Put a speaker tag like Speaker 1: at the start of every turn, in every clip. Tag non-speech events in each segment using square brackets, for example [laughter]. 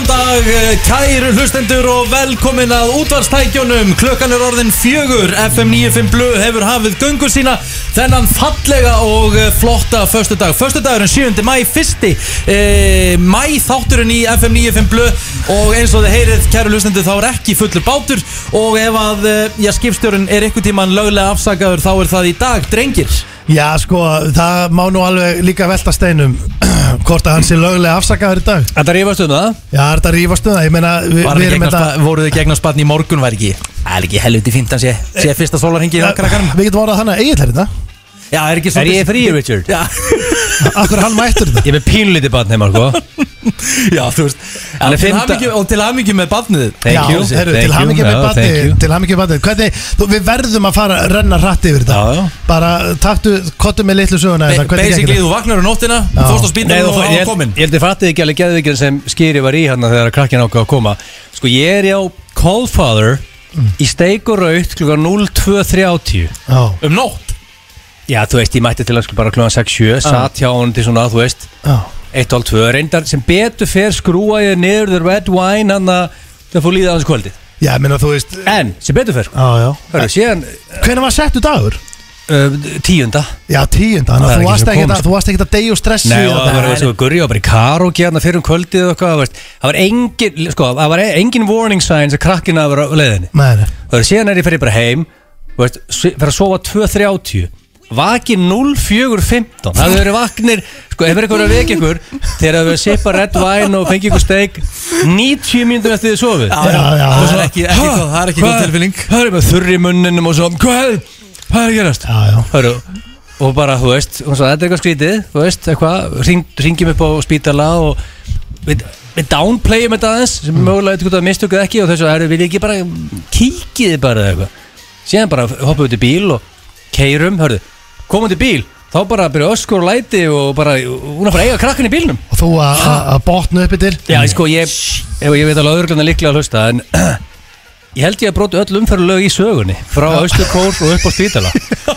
Speaker 1: eh, kæru hlustendur og velkomin að útvarstækjunum Klukkan er orðin fjögur, FM 95 Blu hefur hafið göngu sína Þennan fallega og eh, flotta föstudag Föstudagurinn 7. mæ, fyrsti e, mæ þátturinn í FM 95 Blu Og eins og þið heyrið, kæru hlustendur, þá er ekki fullur bátur Og ef að, eh, já, skipstjórun er einhvern tíman löglega afsakaður Þá er það í dag, drengir
Speaker 2: Já, sko, það má nú alveg líka velta steinum [clears throat] Hvort að hann sé lögulega afsakaður í dag
Speaker 1: Þetta rífast um það?
Speaker 2: Já, er þetta rífast um það, ég meina vi,
Speaker 1: Var ekki
Speaker 2: Við erum hérna-
Speaker 1: eignast,
Speaker 2: þetta
Speaker 1: það... voru þið gegnast batn í morgun var ekki Eh, Það er ekki helviti fínt að sé, sé fyrsta sólarhengi í krakkanum
Speaker 2: Við getum orðað þannig að eigið er þetta
Speaker 1: Já, er ekki
Speaker 3: Er
Speaker 1: svolítið
Speaker 3: ég frí, Richard?
Speaker 1: Já,
Speaker 2: Akkur er hann mættur þetta
Speaker 3: [laughs] Ég er með pínlítið barn heima, sko
Speaker 1: [laughs] já, þú veist
Speaker 3: Hann
Speaker 1: og
Speaker 3: er
Speaker 1: til,
Speaker 3: fimmta-
Speaker 1: hamingju, og til hamingju með batnið
Speaker 3: [laughs] Thank you,
Speaker 2: Já, heru,
Speaker 3: thank
Speaker 2: til
Speaker 3: you,
Speaker 2: hamingi
Speaker 3: já,
Speaker 2: með
Speaker 3: thank
Speaker 2: bati
Speaker 3: you.
Speaker 2: Til hamingi með bati Hvernig, þú, við verðum að fara að renna hratt yfir þetta
Speaker 3: Já, já.
Speaker 2: Bara taktu, kottu með litlu söguna
Speaker 1: Ba-
Speaker 2: þetta, hvernig gengur
Speaker 1: Basically,
Speaker 2: þetta?
Speaker 1: þú vaknar á nóttina
Speaker 2: Já.
Speaker 1: Fórst á
Speaker 3: Nei,
Speaker 1: spítan
Speaker 3: um þú,
Speaker 1: og á
Speaker 3: ég, ég
Speaker 1: komin
Speaker 3: held ég fattið ekki alveg geðvikið sem skýri var í hérna þegar krakkin ákvað að koma Sko, ég er á Callfather í steik og raut klukkan 02.30
Speaker 2: Já,
Speaker 1: Um nótt
Speaker 3: Já, þú veist, ég mætti til hans bara klukkan 6.7 Satt hjá hann til svona, þú veist,
Speaker 2: já
Speaker 3: 1.12 Reyndar sem betur fer skrúa ég niður the red wine hann að það fór líða hans kvöldi
Speaker 2: Já, ég meina þú veist
Speaker 3: En, sem betur fer, sko
Speaker 2: Já, já
Speaker 3: Hörru, síðan
Speaker 2: Hvernig var settu dagur?
Speaker 3: uh, tíunda
Speaker 2: Já, tíunda Þannig
Speaker 3: Það
Speaker 2: að þú
Speaker 3: er ekki
Speaker 2: varst
Speaker 3: sem
Speaker 2: ekkert
Speaker 3: komst.
Speaker 2: að- þú varst ekkert að degi og stressi
Speaker 3: Nei,
Speaker 2: í
Speaker 3: og
Speaker 2: þetta.
Speaker 3: það var eins og gurri og bara í karóki hérna fyrir um kvöldið og eitthvað, þú veist. það var engin, sko, það var engin warning signs að krakkina var á leiðinni.
Speaker 2: Nei, nei.
Speaker 3: Það er síðan er ég fyrir bara heim, þú veist, s- fyrir að sofa 2.30, vakin 04.15, það hefur verið vaknir, sko, ef er eitthvað að vekja ykkur, þegar við sippa red wine og fengi ykkur steik, 90 mínútur eftir þið sofið.
Speaker 2: já, já.
Speaker 1: Það er ekki, ekki,
Speaker 3: Ha?
Speaker 1: góð- það er ekki góð
Speaker 3: Hvað?
Speaker 1: tilfinning
Speaker 3: Það er með þurri munninum og svo Hvað, hvað er að gerast?
Speaker 2: Já, já.
Speaker 3: Hörru, og bara, þú veist Hún sagði, þetta er eitthvað skrítið, þú veist, eitthvað hring, Ringjum upp á spítala og Við, við downplayum þetta aðeins sem mm. mögulega eitthvað mistökuð ekki og þess að erum við ekki bara kíkið þið bara eða eitthvað síðan bara hoppum við til bíl og keirum, hörðu, komum til bíl þá bara byrja öskur og læti og bara, hún er bara að eiga krakkan í bílnum
Speaker 2: Og þú að- að að botna uppi til
Speaker 3: Já, ég sko, ég, ég, ég veit alveg að örgluna líklega að hlusta En [clears throat] ég held ég að broti öll umferðulög í sögunni Frá Östurkór og upp á Spítala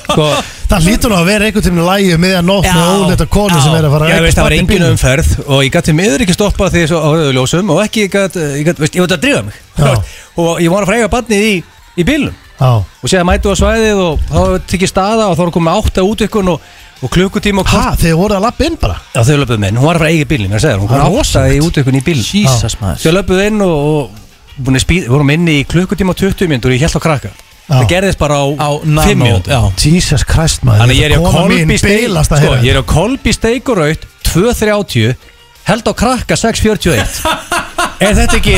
Speaker 3: Sko,
Speaker 2: Það lítur nú að vera einhvern tíminn lægi meðan um nótt
Speaker 1: Já,
Speaker 2: með óleita konu
Speaker 1: já.
Speaker 2: sem er að fara að
Speaker 3: ég
Speaker 2: reka
Speaker 3: veist, það var um-
Speaker 2: barn í
Speaker 3: engin
Speaker 2: bílnum.
Speaker 3: umferð Og ég gæti miður ekki stoppa því svo áraðu ljósum Og ekki, ég gæti, ég gæti, veist, ég var að drífa mig
Speaker 2: Já.
Speaker 3: Og ég var að frega barnið í, í bílnum
Speaker 2: Já,
Speaker 3: Og séða mætu á svæðið og þá tekið staða Og þá erum komið átta út ykkur og, og klukkutíma og
Speaker 2: ha,
Speaker 3: kvart
Speaker 2: þeir voru að lappa inn bara
Speaker 3: Já, þau löpuðu minn, hún var að fara að eiga bílinn, ég segir,
Speaker 2: Það
Speaker 3: hún kom
Speaker 2: er
Speaker 3: átta í útökun í bílinn
Speaker 1: Jesus,
Speaker 3: Já.
Speaker 1: maður.
Speaker 3: Þau löpuðu inn og, og búin að spýð, vorum inni í klukkutíma og 20 mínútur og ég held á krakka Það gerðist bara á,
Speaker 1: Á
Speaker 3: 5
Speaker 1: nano,
Speaker 3: mínútur
Speaker 1: já.
Speaker 2: Jesus Christ maður
Speaker 3: Þannig að ég er á
Speaker 2: Kona mín hérna.
Speaker 3: kolbi
Speaker 2: bilast að
Speaker 3: sko,
Speaker 2: heyra
Speaker 3: ég er á kolbi steikuraut 2.30, held á krakka 6.41 Er þetta ekki,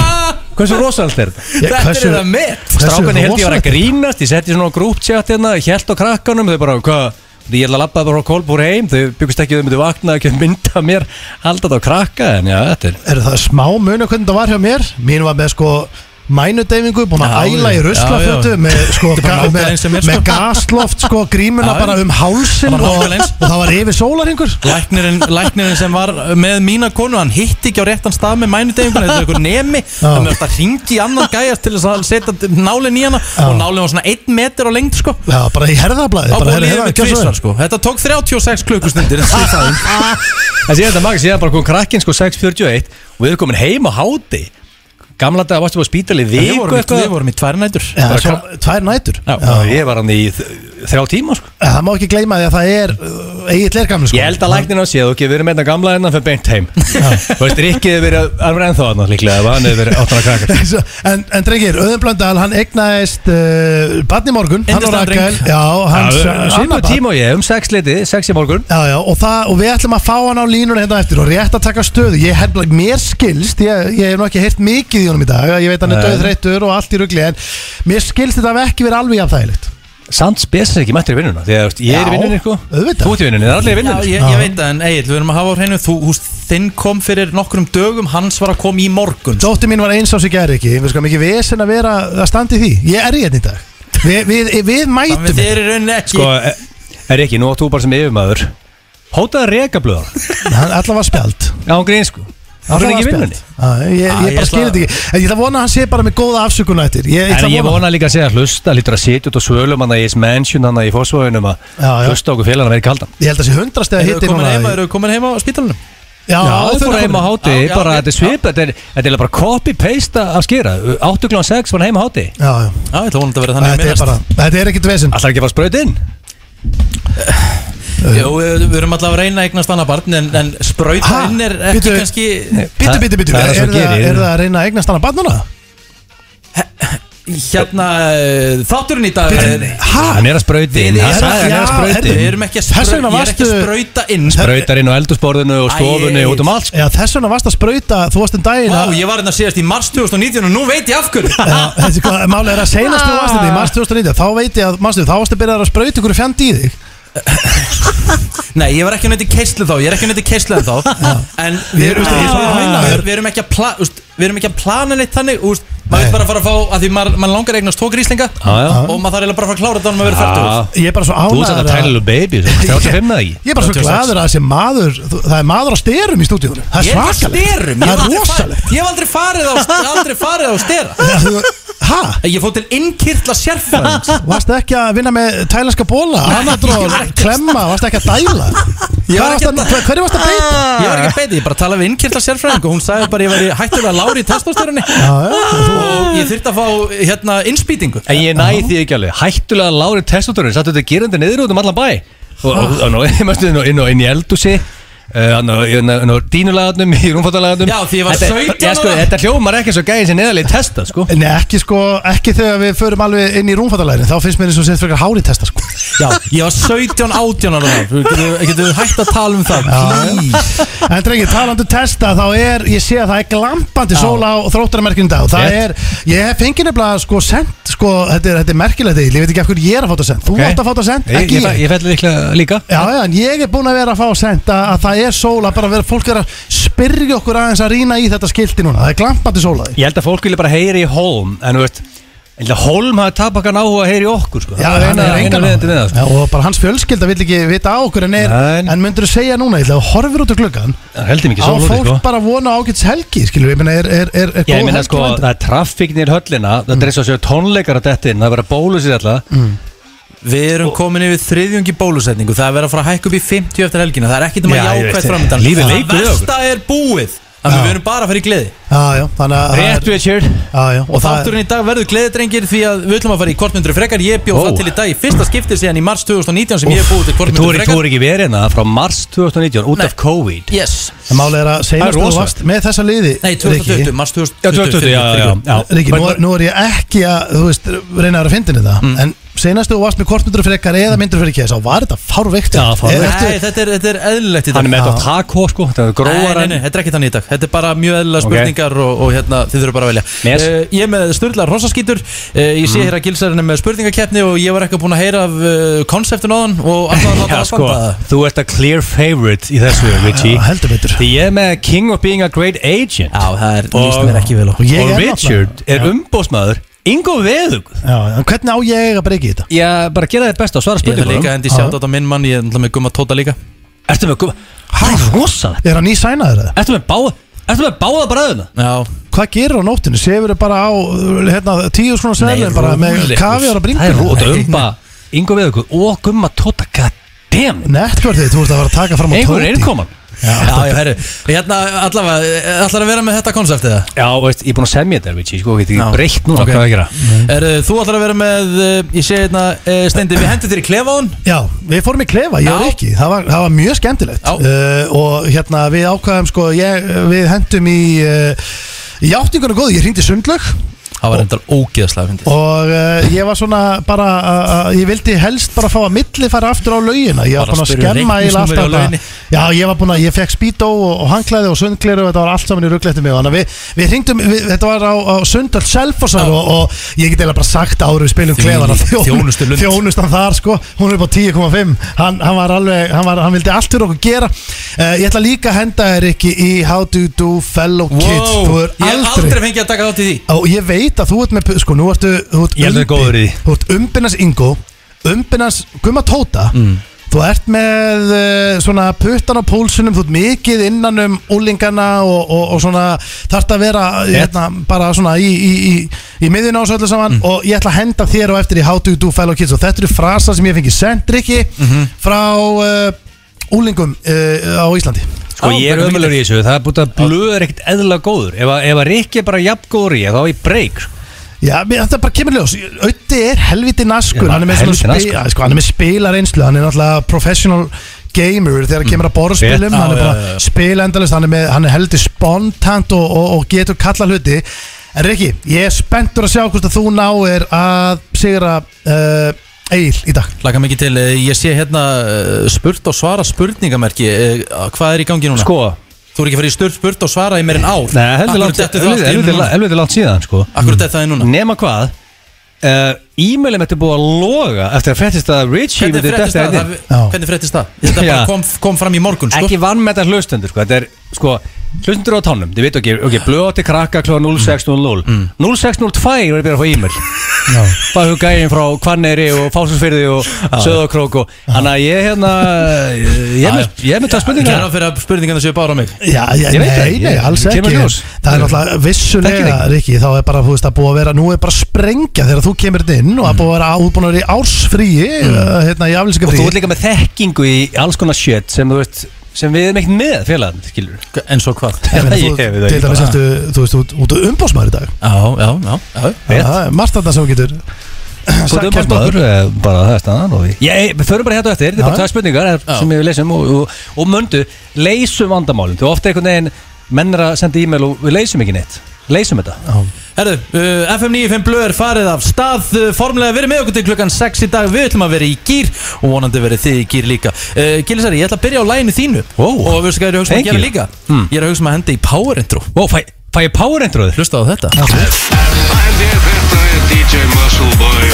Speaker 3: hversu rosalegt er þetta?
Speaker 2: Ég-
Speaker 1: Þetta
Speaker 2: hversu-
Speaker 1: er það mitt
Speaker 2: Hversu
Speaker 3: Strákan held ég var
Speaker 2: rosalegt
Speaker 3: að grínast, ég setti svona grúptjátt hérna, held á krakkanum, þau bara, hvað, ég held að labba bara á kolbúr heim, þau byggust ekki að þau myndu vakna, ekki að mynda mér, halda þetta á krakka, en já, þetta er,
Speaker 2: Er það smá munu hvernig það var hjá mér? Mín var með sko mænudeyfingu, búin að
Speaker 3: Já,
Speaker 2: æla í
Speaker 3: já,
Speaker 2: ruslafötu
Speaker 3: já.
Speaker 2: með, sko,
Speaker 1: er bara
Speaker 2: ga-
Speaker 1: nákvæmlega
Speaker 2: með,
Speaker 1: eins sem er, sko.
Speaker 2: með gasloft sko,
Speaker 3: [laughs]
Speaker 2: grímuna
Speaker 3: Já, já.
Speaker 2: bara um hálsin
Speaker 1: Það var
Speaker 2: og,
Speaker 1: nákvæmlega eins.
Speaker 2: og það var yfir sólaringur
Speaker 1: Læknirinn, læknirinn sem var með mína konu Hann hitti ekki á réttan stað með mænudefingun Þetta er ykkur nemi Það með þetta ringi í annan gæjast til þess að setja nálinn í hana Og nálinn var svona 1 metr á lengd sko
Speaker 2: Já, bara í herðablaði
Speaker 1: Þá búið
Speaker 2: bara, herra,
Speaker 1: lífið
Speaker 2: herra,
Speaker 1: með
Speaker 2: gjörðu svo vel.
Speaker 1: tvisvar sko Þetta tók 36 klukkustundir
Speaker 2: Ah,
Speaker 3: en síðan þetta maður, síðan bara kom krakkin sko 6.41 og við erum komin heim á háti, gamla dag varstu bara spítalið
Speaker 1: Við
Speaker 3: viku
Speaker 1: vorum í- við
Speaker 3: eitthvað,
Speaker 1: vorum í tvær nætur
Speaker 2: Já,
Speaker 3: Bara
Speaker 2: svo, tvær nætur
Speaker 1: Já.
Speaker 3: Já, ég var hann í þ- þrjá tíma sko.
Speaker 2: Það má ekki gleyma því að það er uh, Egil er gamli sko
Speaker 3: Ég held að læknirna sé að þú ekki verið með þetta gamla hennan fyrir beint heim [laughs] Þú veist, Rikki hefur verið, hann var ennþá hann líklega, ef hann hefur verið áttan
Speaker 2: [laughs]
Speaker 3: að krakka
Speaker 2: Svo- en, en drengir, Öðun Blöndal hann egnaðist uh, barn í morgun hann og
Speaker 1: Yndislegan
Speaker 2: Rakel
Speaker 1: dreng.
Speaker 2: já, hans,
Speaker 3: Hann
Speaker 2: annað
Speaker 3: svipur
Speaker 2: barn.
Speaker 3: tíma og ég, um sex liti, sex í morgun
Speaker 2: já, já, og, það, og við ætlum að fá hann á línuna hérna á eftir og rétt að taka stöðu ég hef mér skilst, ég, ég hef nú ekki heyrt mikið í honum í dag, ég veit hann er
Speaker 3: Nei.
Speaker 2: döðreittur og allt í rugli, en mér skilst þetta hafi ekki verið alveg jafn þægilegt
Speaker 3: Samt spesir ekki mættir í vinnuna Því að þú veist, ég er í
Speaker 2: Já,
Speaker 3: vinnunni sko
Speaker 2: auðvitað.
Speaker 3: Þú ert í vinnunni, það er allir í
Speaker 1: Já,
Speaker 3: vinnunni
Speaker 1: ég, ég veit það, en Egil, við erum að hafa á hreinu Þú, húst, þinn kom fyrir nokkrum dögum Hans var að koma í morgun
Speaker 2: Dóttir mín var eins á sig gæri ekki við skalum ekki vesen að vera að standa í því ég er í hérna í dag við, við, við mætum hérna.
Speaker 1: Þannig þeir eru rauninni ekki
Speaker 3: Sko, e- er ekki, nú átt þú bara sem yfirmaður Hótaði rekablöðan
Speaker 2: hann allan var spjald
Speaker 3: Já, hún grín sko Það er
Speaker 2: Allan
Speaker 3: ekki í
Speaker 2: var
Speaker 3: vinnunni Ah,
Speaker 2: spjald. Já, Ah, ég, ég,
Speaker 1: Já, ég
Speaker 2: bara skil
Speaker 1: ætla-
Speaker 2: þetta ekki En ég ætla að vona að hann sé bara með góða afsökun á eftir ég, ætla
Speaker 3: En
Speaker 2: að
Speaker 3: ég vona líka að segja að hlusta, lítur að sitja út á svölum hann að ég mention hann að í fósvöðunum að
Speaker 2: Já, já.
Speaker 3: hlusta á okkur félagann að vera kaldan
Speaker 2: Ég held að sé hundrastega
Speaker 1: Eru
Speaker 2: hitti
Speaker 1: komin
Speaker 2: núna
Speaker 1: heima,
Speaker 2: í-
Speaker 1: eru komin heima á spítalunum?
Speaker 2: Já,
Speaker 3: Já, fór heim á háti,
Speaker 1: Já, já,
Speaker 3: bara
Speaker 1: ok,
Speaker 3: þetta er svip Þetta er þetta er eiginlega bara copy-paste að skera 8 kl. 6 var hann heim á háti
Speaker 2: Já, já,
Speaker 1: Já, ég ætla vonandi að vera þannig
Speaker 2: þetta er bara Þetta er ekkert vesinn
Speaker 3: Alltaf ekki að fara spraut inn
Speaker 1: Jó, við, við erum alltaf að reyna að eignast annað barn En, en sprauta
Speaker 2: Ha?
Speaker 1: inn er ekki
Speaker 2: Bíddu.
Speaker 1: kannski
Speaker 2: Bitti, bitti, bitti, er
Speaker 3: Það er það sem
Speaker 2: það
Speaker 3: gerir.
Speaker 2: er það að reyna að eignast hana barnana?
Speaker 1: Hérna, eh, þátturinn í dag er
Speaker 2: Hæ?
Speaker 3: Hann er að spraut inn
Speaker 1: Við
Speaker 3: Hann
Speaker 1: erum-
Speaker 3: sagði hann er að
Speaker 2: Já,
Speaker 3: spraut
Speaker 1: hérna Við
Speaker 2: herri,
Speaker 3: inn
Speaker 1: erum ekki að
Speaker 2: Þess
Speaker 1: sprauta
Speaker 2: vegna
Speaker 1: Ég er ekki að
Speaker 2: varstu-
Speaker 1: sprauta inn
Speaker 3: Sprautar inn á eldusborðinu og stofunni
Speaker 1: Æ,
Speaker 3: og út um allt sko.
Speaker 2: Já, þess vegna varst að sprauta, þú varst um daginn
Speaker 1: Vá,
Speaker 2: að-
Speaker 1: ég var hérna síðast í mars 2019 og nú veit ég af hverju
Speaker 2: Já, [laughs] Þessi hvað, málið er að seinast þú varst þetta í
Speaker 3: Ah.
Speaker 2: mars 2019 Þá veit ég að, manstu, þá varstu að byrja að sprauta ykkur fjandi í þig
Speaker 1: Nei, ég var ekki neitt í keislu þá, ég er ekki neitt í keislu en þá En við
Speaker 2: Ég
Speaker 1: erum,
Speaker 2: veist ekki, ég er svona að meina þér.
Speaker 1: við, við erum ekki að pla, úst, Við erum ekki að plana neitt þannig úst, Maður veit bara að fara að fá, að því maður maður langar að eignast tók gríslinga
Speaker 3: Já, já.
Speaker 1: Og maður þarf eiginlega bara að fara að klára þetta Þannig maður verið færtur
Speaker 3: Já.
Speaker 2: Ég er bara svo
Speaker 3: Þú ert
Speaker 2: ánæður
Speaker 3: þetta tælilu baby
Speaker 2: [laughs]
Speaker 3: svo, 35 eða ekki
Speaker 2: Ég er bara svo
Speaker 1: 26.
Speaker 2: gladur að þessi maður þú- Það er maður á styrum í stúdíunum Það
Speaker 1: Ég
Speaker 2: er
Speaker 1: er ekki
Speaker 2: svakalegt
Speaker 1: styrum
Speaker 2: Það er rosalegt
Speaker 1: Ég hef aldrei farið á, aldrei farið á stera
Speaker 2: Já, þú- Ha?
Speaker 1: Ég fótt til innkirtla sérfræðings
Speaker 2: Varstu ekki að vinna með tælenska bóla,
Speaker 1: ég
Speaker 2: anadról,
Speaker 1: var ekki að-
Speaker 2: klemma, varstu ekki að dæla?
Speaker 1: Ég var
Speaker 2: Hvað
Speaker 1: ekki að
Speaker 2: varstu að- Hverju varstu að beita?
Speaker 1: Ég var ekki að beita, ég bara talaði við innkirtla sérfræðing Og hún sagði bara að ég væri hættur að lári í testostörunni
Speaker 2: Já, já,
Speaker 1: Og ég þurfti að fá hérna innspýtingu
Speaker 3: En ég næ því ekki alveg Hættulega lári testoturinn Sattu þetta gerandi niður út um allan bæ Og- Og og nú mæstu inn og inn og inn í eldusi Inn á dínulagatnum Í rúmfattalagatnum
Speaker 1: Já, því ég var 17 ára.
Speaker 3: Þetta hljómar ekki svo gæðin sem neðarlega testa sko
Speaker 2: Nei, ekki sko, ekki þegar við förum alveg inn í rúmfattalærin Þá finnst mér eins og sétt frekar hári testa sko
Speaker 1: Já, ég var 17 18 ára þá Getur getum við hægt að tala um það Please.
Speaker 2: En drengi, talandu um testa, þá er, ég sé að það er glampandi sól á þróttaramerkjum í dag og Það
Speaker 3: Rétt.
Speaker 2: er, ég hef fengið nefnilega sko sent, sko, þetta er, þetta er merkilegt eil Ég veit ekki af hverju ég er að fá það sent Þú
Speaker 3: Ok.
Speaker 2: okay. átt að fá það sent,
Speaker 3: Ég-
Speaker 2: ekki
Speaker 3: ég
Speaker 2: ég,
Speaker 3: Ég fætti líklega líka
Speaker 2: Já, já, en ég er búin að vera að fá sent að, að það er sól að bara vera, fólk er að spyrja okkur aðeins að rýna í þetta skilti núna Það er glampandi sól að því
Speaker 3: Ég held að fólk vilja bara heyri í Holm En þú veist Ég held að Holm hafi tapakan áhuga að heyri í okkur sko.
Speaker 2: Já,
Speaker 3: Það er
Speaker 2: hann
Speaker 3: eina-
Speaker 2: er
Speaker 3: eina
Speaker 2: engan
Speaker 3: leiðandi með það, sko.
Speaker 2: Já, og bara hans fjölskylda vill ekki vita á okkur en er,
Speaker 3: Nei.
Speaker 2: en myndur þú segja núna, ég ætla að horfir út úr gluggan
Speaker 3: Það heldur
Speaker 2: á
Speaker 3: mikið sól úti,
Speaker 2: fólk
Speaker 3: sko.
Speaker 2: bara vona ágæts helgi, skilur við, ég meina er, er, er, er
Speaker 3: Ég
Speaker 2: góð
Speaker 3: meina
Speaker 2: helgi
Speaker 3: sko,
Speaker 2: vændi?
Speaker 3: það er traffíknir höllina Það er eins og séu tónleikar að dettin Það er bara bólusið alltaf
Speaker 1: Við erum komin yfir þriðjungi bólusetningu Það er verið að fara að hækka upp í 50 eftir helgina Það er ekkert um að
Speaker 3: Já, ég veit
Speaker 1: jákvæð
Speaker 3: það.
Speaker 1: framöndan
Speaker 3: Lífið leikur við
Speaker 1: Það
Speaker 3: okkur.
Speaker 1: versta er búið Þannig að við erum bara að fara í gleði
Speaker 2: Já, já, þannig að það er-
Speaker 3: Rétt Richard
Speaker 2: Já, já, og
Speaker 1: Og
Speaker 2: það er
Speaker 1: þátturinn í dag verður gleðidrengir Því að við ætlum að fara í kortmyndur frekar Ég bjóð
Speaker 3: Ó.
Speaker 1: það til í dag í fyrsta skipti síðan í mars 2019 sem ég hef búið til
Speaker 3: Þú
Speaker 1: kortmyndur
Speaker 3: er, þú
Speaker 1: frekar
Speaker 3: er ekki verið hérna frá mars 2019 út
Speaker 1: Nei.
Speaker 3: af COVID
Speaker 1: Yes,
Speaker 2: En málið er að
Speaker 3: Það
Speaker 2: segja
Speaker 3: er
Speaker 2: þú
Speaker 3: rosalegt.
Speaker 2: varst með þessa liði
Speaker 1: nei 2020,
Speaker 2: Riki,
Speaker 1: mars 2020
Speaker 3: Já, 2020, já, já, já.
Speaker 2: Riki nú, nú er ég ekki að, þú veist, reyna að vera að fyndin þetta
Speaker 3: Mm.
Speaker 2: En senast þú varst með kortmyndur fyrir ekkar eða myndur fyrir ekkar Þá var þetta fárveikt
Speaker 3: Já, fárveikt.
Speaker 2: Eða
Speaker 1: Nei,
Speaker 2: ertu-
Speaker 1: þetta er, þetta er eðlilegt í dag
Speaker 3: Hann er með þetta á taco sko, það er
Speaker 1: Nei,
Speaker 3: gróðar
Speaker 1: nei, nei, þetta er ekki þannig í dag Þetta er bara mjög eðlilega
Speaker 3: Ok.
Speaker 1: spurningar og, og hérna, þið þurfum bara að velja
Speaker 3: Yes.
Speaker 1: uh, Ég er með styrlar hrossaskítur uh, Ég sé hér að gilsarinn er með spurningakeppni og ég var ekki búin að heyra af uh, konseptin á hann og alltaf
Speaker 3: [laughs]
Speaker 1: að láta
Speaker 3: Já
Speaker 1: að
Speaker 3: sko,
Speaker 1: standa það
Speaker 3: þú ert að clear favorite í þessu, Richie
Speaker 2: Já, heldur betur.
Speaker 3: Því ég er með King of Being a Great Agent
Speaker 1: Já, það er, líst
Speaker 3: Og-
Speaker 1: mér ekki vel á
Speaker 2: Og ég
Speaker 3: Og
Speaker 2: er
Speaker 3: Richard er umbóðsmaður Ingo Veðug
Speaker 2: Já, en hvernig á ég að breyki þetta?
Speaker 3: Ég bara gera þér best að
Speaker 1: Ég
Speaker 3: svara
Speaker 1: ætla líka að
Speaker 3: spurningunum
Speaker 1: hendi sjátt á minn mann, ég er náttúrulega með gumma tóta líka
Speaker 3: Ertu með, það er rosalegt
Speaker 2: Er hann í sænaður eða?
Speaker 3: Ertu með báða, ertu með báða bræðuna
Speaker 1: Já,
Speaker 2: Hvað gerir á nóttinu? Sefur þau bara á uh, hérna, tíu svona
Speaker 1: Nei,
Speaker 2: sæðin bara með
Speaker 1: rólegur.
Speaker 2: kafjar og
Speaker 3: Það er
Speaker 2: bringur
Speaker 3: rót og umba Ingo Veðug og gumma tóta, goddamn
Speaker 2: Nettvörðið, þú ert að fara að taka fram á
Speaker 3: Einhver
Speaker 2: tóti
Speaker 3: er innkoman
Speaker 1: já, já, herru Hérna, allavega, ætlar að vera með þetta konseptið það?
Speaker 3: Já, veist, ég er búin að semja þetta, Richie, sko, ég get
Speaker 1: Já.
Speaker 3: ekki breytt núna
Speaker 1: Ok.
Speaker 3: hvað á ég að gera
Speaker 1: Erðu, þú ætlar að vera með, uh, ég sé hérna, uh, Steindi, við hendur þér í klefán
Speaker 2: Já, við fórum í klefa, ég
Speaker 1: Já.
Speaker 2: og Rikki það var, það var mjög skemmtilegt
Speaker 1: Já.
Speaker 2: uh, og hérna við ákvaðum sko ég, við hendum í uh, játningunum góðu, ég hringdi í sundlög
Speaker 1: Það var endar ógeðslega fyndið.
Speaker 2: og uh, ég var svona bara að- að ég vildi helst bara fá að milli fara aftur á laugina ég var
Speaker 1: Bara
Speaker 2: búin að
Speaker 1: spyrja um
Speaker 2: skemma
Speaker 1: reikningsnúmerið
Speaker 2: eiginlega
Speaker 1: á
Speaker 2: alltaf
Speaker 1: lauginni.
Speaker 2: þetta. já, ég var búin að, ég fekk spító og, og hangklæði og sundgleru og þetta var allt saman í ruggletti mig þannig að við, við hringdum, við, þetta var á, á sundöld selfossar og, og ég get eiginlega bara sagt áður við spilum
Speaker 1: Þvílík
Speaker 2: klefana
Speaker 1: þjónustulund.
Speaker 2: þjónustan þar sko, hún er upp á 10,5 hann, hann var alveg, hann, var, hann vildi allt fyrir okkur gera uh, ég ætla líka að henda þér ekki í How do you do fellow kids þú er
Speaker 1: ég hef aldrei fengið að taka þátt í því
Speaker 2: Og ég veit að þú ert með Sko, nú ertu þú ert
Speaker 3: Ég held að þú er
Speaker 2: umbi-
Speaker 3: góður í því.
Speaker 2: Þú ert umbinnast Ingo Umbinnast Gumma Tóta
Speaker 3: Mm.
Speaker 2: Þú ert með uh, svona puttan á pólsunum, þú ert mikið innan um úlingana og, og, og svona þarft að vera hérna, bara svona í, í, í, í miðjun á þessu öllu
Speaker 3: Mm.
Speaker 2: saman og ég ætla að henda þér á eftir í How do you do fellow kids og þetta eru
Speaker 3: Mhm.
Speaker 2: frasa sem ég fengi sendriki mm frá uh, úlingum uh, eh, á Íslandi
Speaker 3: Sko
Speaker 1: Já,
Speaker 3: ég er
Speaker 1: hvernig
Speaker 3: ömulegur í þessu, það er búin að blöð er ekkert eðla góður Ef, að- ef að Rikki er bara jafn góður í ég, þá er ég breyk sko.
Speaker 2: Já, mér- þetta bara kemur ljós Ötti er helviti naskur
Speaker 3: Já,
Speaker 2: Hann er með,
Speaker 3: helviti
Speaker 2: spi,
Speaker 3: naskur.
Speaker 2: ja, sko, hann er með spilar einslu Hann er náttúrulega professional gamer Þegar það kemur að
Speaker 1: Já,
Speaker 2: borðspilum Hann
Speaker 1: já,
Speaker 2: er bara
Speaker 1: já, já.
Speaker 2: að spila endalist Hann er, með, hann er heldur spontant og, og, og getur kalla hluti En Riki, ég er spenntur að sjá hvort að þú náir að sigra uh, Egil í dag
Speaker 1: Laka mikið til, eh, ég sé hérna eh, spurt og svara spurningamerki eh, Hvað er í gangi núna?
Speaker 3: Sko,
Speaker 1: Þú er ekki farið í sturt spurt og svara í meir en ár
Speaker 3: Nei, heldur
Speaker 1: Akkur
Speaker 3: langt,
Speaker 1: dettur það allt í einu
Speaker 3: heldur,
Speaker 1: núna?
Speaker 3: heldur langt síðan sko.
Speaker 1: Akkur þetta það er núna
Speaker 3: Nema hvað uh, E-mailum þetta er búið að loga Eftir að fréttist að Richie
Speaker 1: Hvernig
Speaker 3: myndi
Speaker 1: fréttist
Speaker 3: detta
Speaker 1: það?
Speaker 3: hérna inn.
Speaker 1: Það- Hvernig fréttist það? Þetta
Speaker 3: Já.
Speaker 1: bara kom, kom fram í morgun sko.
Speaker 3: Ekki vann með þetta hlustendur sko. Þetta er sko, hlustendur á tánum Þið veit ekki, ok, blöð til krakka kl. 06.00 06.02 var ég byrjað að fá e-mail [laughs] Bara huga gæðin frá Hvanneyri og Fásinsfyrði og Söðokrók og Þannig að ég hérna Ég er með- ég er með það
Speaker 1: Ég
Speaker 3: spurningar
Speaker 1: er að fyrir að spurningan séu bara á mig
Speaker 2: Já, já,
Speaker 3: Ég veit það
Speaker 2: nei,
Speaker 3: ekki,
Speaker 2: nei,
Speaker 3: ég-
Speaker 2: alls
Speaker 3: kemur
Speaker 2: ekki
Speaker 3: ljós.
Speaker 2: Það er náttlega
Speaker 3: Þekkir
Speaker 2: vissulega,
Speaker 3: ekki.
Speaker 2: Riki Þá er bara, þú veist, að búa að vera Nú er bara að sprengja þegar þú kemur þetta inn Og að búa að vera útbúin að vera í ársfríi uh, Hérna, í
Speaker 3: Mm. Og
Speaker 2: aflýsingafríi
Speaker 3: þú ert líka með þekkingu í alls konar shit sem þú veist sem við erum ekkert með félagarnir, skilur
Speaker 1: En svo hvað?
Speaker 2: Ég meina,
Speaker 3: Ég
Speaker 2: þú-
Speaker 3: veit það
Speaker 2: Til
Speaker 3: ekki
Speaker 2: dæmis
Speaker 3: bara.
Speaker 2: eftir, þú veist, út- út og umbásmaður í dag
Speaker 1: Já, já, já, já.
Speaker 3: Rétt.
Speaker 2: Það er margt þarna sem þú getur
Speaker 3: Góð
Speaker 2: sagt kært
Speaker 3: umbásmaður,
Speaker 2: okkur.
Speaker 3: eh, bara það er staðan og við Ég, við förum bara hérna á eftir, þetta er bara
Speaker 2: Já.
Speaker 3: tvær spurningar eh, sem við leysum og, og, og möndu leysum vandamálum, þú ofta einhvern veginn menn er að senda e-mail og við leysum ekki neitt leysum þetta
Speaker 1: Herðu, uh, FM 95 Blöð er farið af stað uh, Formulega verið með okkur til klukkan 6 í dag Við ætlum að vera í gýr og vonandi verið þið í gýr líka uh, Gilsari, ég ætla að byrja á læginu þínu
Speaker 3: Ó.
Speaker 1: Og veistu hvað ég er að hugsa um að
Speaker 3: Thank
Speaker 1: gera
Speaker 3: you. Hmm.
Speaker 1: líka? Ég er að hugsa um að henda í power intro
Speaker 3: Ó, fæ, fæ ég power endröður?
Speaker 1: Hlusta á þetta
Speaker 4: En ég þetta er DJ Muscle Boy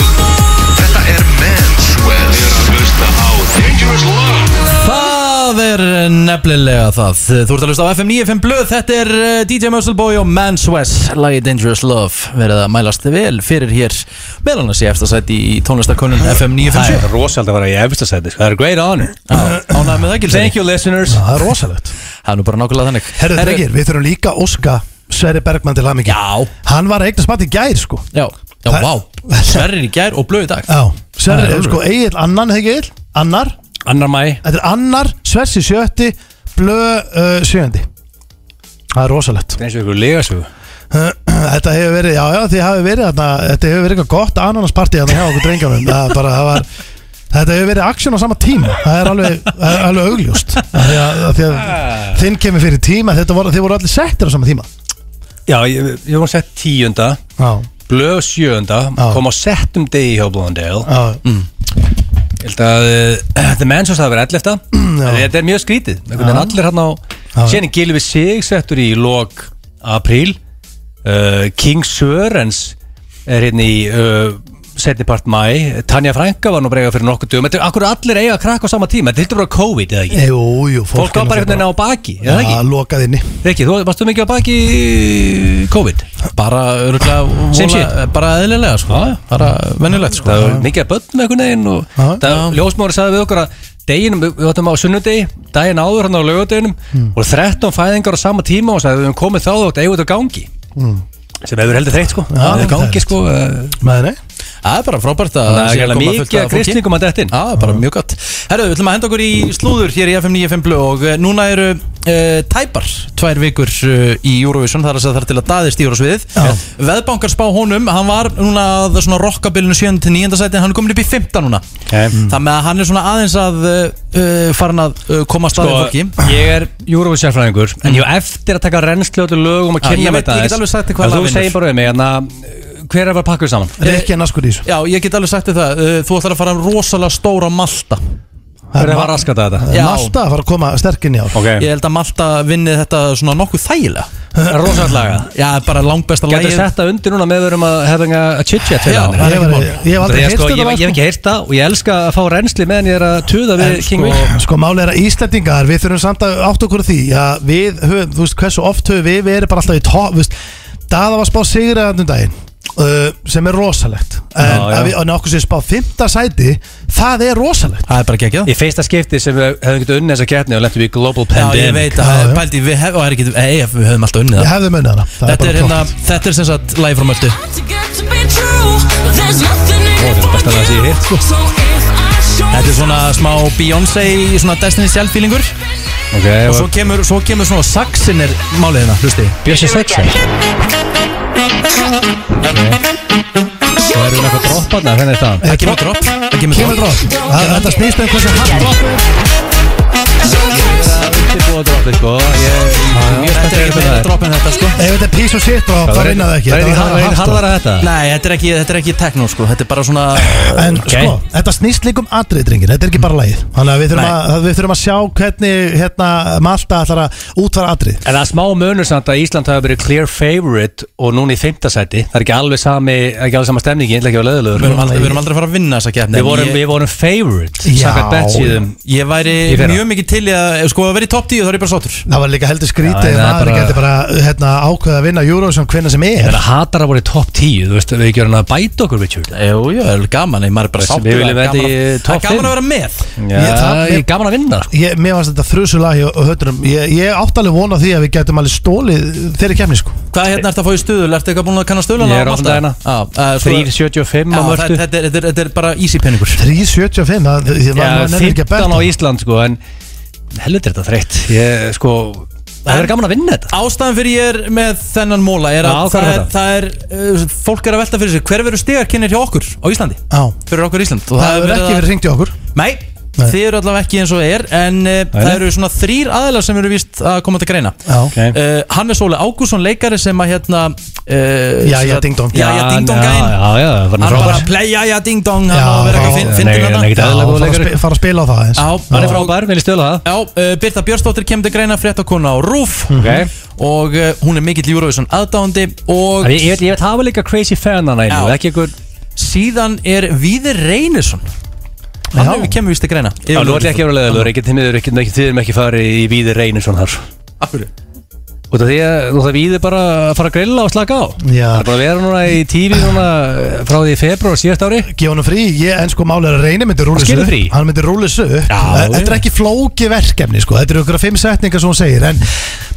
Speaker 4: Þetta er Men's World Ég er að hlusta á Dangerous Love
Speaker 1: Það er uh, nefnilega það Þú ert að hlusta á FM 95 Blöð Þetta er uh, DJ Muscleboy og Mans West Lagi Dangerous Love Verið að mælast vel fyrir hér Meðan að sé eftir að sæti í tónlistarkonun FM 95
Speaker 3: rosalega að vera í efstasæti, sko. það er great honor
Speaker 1: Ánægð með það
Speaker 3: Thank
Speaker 1: Gilsari
Speaker 3: you listeners
Speaker 2: Það er rosalegt
Speaker 1: Það er nú bara nákvæmlega þannig
Speaker 2: Herðu, drengir, við þurfum líka að óska Sverri Bergmann til hamingi
Speaker 1: Já.
Speaker 2: Hann var að eignast mat í gær, sko
Speaker 1: Já, já,
Speaker 2: Það-
Speaker 1: vá Sverrir í gær og blöð í dag
Speaker 2: Já, Sverri,
Speaker 1: Það er
Speaker 2: sko, Egil annan, hegi Egil, annar
Speaker 3: Annar mæ
Speaker 2: Þetta er annar, Sversi sjötti, blö uh, sjöndi Það er rosalegt
Speaker 3: eins og ykkur legasögu
Speaker 2: Þetta hefur verið, já já, þið hafi verið þarna, Þetta hefur verið eitthvað gott ananasparti Þetta hjá okkur drengjanum Það er bara, það var, Þetta hefur verið aksjón á sama tíma Það er alveg, það er alveg augljóst Af því að, af því að Þinn kemur fyrir tíma Þetta voru, þið voru allir settir á sama tíma
Speaker 3: Já, ég, ég var sett tíunda
Speaker 2: Já,
Speaker 3: Blöð sjöunda, kom á settum degi hjá Blondale
Speaker 2: já,
Speaker 3: Ég held að uh, The Mansons hafa verið [clears throat] 11 En Þetta er mjög skrítið Einhvern veginn allir hann á Sérni Gilvi Sig settur í lok apríl uh, King Sörens er hérna í uh, setni part mæ Tanja Frænka var nú brega fyrir nokkuð dögum Þetta er akkur allir eiga að krakka á sama tíma Þetta er bara COVID eða ekki
Speaker 2: jú, jú
Speaker 3: Eh, Fólk var bara einhvern veginn á baki eða
Speaker 2: Já,
Speaker 3: ekki
Speaker 2: lokað inni
Speaker 3: Rikki, þú varstu mikið á baki í COVID
Speaker 1: Bara örgulega
Speaker 3: Same
Speaker 1: Bara eðlilega sko
Speaker 3: Já, já.
Speaker 1: Bara venjulegt sko
Speaker 3: það var mikið að börnum einhvern veginn og
Speaker 2: Já.
Speaker 3: það ljósmári sagði við okkur að deginum, við áttum á sunnudegi, daginn áður hann á lögadeginum
Speaker 1: Mm.
Speaker 3: og 13 fæðingar á sama tíma og sagði við höfum komið þá þótt eigið út á gangi
Speaker 1: Mm.
Speaker 3: sem hefur heldur þreytt sko
Speaker 2: Já,
Speaker 3: það er gangi sko eh,
Speaker 2: Með nei
Speaker 1: Það er bara frábært að
Speaker 3: það
Speaker 1: sé
Speaker 3: er
Speaker 1: að
Speaker 3: gæla
Speaker 1: koma fullt
Speaker 3: mikið
Speaker 1: af
Speaker 3: að
Speaker 1: fólki.
Speaker 3: kristningum að dettin
Speaker 1: Já, það er bara mjög gott Herru, við ætlum að henda okkur í slúður hér í FM 95 Blu og eh, núna eru uh, tæpar tvær vikur uh, í Eurovision þar að segja þar til að daðist í Eurosviðið Veðbankar spá honum, hann var núna að svona rockabilinu 7. til 9. sæti en hann er komin upp í 15 núna
Speaker 3: Eh, mm.
Speaker 1: Það með að hann er svona aðeins að uh, uh, farin að uh, koma að staðið fólki
Speaker 3: Sko, ég er júrufísjárfræðingur en ég á eftir að taka rennslu öllu lögum og
Speaker 1: Já, ég
Speaker 3: kynna
Speaker 1: veit-
Speaker 3: með
Speaker 1: ég
Speaker 3: það
Speaker 1: get alveg sagt þér hvað lag
Speaker 3: þú
Speaker 1: vinnur.
Speaker 3: segir bara við mig en að hver er að vera pakkuð saman
Speaker 2: Rikki er naskur í þessu
Speaker 1: Já, ég get alveg sagt þér það uh, Þú ætlar að fara rosalega stóra Malta
Speaker 3: hver er að fara raskat að þetta
Speaker 1: Já.
Speaker 2: Malta að fara að koma sterkinn í ár
Speaker 3: Eh.
Speaker 1: Ég held að Malta vinni þetta svona nokkuð þægilega
Speaker 3: rosalega
Speaker 1: Já, bara langbesta
Speaker 3: Gætur
Speaker 1: lagið
Speaker 3: setta undir núna með við erum að hefða að chit-chat til
Speaker 1: Já,
Speaker 3: hann
Speaker 1: það
Speaker 2: Ég var- Ég hef
Speaker 3: Ég,
Speaker 2: aldrei
Speaker 3: ég,
Speaker 2: heyrst
Speaker 3: sko,
Speaker 2: þetta
Speaker 3: ég, ég hef
Speaker 2: lag, sko.
Speaker 3: ekki heyrt það og ég elska að fá reynsli meðan ég er að tuða við
Speaker 1: En
Speaker 3: King
Speaker 1: sko-
Speaker 3: Vic
Speaker 2: Sko málið er að Íslendingar, við þurfum samt að átta okkur á því að við höfum, þú veist, hversu oft höfum við verið bara alltaf í top, þú veist, Dada var spáð sigra þarna um daginn, uh, sem er rosalegt, en
Speaker 3: Já, já.
Speaker 2: að við, en okkur sem spáð fymta sæti, það er rosalegt.
Speaker 1: Það er bara geggjað
Speaker 3: Í fyrsta skipti sem við hefðum getið unni þessa getni og lentum við í Global
Speaker 1: Já,
Speaker 3: Pandemic
Speaker 1: ég veit að
Speaker 2: Já,
Speaker 1: það er
Speaker 2: já.
Speaker 1: pældi Við hef, og það er ekki, ei, við höfum alltaf unnið
Speaker 2: Ég
Speaker 1: það
Speaker 2: hefði munið hana. Það
Speaker 1: Þetta er
Speaker 2: bara
Speaker 1: hérna, þetta er sem sagt Lægi frá Möldu
Speaker 5: Þetta
Speaker 3: er besta lag sem ég
Speaker 6: sko.
Speaker 3: hef heyrt,
Speaker 5: Þetta
Speaker 1: Þetta er svona smá Beyoncé, svona Destiny's Child feelingur
Speaker 3: Ok,
Speaker 1: Og
Speaker 3: og
Speaker 1: svo kemur, svo kemur svona saxin er málið hérna, hlusti
Speaker 3: Bjössi Sexer Það eru eitthvað dropparna, hvernig er það?
Speaker 1: Það kemur dropp Það kemur
Speaker 2: Kemur
Speaker 1: dropp
Speaker 2: dropp Það- Þetta snýst um hversu hatt dropp
Speaker 3: Það er undirbúa droppi, sko Ég er mjög
Speaker 1: Þetta er
Speaker 3: spenntið
Speaker 1: ekki
Speaker 3: fyrir
Speaker 1: meira
Speaker 3: það
Speaker 1: dropp en þetta sko
Speaker 2: Ef þetta er piece of shit dropp þá reyna það ekki
Speaker 3: Það er
Speaker 2: Þetta
Speaker 3: ekki
Speaker 2: var
Speaker 3: har- það er ekki
Speaker 2: hart dropp.
Speaker 3: harðara þetta
Speaker 1: Nei, þetta er ekki, þetta er ekki tekno sko Þetta er bara svona
Speaker 2: En
Speaker 3: Ok.
Speaker 2: sko, þetta snýst líka um atrið, drengir, þetta er ekki bara lagið Þannig að við þurfum,
Speaker 1: Nei.
Speaker 2: að, að við þurfum að sjá hvernig hérna, Malta ætlar að útvara atrið
Speaker 3: En það er smá munur samt að Ísland hafi verið clear favorite og núna í fymtasæti Það er ekki alveg sami, ekki alveg sama stemningi, ég ætla ekki að vera
Speaker 1: Við erum
Speaker 3: löðulegur
Speaker 1: aldrei, við erum aldrei að fara að vinna þessa keppni
Speaker 3: Við vorum,
Speaker 1: Ég-
Speaker 3: við vorum favorite,
Speaker 2: Já,
Speaker 3: sakat bett síðum
Speaker 1: Ég væri
Speaker 3: Í fyrra.
Speaker 1: mjög mikið til í að Sko að vera í topp 10 þá er ég bara sáttur
Speaker 2: Það var líka heldur
Speaker 3: Já,
Speaker 2: skrítið
Speaker 3: en
Speaker 2: ef
Speaker 3: það er
Speaker 2: maður
Speaker 3: bara-
Speaker 2: geti bara hérna, ákveða að vinna Eurovision hvenna sem
Speaker 3: Ég
Speaker 2: er
Speaker 3: meina hatar að voru í topp 10, þú veist, við ekki verðum að bæta okkur Richard
Speaker 1: Jú, jú, það er gaman Ég maður er bara
Speaker 3: Þessi,
Speaker 1: sáttur
Speaker 3: við viljum
Speaker 1: Það er
Speaker 3: þetta
Speaker 1: gaman
Speaker 3: í
Speaker 1: að- það
Speaker 3: topp
Speaker 1: er gaman
Speaker 3: fimm.
Speaker 1: að vera með
Speaker 3: Já,
Speaker 2: Ég- það-
Speaker 3: ég er gaman að vinna sko.
Speaker 2: ég, Mér varst þetta þrusulag hjá hötunum ég, ég átt alveg vona því að við getum alveg stólið þeirri kemni sko
Speaker 1: Hvað hérna ertu að fá í stöðul? Ertu eitthvað búin að kanna stöðulana?
Speaker 3: Ég er
Speaker 1: á
Speaker 3: hérna. á
Speaker 1: Malta?
Speaker 3: dagina.
Speaker 1: Já, eh, svo-
Speaker 3: 3.75
Speaker 1: Já,
Speaker 3: á
Speaker 1: það-
Speaker 3: mörtu
Speaker 1: þetta er- þetta er- þetta er bara easy peningur
Speaker 2: 3.75, það það var
Speaker 3: Já,
Speaker 2: maður nefnir ekki að
Speaker 3: 15 á
Speaker 2: berta
Speaker 3: Ísland sko, en helviti er þetta þreytt Ég, sko, það er gaman að vinna þetta
Speaker 1: Ástæðan fyrir ég er með þennan móla er að
Speaker 3: Já, hvað
Speaker 1: það,
Speaker 3: er
Speaker 1: er,
Speaker 3: þetta?
Speaker 1: það er, uh, fólk er að velta fyrir sig hver verður stegarkinnir hjá okkur á Íslandi
Speaker 2: Já.
Speaker 1: fyrir okkur Ísland Og
Speaker 2: Það
Speaker 1: er
Speaker 2: hefur
Speaker 1: verið
Speaker 2: ekki
Speaker 1: að-
Speaker 2: verið ringt í okkur
Speaker 1: Nei,
Speaker 2: Nei.
Speaker 1: þið eru allavega ekki eins og er en uh, það eru svona þrýr aðilar sem eru víst að koma til greina
Speaker 2: Já.
Speaker 3: Ok.
Speaker 1: uh, Hannes Óli Ágússon leikari sem að hérna uh,
Speaker 2: Já, já, ding dong.
Speaker 1: Já, já, ding dong
Speaker 3: Já,
Speaker 1: gæinn
Speaker 3: já, já, það var
Speaker 1: Hann bara
Speaker 3: frábær
Speaker 1: að playa, já, ding dong Hann
Speaker 2: Já,
Speaker 1: á að vera
Speaker 2: já,
Speaker 1: eitthvað finn-
Speaker 3: já.
Speaker 1: fyndinn
Speaker 3: Nei,
Speaker 1: þarna.
Speaker 3: nei, ekki
Speaker 2: Já,
Speaker 3: Eðlilega góð
Speaker 2: fara að
Speaker 3: leikari.
Speaker 2: spi- fara að spila á það eins
Speaker 1: Já,
Speaker 3: Hann er frábær, vil ég stjóla það
Speaker 1: Já, uh, Birta Björnsdóttir kemur til greina fréttakona á RÚF
Speaker 3: Ok.
Speaker 1: og uh, hún er mikill Eurovision aðdáandi og
Speaker 3: En Ég, ég, veit- ég veit hafa líka crazy fan hann einu,
Speaker 1: Já.
Speaker 3: ekki ykkur
Speaker 1: síðan er Víðir Reynisson hann
Speaker 2: Já.
Speaker 1: hefur kemur vist til greina
Speaker 3: Já, nú ætlum ég ekki að vera leðalur, ekki tímiður, ekki, ekki tímiður ekki farið í víði reynir svona þar
Speaker 1: Akkur
Speaker 3: Út af því að nú það víði bara að fara að grilla og slaka á
Speaker 2: Já.
Speaker 3: Það er bara að vera núna í tífi núna eh, frá því í februar síðast ári
Speaker 2: gefa honum frí, ég, en sko málið er að reyni myndi rúlis
Speaker 3: Hann skilur
Speaker 2: upp,
Speaker 3: frí.
Speaker 2: hann myndi rúlis upp
Speaker 3: Já,
Speaker 2: þetta er
Speaker 3: já.
Speaker 2: ekki flóki verkefni sko, þetta eru ykkur fimm setningar sem hún segir, en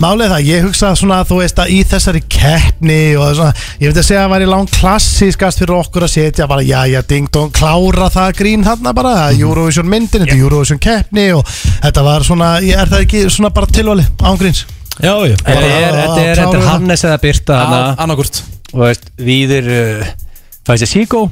Speaker 2: málið er það ég hugsa svona að þú veist að í þessari keppni og svona, ég myndi að segja að það væri lang klassískast fyrir okkur að setja bara já já ding dong, klára það grín þarna bara,
Speaker 3: Mhm.
Speaker 2: Eurovision myndin, þetta er Eurovision keppni og þetta var svona ég er það ekki svona bara tilvali ángríns
Speaker 1: Já, já
Speaker 2: Bara
Speaker 3: Þetta er,
Speaker 2: að-
Speaker 3: þetta
Speaker 2: að
Speaker 3: er, þetta er
Speaker 2: klára
Speaker 3: Hannes eða Birta hana
Speaker 1: Annarkurt
Speaker 3: og veist, víðir uh, fæst ég síkó,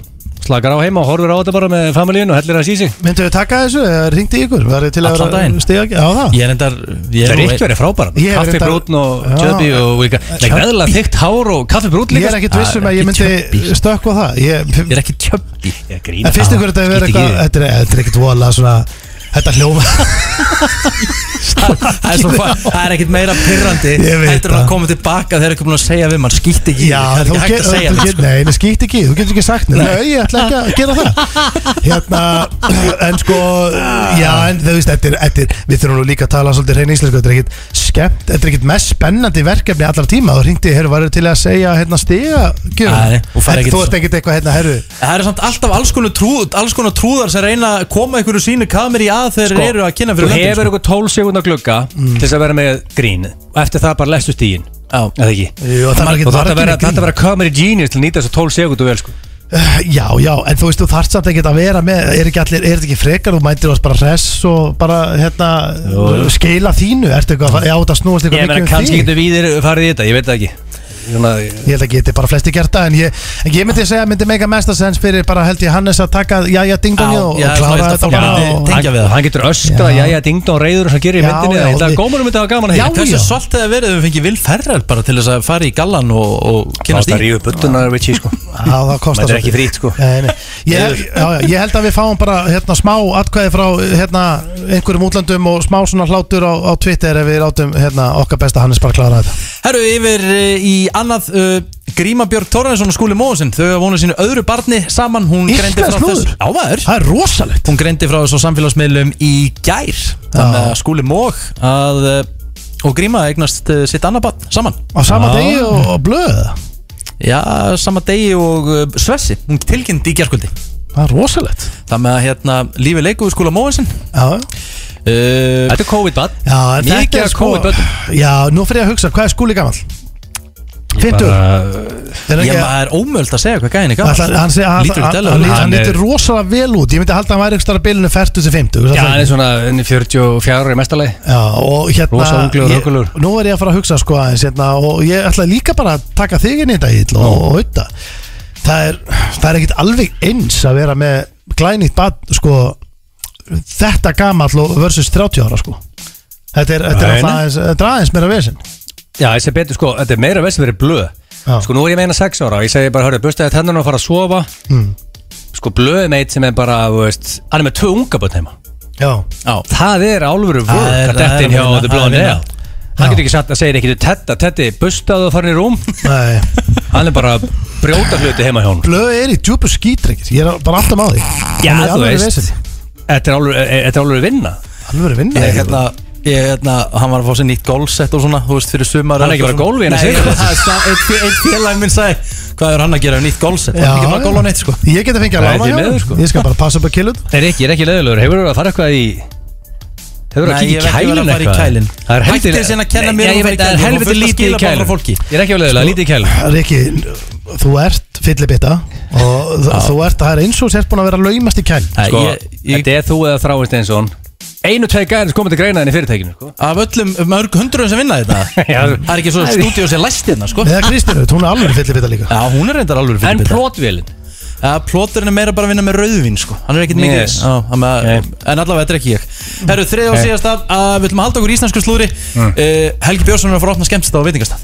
Speaker 3: slakar á heima og horfir á þetta bara með familíun og hellir að sísi
Speaker 2: myndu við taka þessu, ringdi ykkur, verði til að
Speaker 1: Allan daginn.
Speaker 2: stiga á það
Speaker 1: Ég er endar ég
Speaker 3: Það er
Speaker 1: nú-
Speaker 3: ykkur verið frábæra,
Speaker 2: Ég er
Speaker 3: kaffi
Speaker 2: reyndar-
Speaker 3: brútn og
Speaker 2: Já.
Speaker 3: tjöpi og vika Það er gæðilega þygt hár og kaffi brútn
Speaker 2: Ég
Speaker 3: líka Ah,
Speaker 2: er ekkit vissum að ég myndi stökkva það Ég,
Speaker 1: Ég er ekki tjöppi
Speaker 3: Ég grína
Speaker 2: En finnst ykkur þetta að vera eitthvað Þetta er, þetta er ekkert vola svona Þetta hljóma
Speaker 1: Það er svo
Speaker 2: [laughs]
Speaker 1: fa- það er ekkit meira pyrrandi
Speaker 2: Ég veit
Speaker 1: Þetta er að
Speaker 2: það.
Speaker 1: koma tilbaka þegar ekki búin að segja við mann Skýtt ekki í
Speaker 2: Já,
Speaker 1: það er
Speaker 2: þú
Speaker 1: ekki hægt
Speaker 2: getur
Speaker 1: að segja
Speaker 2: þú
Speaker 1: það sko.
Speaker 2: getur- Nei, það skýtt ekki, þú getur ekki sagt Nei, nei ég ætla ekki að gera það Hérna, en sko Já, en þú veist, þetta er, þetta er Við þurfum nú líka að tala svolítið hrein íslensku Þetta er ekkit skemmt, þetta er ekkit mest spennandi verkefni allar tíma, þú ringdi, herru, varir til að segja hérna stiga,
Speaker 1: Nei,
Speaker 2: gjörum
Speaker 1: þú færð ekkit
Speaker 2: Þú ert ekkit eitthvað hérna, herru
Speaker 1: Það eru samt alltaf alls konar, trú, alls konar trúðar sem reyna að koma einhverju sínu kameri að þeir
Speaker 3: Sko,
Speaker 1: eru að kynna fyrir
Speaker 3: Þú
Speaker 1: löndin,
Speaker 3: hefur eitthvað 12 sekundar glugga til þess að vera með grín og eftir það bara lestu stígin
Speaker 1: Já.
Speaker 3: Eða ekki
Speaker 2: Jú, það var ekkit-
Speaker 3: Og
Speaker 2: var
Speaker 3: þetta
Speaker 2: ekki
Speaker 3: vera,
Speaker 2: með grín.
Speaker 3: þetta vera comedy genius til að nýta þessu 12 sekundu vel sko
Speaker 2: Uh, Já, já, en þú veist, þú þarft samt ekkert að vera með, er ekki allir, er þetta ekki frekar, þú mæntir oss bara hress og bara, hérna, skila þínu, ertu eitthvað, að- já, það snúast
Speaker 3: Ég
Speaker 2: eitthvað
Speaker 3: meina
Speaker 2: mikið um
Speaker 3: kannski
Speaker 2: þig.
Speaker 3: getur við farið í þetta, ég veit það ekki Svona,
Speaker 2: Ég held að geti bara flesti gert það, en ég, en ég myndi segja, myndi meika mestasens fyrir bara held ég Hannes að taka, já, já, dingdóni
Speaker 1: Já,
Speaker 2: og,
Speaker 1: já, svona
Speaker 2: og klára
Speaker 1: veist að
Speaker 2: þetta
Speaker 1: fólk
Speaker 2: bara
Speaker 1: myndi
Speaker 2: og...
Speaker 1: tengja
Speaker 3: hann,
Speaker 1: við það.
Speaker 3: hann getur öskrað,
Speaker 2: Já.
Speaker 3: jæja, dingd og reyður og hann gerir í
Speaker 2: Já,
Speaker 3: myndinni
Speaker 2: já,
Speaker 3: Ég held að
Speaker 2: við-
Speaker 3: gómurum myndi hafa gaman að
Speaker 2: Já,
Speaker 3: heyra
Speaker 1: Hversu soltið að verið ef við fengið Vil Ferrell bara til þess að fara í gallan og, og kynast í?
Speaker 3: Kynast að rífa buttuna, Richie sko
Speaker 2: Já, það kostar
Speaker 3: Þetta er ekki frítt, sko.
Speaker 2: Nei, nei. Ég, já, já, ég held að við fáum bara hérna, smá atkvæði frá hérna, einhverjum útlöndum og smá svona hlátur á, á Twitter ef við látum hérna, okkar besta Hannes bara klára þetta
Speaker 1: Herru, yfir eh, í annað uh, Gríma Björg Torrensson og Skúli Móðsson Þau hafa vonað sínu öðru barni saman Hún
Speaker 2: Íslensk
Speaker 1: greindi frá
Speaker 2: slúður.
Speaker 1: þess Já, maður
Speaker 2: Það er rosalegt
Speaker 1: Hún greindi frá þess á samfélagsmiðlum í gær Þannig að Skúli Móð að, eh, og Gríma eignast uh, sitt annað barn saman
Speaker 2: Á sama degi og, og blöð
Speaker 1: Já, sama degi og uh, Svessi Hún tilkynnti í gærskvöldi
Speaker 2: Það er rosalegt
Speaker 1: Þannig að hérna, lífi leiku við Skúla Móðsson
Speaker 2: Já,
Speaker 1: uh,
Speaker 3: Þetta er COVID-bad
Speaker 2: já en
Speaker 3: Mikið
Speaker 2: þetta
Speaker 3: að
Speaker 2: er sko
Speaker 3: koma í börnum.
Speaker 2: Já, nú fyrir ég að hugsa, hvað er skúli gammal? Fintur,
Speaker 3: Bara,
Speaker 2: Er
Speaker 1: Ég
Speaker 2: ekki-
Speaker 1: maður er ómöld að segja hvað gæðin er gammal
Speaker 2: Ætla- Hann sé- hann-
Speaker 1: Lítur út
Speaker 2: hann-
Speaker 1: dæla
Speaker 2: hann-
Speaker 1: út.
Speaker 2: hann
Speaker 7: Hann er-
Speaker 2: lítur rosalega vel út Ég myndi halda að hann væri ekki starf bilinu 40 til 50
Speaker 3: Já,
Speaker 2: það
Speaker 3: hann
Speaker 2: ekki?
Speaker 3: er svona henni 44 ára í mestalagi
Speaker 2: Já, og hérna
Speaker 3: Rosa unglegur,
Speaker 2: ég-
Speaker 3: huggulegur.
Speaker 2: Nú er ég að fara að hugsa sko aðeins hérna, og ég ætla líka bara að taka þig inn í þetta Íll og, og auðvitað það er, það er ekkit alveg eins að vera með glænýtt bad sko, þetta gamall og versus 30 ára sko Þetta er, þetta er
Speaker 7: Nei,
Speaker 2: alltaf
Speaker 7: nei.
Speaker 2: aðeins, þetta er aðeins meira vesinn
Speaker 3: Já, ég segi betur, sko, þetta er meira veist sem verið blöð
Speaker 2: Já.
Speaker 3: Sko, nú er ég meina 6 ára og Ég segi bara, hörðu, bustaði tennan og fara að sofa
Speaker 1: Hmm.
Speaker 3: Sko, blöð er meitt sem er bara, þú veist Hann er með tvö unga bötn heima
Speaker 2: Já,
Speaker 3: Já. Það er álfuru
Speaker 1: Það er- það
Speaker 3: vörk að
Speaker 1: er
Speaker 3: dettin hjá
Speaker 1: að vinna,
Speaker 3: The
Speaker 1: það er að
Speaker 3: Blonde
Speaker 1: vinna.
Speaker 3: Ale Hann getur ekki satt að segja ekki til Tetta Tetti, bustaðu og farin í
Speaker 1: [laughs]
Speaker 3: rúm
Speaker 2: nei
Speaker 3: Hann er bara að brjóta hluti heima hjá honum
Speaker 2: Blöð er í djúpu skítrekkir, ég er bara alltaf með á því
Speaker 3: Já,
Speaker 2: Hann er í
Speaker 3: þú
Speaker 2: alvöru
Speaker 3: veist.
Speaker 2: veseni.
Speaker 3: Þetta er álfuru- e- þetta er álfuru vinna
Speaker 2: Alvöru vinna
Speaker 1: Ég, hérna, ég, hérna, hann var að fá sér nýtt gólsett og svona, þú veist, fyrir sumar
Speaker 3: Hann er ekki bara gólf í henni,
Speaker 1: Nei,
Speaker 3: segir
Speaker 1: ég-
Speaker 3: þú?
Speaker 1: það er sa- einn fé- einn félag minn sagði Hvað er hann að gera um nýtt gólsett? Hann er ekki bara að góla neitt, sko
Speaker 2: Ég geti fengið að
Speaker 3: Nei,
Speaker 2: lána
Speaker 3: því
Speaker 2: hjá
Speaker 3: miður,
Speaker 2: honum.
Speaker 3: sko.
Speaker 2: Ég skal bara passa upp að killut
Speaker 3: Nei, Rikki, ég er ekki leðilegur, hefur þú að fara eitthvað í Hefur þú
Speaker 1: Nei,
Speaker 3: að kíkja
Speaker 1: ég
Speaker 3: í
Speaker 1: hef ekki verið að
Speaker 3: kælin
Speaker 1: fara í
Speaker 3: eitthvað?
Speaker 1: kælin.
Speaker 3: Það er heldur
Speaker 1: Hættið síðan að kenna
Speaker 3: Nei,
Speaker 1: mér
Speaker 3: ég
Speaker 1: um að fara
Speaker 3: veit,
Speaker 1: í
Speaker 3: Það
Speaker 1: kælin,
Speaker 3: er helviti
Speaker 1: þú fórst að
Speaker 3: lítið í
Speaker 1: skila bara
Speaker 3: kælin
Speaker 1: frá fólki. Sko-
Speaker 3: Ég er ekki að leðilega, lítið í kælin
Speaker 2: Riki, þú ert fyllibita og þ- þú ert, það er eins og sért búin að vera laumast í kæl
Speaker 1: Nei,
Speaker 3: Sko,
Speaker 1: ég- ég-
Speaker 3: þetta er þú eða þráist eins og hann Einu, tvei gæðin komið til greinaðin í fyrirtækinu sko.
Speaker 1: Af öllum mörg hundruðum sem vinna þetta
Speaker 3: [laughs] Já.
Speaker 1: Það er ekki svo stúdíu sem læst hérna, sko
Speaker 2: Eða Kristirut, hún er alveg fyllibita líka
Speaker 1: Já, hún er reyndar alveg
Speaker 3: En
Speaker 1: fyrir bita
Speaker 3: plótvélin
Speaker 1: Já, plóturinn er meira bara að vinna með rauðvín, sko Hann er ekkit mikið
Speaker 3: Yes.
Speaker 1: Já, hann með-
Speaker 3: Nei. Mm.
Speaker 1: En allavega, þetta er ekki ég Herru, þriða og
Speaker 3: Nei.
Speaker 1: síðasta að Við ætlum að halda okkur í íslensku slúri
Speaker 3: Mm.
Speaker 1: Helgi Björnsson er að fara að opna skemmtist á veitingastað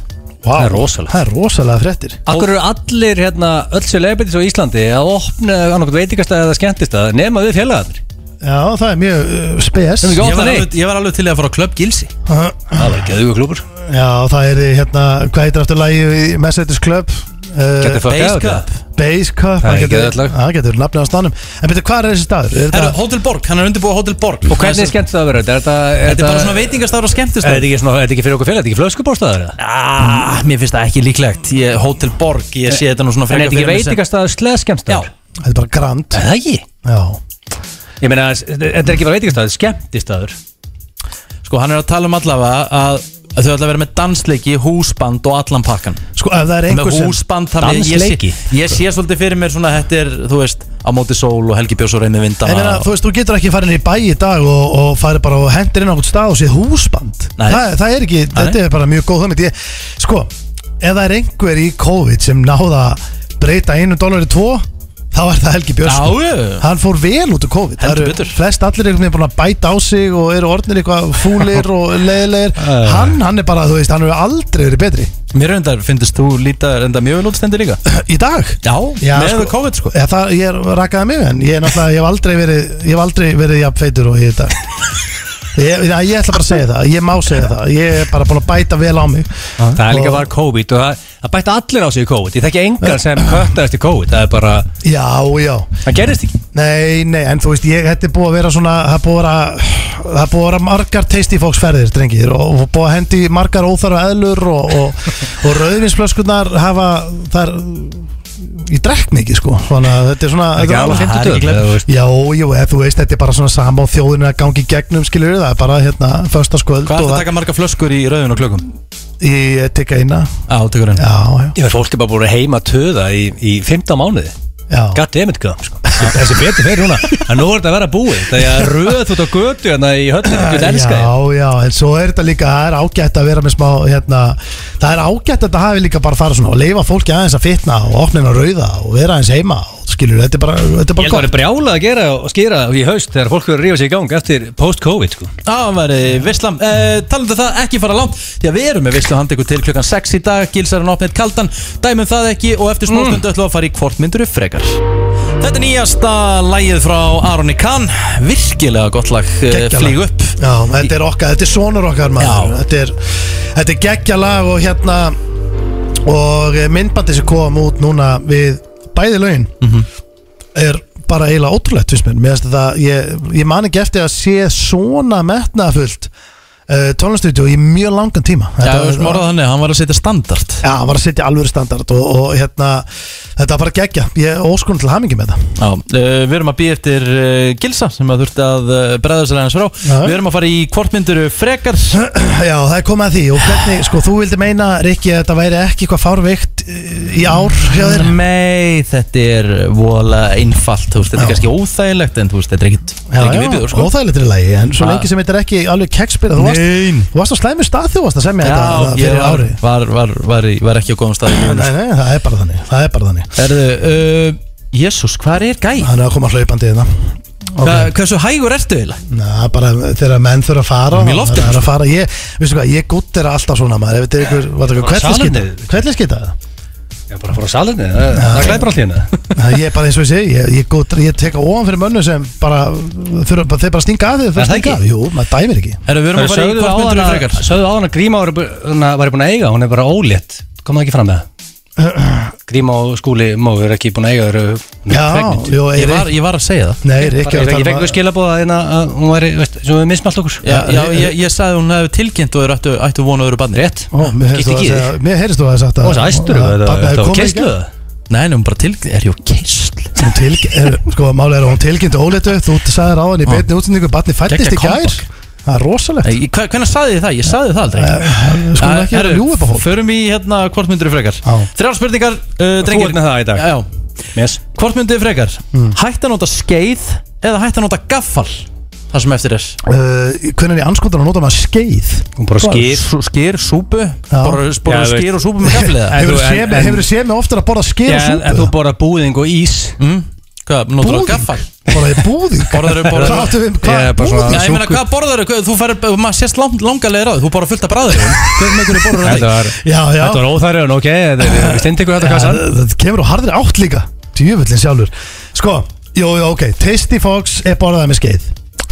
Speaker 2: Það
Speaker 3: er rosalega.
Speaker 2: Það er rosalega fréttir
Speaker 3: Akkur eru allir hérna, öll sér leiðbætis á Íslandi að opna annarkot veitingastæði eða skemmtistæði nema við félagarnir
Speaker 2: Já, það er mjög uh, spes
Speaker 3: Sem ekki
Speaker 1: Ég
Speaker 3: opna
Speaker 1: var
Speaker 3: neitt
Speaker 1: alveg- ég var alveg til í að fara á Club Gilsi
Speaker 3: Það var ekki auðvitað klúpur
Speaker 1: Eh,
Speaker 2: Já, það er hérna, hvað heitir aftur lagi í Mercedes Club? Uh,
Speaker 3: Getur fólk
Speaker 1: Base
Speaker 3: að
Speaker 1: Cup.
Speaker 3: þetta
Speaker 2: Base Cup
Speaker 3: Það er
Speaker 2: getur-
Speaker 3: geðveikt lag.
Speaker 2: Það getur nafnið á stannum En betur, hvað er þessi staður? Er
Speaker 1: Herru,
Speaker 2: þetta-
Speaker 1: Hotel Borg, hann er undirbúið Hotel Borg
Speaker 3: Og hvernig er skemmtistæði að vera þetta? Er þetta-
Speaker 1: Þetta er bara svona veitingastað og
Speaker 3: Er
Speaker 1: skemmtist
Speaker 3: þetta ekki svona- er þetta ekki fyrir okkur félag? Er þetta ekki flöskubórstæðar?
Speaker 1: ah, Mér finnst það ekki líklegt ég, Hotel Borg, ég sé þetta nú svona
Speaker 3: En er
Speaker 1: frekar
Speaker 3: þetta ekki
Speaker 1: fyrir mig sem-
Speaker 3: veitingastæði
Speaker 1: Já,
Speaker 3: sleðskemmstæðar?
Speaker 2: Þetta er bara grand
Speaker 3: Er það ekki?
Speaker 2: Já,
Speaker 3: Ég meina, s- þetta er ekki bara veitingastæður, skemmtistæður
Speaker 1: sko hann er að tala um allavega að, að þau ætla að vera með dansleiki, húsband og allan pakkan
Speaker 2: sko, ef það er einhver
Speaker 1: með
Speaker 2: sem
Speaker 1: húsband þannig að
Speaker 3: Dansleiki?
Speaker 1: ég, sé, ég sé svolítið fyrir mér svona þetta er, þú veist, á móti sól og Helgi Björns og reynið
Speaker 2: En
Speaker 1: vindana
Speaker 2: meina,
Speaker 1: og-
Speaker 2: þú veist, þú getur ekki farin í bæ í dag og, og farið bara og hendir inn á einhvern stað og séð húsband
Speaker 1: Nei.
Speaker 2: það, það er ekki, þetta er bara mjög góð hugmynd ég, Sko, ef það er einhver í COVID sem náða að breyta einu dólar í tvo þá er það Helgi Björns
Speaker 1: Já, já.
Speaker 2: Hann fór vel út úr COVID Það
Speaker 1: Heldur
Speaker 2: eru
Speaker 1: betur.
Speaker 2: Flest allir einhvern veginn búin að bæta á sig og eru orðnir eitthvað
Speaker 1: [laughs]
Speaker 2: fúlir og leiðilegir Hann, hann er bara, þú veist, hann hefur aldrei verið betri [clears throat]
Speaker 1: Mér reyndar, finnst þú líta reyndar mjög vel útstendir líka
Speaker 2: Í dag
Speaker 1: Já,
Speaker 2: Já,
Speaker 1: með
Speaker 2: sko.
Speaker 1: COVID sko
Speaker 2: Eða, það, ég er- rakaði mig en ég, er náttúrulega- ég hef aldrei verið ég hef aldrei verið jafn feitur og ég er í
Speaker 3: [laughs]
Speaker 2: dag ég, ég, ég ætla bara að segja það ég má segja það, ég er bara búin að bæta vel á mig
Speaker 3: Það er líka
Speaker 2: Og-
Speaker 3: bara COVID og það, það bætti allir á sig í COVID Ég þekki engan sem köttaðist í COVID Það er bara,
Speaker 2: já, já,
Speaker 3: það gerist ekki
Speaker 2: nei, nei en þú veist, ég, þetta er búið að vera svona það er búið að vera, það er búið að vera margar tasty fox ferðir, drengir og, og búið að hendi í margar óþarfa eðlur og, og, og rauðvinsflöskunar hafa, það er ég drekk mikið sko, þannig að þetta er svona þetta er alveg-
Speaker 3: alveg 50 dögum, eða þú veist.
Speaker 2: Já, já, eða þú veist, þetta er bara svona sama og þjóðinu að gangi í gegnum, skilur það er bara hérna, föstaskvöld
Speaker 1: Hvað er
Speaker 2: og
Speaker 1: það að taka marga flöskur í rauðin og klökum?
Speaker 2: það ég tek eina,
Speaker 1: Já, tekur hann
Speaker 2: já, já,
Speaker 3: Ég veit, fólk er bara búin að heima töða í, í 15 mánuði
Speaker 2: já.
Speaker 3: Gatt emitt gaf, sko Þessi betur fyrir núna En nú er þetta að vera búið Þegar ég röð út á götu hérna í höllinu Þú elskar
Speaker 2: Já,
Speaker 3: þið
Speaker 2: já, en svo er þetta líka, það er ágætt að vera með smá, hérna, það er ágætt að þetta hafi líka bara farið svona og leifa fólki aðeins að fitna og opna inn að rauða og vera aðeins heima, og skilur, þetta er bara, þetta er
Speaker 3: Ég held
Speaker 2: bara
Speaker 3: að það er
Speaker 2: gott.
Speaker 3: brjálað að gera og skýra í haust Þegar fólk verður að rífa sig í gang eftir post-COVID, sko
Speaker 1: Já, hann var í Visslam uh, Talandi um það, ekki fara langt Því að við erum með Visslu handi ykkur til klukkan 6 í dag Gilsar hann opnið kaldan, dæmum það ekki Og eftir smástund ætlum við að fara í hvort myndur upp frekar Þetta er nýjasta lægið frá Aroni Kahn Virkilega gott lag, uh,
Speaker 2: Geggjað lag.
Speaker 1: flýg upp
Speaker 2: Já, þetta er okkar, þetta er sonur okkar
Speaker 1: Já.
Speaker 2: maður Þetta er, þetta er geggjalag og hérna og eh, myndbandið sem kom út núna við bæði lögin
Speaker 3: Mhm.
Speaker 2: er bara eiginlega ótrúlegt fyrst mér, mér finnst þetta, ég, ég man ekki eftir að sé svona metnaðfullt uh, tónlistvídeó í mjög langan tíma
Speaker 1: Já,
Speaker 2: Þetta-
Speaker 1: við smorðað hann, hann var að setja standard
Speaker 2: Já, hann var að setja alvöru standard og, og hérna, þetta var bara geggja ég er óskunum til hamingi með það [clears throat]
Speaker 1: Já, uh, við erum að býja eftir uh, Gilsa sem að þurfti að uh, bregða sér aðeins frá
Speaker 2: Já.
Speaker 1: Við erum að fara í hvort myndur upp frekar
Speaker 2: Já, það er komið að því og hvernig, sko, þú vildi meina Rikki að þetta væri ekki eitthvað fárveikt í ár hjá þér?
Speaker 8: Nei, þetta er vola einfalt, þú veist, þetta er kannski óþægilegt en þú veist, þetta er ekkit, þetta er ekki viðbjóður, sko
Speaker 2: óþægilegt er í lagi En svo
Speaker 8: Ha.
Speaker 2: lengi sem þetta er ekki alveg keksbyrða Þú varst,
Speaker 8: Nein.
Speaker 2: þú varst á slæmi stað þegar þú varst að semja
Speaker 8: Já,
Speaker 2: þetta
Speaker 8: ég
Speaker 2: fyrir
Speaker 8: var,
Speaker 2: ári
Speaker 8: var, var, var, í- var ekki á góðum staði
Speaker 2: Nei, nei, það er bara þannig Það er bara þannig
Speaker 8: Erðu, uh,
Speaker 1: eh,
Speaker 8: Jésús, hvað er gæ?
Speaker 2: Hann er að koma hlaupandi hérna
Speaker 8: Hva, hversu hægur ertu eiginlega?
Speaker 2: Na, bara þegar menn þurfa að fara
Speaker 8: Í loftinu,
Speaker 2: Það er að fara Ég, veistu hvað, ég gutt er alltaf svona maður Ef þetta er ykkur, var þetta
Speaker 3: Bara
Speaker 2: ykkur
Speaker 3: salerni.
Speaker 2: kvelliskita
Speaker 3: Ég er bara að fara á salinni, það, það glæpar allt hérna
Speaker 2: Ég er bara eins og ég segi, ég, ég, gutt, ég teka ofan fyrir mönnu sem bara þurfa, bara- Þeir bara stinga að þig
Speaker 3: Er
Speaker 2: Þeir
Speaker 3: það
Speaker 2: stinga
Speaker 3: ekki?
Speaker 2: að, jú, maður dæmir ekki
Speaker 1: Herru, við erum að fara í
Speaker 3: Sögðu á
Speaker 1: kvartmyndur
Speaker 3: hana-
Speaker 1: frekar
Speaker 3: sögðu á hana að Gríma var, hana var búin að eiga, hún er bara ólétt Kom það ekki [clears throat] fram með það? Gríma og skúli móður er ekki búin að eiga þeir eru hún er
Speaker 2: Já,
Speaker 3: pregnant.
Speaker 2: jú,
Speaker 1: Ég
Speaker 2: Eiri
Speaker 1: var, ég var að segja það
Speaker 2: Nei, Rikki
Speaker 3: Bara-
Speaker 2: var að
Speaker 3: Ég
Speaker 2: tala
Speaker 3: fekk
Speaker 2: um
Speaker 3: við skilabóða hérna að hún væri, veist, sem við mismalt okkur
Speaker 1: Já, já ég, ég sagði að hún hefði tilkynnt og þeir ættu, ættu vonu öðru banni
Speaker 3: Rétt
Speaker 2: Ó, mér heyrist
Speaker 3: Gisti
Speaker 2: þú að
Speaker 3: ekki í
Speaker 2: segja- Mér heyrist þú að sagt að
Speaker 3: Og það æstur,
Speaker 2: að barnið hefði
Speaker 3: þetta var
Speaker 2: komið í
Speaker 3: kesslu
Speaker 2: gegn.
Speaker 1: Nei, nei, hún bara tilkynnt, er ég á keisl
Speaker 2: Hún tilk- er- Sko, máli er að hún tilkynnti óleitu Þú sagðir á henni í beinni útsendingu Barni fættist
Speaker 1: Gekkja
Speaker 2: í gær
Speaker 1: comeback.
Speaker 2: Það er rosalegt
Speaker 1: Nei, hve- Hvenær sagði þið það? Ég sagði það aldrei
Speaker 2: Eh, Skulum ekki vera að ljúga upp á fólk
Speaker 1: Förum í hérna kvartmyndur frekar
Speaker 2: Já.
Speaker 1: Þrjár spurningar, uh,
Speaker 3: Þú
Speaker 1: drengir
Speaker 3: ert með það í dag
Speaker 1: Já,
Speaker 3: Yes
Speaker 1: kvartmyndur frekar
Speaker 2: Mm.
Speaker 1: Hætt að nota skeið eða hætt að nota gaffal Það sem eftir er
Speaker 2: Uh, Hvernig er í anskotan að nota maður skeið?
Speaker 3: Hún bara skýr
Speaker 1: Sú- Skeir, súpu Borðar
Speaker 3: Já,
Speaker 1: borðar
Speaker 3: ég
Speaker 1: skeir og súpu með gaffal eða?
Speaker 3: En þú-
Speaker 2: Hefur
Speaker 3: en- en-
Speaker 2: þú séð mig oftar að borða skeið
Speaker 3: Já,
Speaker 2: og
Speaker 3: en- en þú
Speaker 2: súpu?
Speaker 3: borða búðing og ís
Speaker 1: Mm? Hvað, notur það
Speaker 2: Búðing?
Speaker 1: gaffal?
Speaker 2: Borðaði búðing?
Speaker 1: Borðaðu- borðaðu-
Speaker 2: Hvað áttu við? um- Hvað?
Speaker 3: Ég er bara svona-
Speaker 2: Búðing?
Speaker 1: Já, ég meina, hvað borðar þau? Þú fær, maður sést lang, langalega ráð, þú borðar fullt af bræður Hvað með hvernig borðar það?
Speaker 3: Þetta var
Speaker 2: Já, já
Speaker 3: Þetta var óþæriðan, ok Við stendi ykkur
Speaker 2: Já,
Speaker 3: þetta kassan
Speaker 2: það- Það kemur á harðri átt líka Djöfullin sjálfur Sko, jú, jú, ok Tasty Fox er borðað með skeið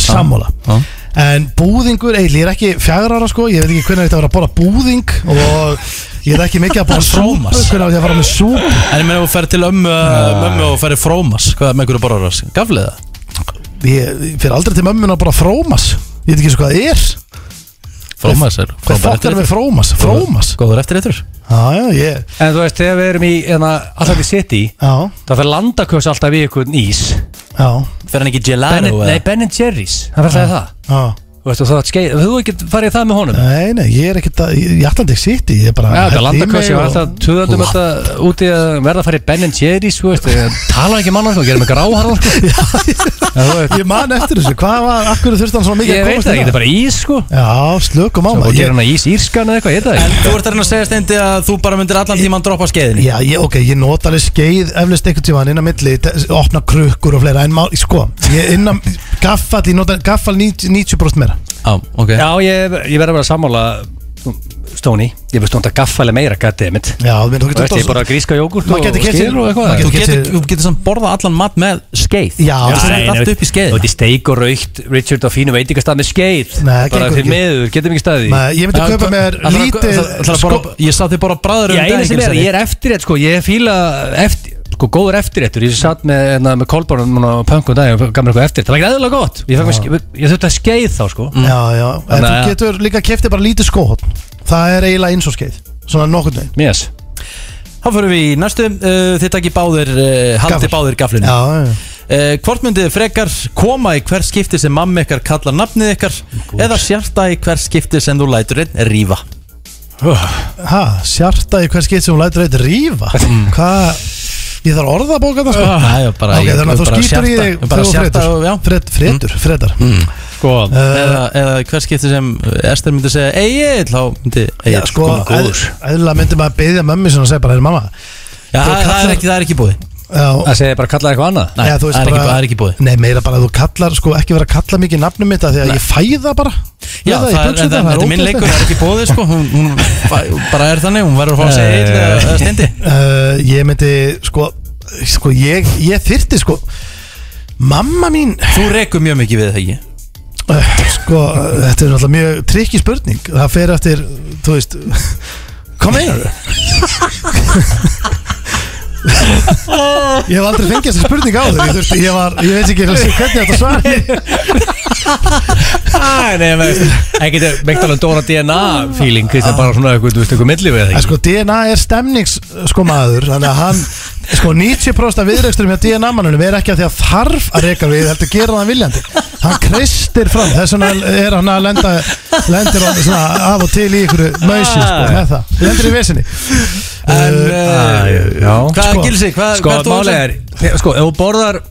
Speaker 2: Sammála
Speaker 1: Já.
Speaker 2: En búðingur, eiginlega, ég er ekki fjagra ára sko Ég veit ekki hvernig þetta var að borða búðing Og ég er ekki mikið að
Speaker 3: [laughs]
Speaker 2: borða súpu
Speaker 1: Frómas.
Speaker 2: Hvernig á ég að fara með súpu
Speaker 1: En ég meina, þú fær til ömmu, ömmu og færi frómas Hvað með hverju borðar það? Gaflið það?
Speaker 2: Ég ég fer aldrei til mömmun að borða frómas Ég veit ekki eins og hvað það er
Speaker 1: Frómas er frábær
Speaker 2: Hvað fokk er
Speaker 1: eftirréttur.
Speaker 2: með frómas? Frómas?
Speaker 1: Góður eftir eittur
Speaker 2: Já, já, ég
Speaker 3: En þú veist, þegar við erum í hérna, Alltaf við sitt í
Speaker 2: Já,
Speaker 3: Það fyrir landaköss alltaf í ykkur ís
Speaker 2: já,
Speaker 1: Fer hann ekki
Speaker 2: Ah,
Speaker 1: gelato?
Speaker 3: Ben,
Speaker 1: eða?
Speaker 3: Nei, Ben Jerry's Það fyrir það
Speaker 2: já
Speaker 3: Þú veist, og þú átt skeið Þú ekki farið í það með honum
Speaker 2: Nei, nei, ég er ekkert að Ég ég ætla ekki sitt í Ég er bara
Speaker 3: Já,
Speaker 2: Ah, held
Speaker 3: þetta
Speaker 2: í mig
Speaker 3: landaköss Ég var
Speaker 2: og-
Speaker 3: alltaf töðandum þetta úti að verða að fara í Ben Jerry's Þú veist, ég tala ekki mann og sko Gerum mig gráharðan sko Já, þú veist,
Speaker 2: Ég man eftir þessu, hvað var, akkur þurfti hann svona mikið
Speaker 3: Ég
Speaker 2: að
Speaker 3: veit
Speaker 2: komast í
Speaker 3: það, ekki, þetta er bara ís sko
Speaker 2: Já, slökum á
Speaker 3: Og
Speaker 2: maður
Speaker 3: gera
Speaker 2: ég,
Speaker 3: hana ís írskan eða eitthvað, ég veit það
Speaker 1: En
Speaker 3: ekki
Speaker 1: þú ert að reyna að segja steindi að þú bara myndir allan tíman droppa skeiðinni
Speaker 2: Já, ég, ok, ég nota alveg skeið eflust einhvern tíma inn á milli, te- opna krukkur og fleira En má, sko, ég inn á gaffal, ég nota gaffal 90%, 90 meira
Speaker 1: Já, ok
Speaker 3: Já, ég, ég verði bara að sammála Stóni, ég veist hún að gaffali meira goddammit
Speaker 2: Já, þú myndir, þú
Speaker 3: Þú
Speaker 2: getur
Speaker 3: veist, ég bara að gríska jógurt
Speaker 2: Maður
Speaker 3: og
Speaker 2: getur keypt sér-
Speaker 3: skyr og
Speaker 2: maður
Speaker 3: eitthvað
Speaker 1: Þú
Speaker 2: Ég
Speaker 1: getur,
Speaker 2: geti-
Speaker 1: þú getur samt borða allan mat með skeið
Speaker 2: Já,
Speaker 1: þú
Speaker 2: nei,
Speaker 1: setur allt upp í
Speaker 3: Þú
Speaker 1: skeið
Speaker 3: veist, ég steik og raukt Richard á fínu veitingastað með skeið
Speaker 2: Nei, það
Speaker 3: Bara
Speaker 2: gengur
Speaker 3: fyrir
Speaker 2: ekki.
Speaker 3: miður, getum ekki staði
Speaker 2: Nei, ég myndi kaupa mér lítið sko,
Speaker 1: Ég sá þig bara bræður um
Speaker 3: Ég eina sem er, ég er eftirrétt sko Ég fíla eftir Sko góður eftirréttur, ég satt með, hérna, með kolbárnum og pöngu dag og gaf mér eitthvað eftir Það var ekki eðlilega gott, ég, fekk mér ske- ég þurfti að skeið þá sko
Speaker 2: Já, já, en
Speaker 3: Þannig
Speaker 2: þú
Speaker 3: að-
Speaker 2: getur líka keftið bara lítið skóhótt Það er eiginlega eins og skeið, svona nokkurn veginn
Speaker 3: Yes.
Speaker 1: Þá fyrir við í næstu uh, Þið takki báðir, uh, haldi
Speaker 2: Gaffal.
Speaker 1: báðir gaflinu
Speaker 2: Já, já,
Speaker 1: uh, Hvort myndið þið frekar koma í hver skipti sem mamma ykkar kallar nafnið ykkar Eða sjarta í hver skipti sem þú lætur einn rífa
Speaker 2: ha, sjarta í hver skeið sem hún lætur eitt rífa
Speaker 3: Mm.
Speaker 2: Hvað, ég þarf orðabóka það sko
Speaker 1: Það er bara
Speaker 2: Ok,
Speaker 1: ég-
Speaker 2: þannig að þú
Speaker 1: bara
Speaker 2: skýtur í
Speaker 1: sjarta-
Speaker 2: þig
Speaker 1: Bara sjarta
Speaker 2: fretur,
Speaker 1: og já Mm.
Speaker 2: Fred, fretur, fredar
Speaker 3: Sko,
Speaker 2: uh,
Speaker 1: Eða, eða hver skipti sem Ester myndi segja Egil, þá myndi
Speaker 2: Já,
Speaker 1: Egil
Speaker 2: sko, eðla myndi maður beðja mömmu sinna og segja bara, er mamma
Speaker 1: Já,
Speaker 2: þú
Speaker 1: það,
Speaker 2: kallar-
Speaker 1: er ekki, það er ekki búið
Speaker 2: Já,
Speaker 3: það segir bara kallaði eitthvað annað
Speaker 1: Nei,
Speaker 2: eða þú veist
Speaker 1: það er ekki-
Speaker 2: bara-
Speaker 1: það er ekki búið.
Speaker 2: Nei, meira bara að þú kallar, sko, ekki vera að kalla mikið nafnum mitt af Því að ég fæ það um bara
Speaker 1: Já,
Speaker 2: Með
Speaker 1: það, er,
Speaker 2: í buxurnar,
Speaker 1: en það, þetta er minn leikur, það er ekki bóðið sko Hún, hún fa- bara er þannig, hún verður að fá að segja Egil eða eða steindi
Speaker 2: uh, Ég myndi, sko, sko, ég, ég þyrti, sko Mamma mín,
Speaker 1: Þú rekur mjög mikið við það ekki
Speaker 2: uh, sko, þetta er náttúrulega mjög trikki spurning Það fer eftir, þú veist, hvað meinar Ég hef aldrei fengið þessi spurning á þau ég, þurfti, ég, var, ég veit ekki hvernig þetta svar
Speaker 3: Æ, [laughs] nei, með, það getur meitt alveg dóra DNA feeling, þetta er bara svona eitthvað, þú veist, eitthvað milli við
Speaker 2: En
Speaker 3: það
Speaker 2: sko DNA er stemnings sko maður Þannig að hann Sko 90% af viðreiksturum hjá DNA mannunum Er ekki að því að þarf að reyka við Heldur gera það viljandi Hann kristir fram Þess vegna er hann að lenda
Speaker 3: Ah.
Speaker 2: Lendir hann svona af og til í ykkur Mösi sko með það Lendir í vesinni
Speaker 9: En,
Speaker 3: Æ,
Speaker 9: uh,
Speaker 3: já.
Speaker 9: hvað
Speaker 2: Sko-
Speaker 9: gilsi, hvað
Speaker 3: Sko,
Speaker 9: hvað ert þú að
Speaker 3: málið
Speaker 9: hugsa?
Speaker 3: er, þe- sko, ef þú borðar ef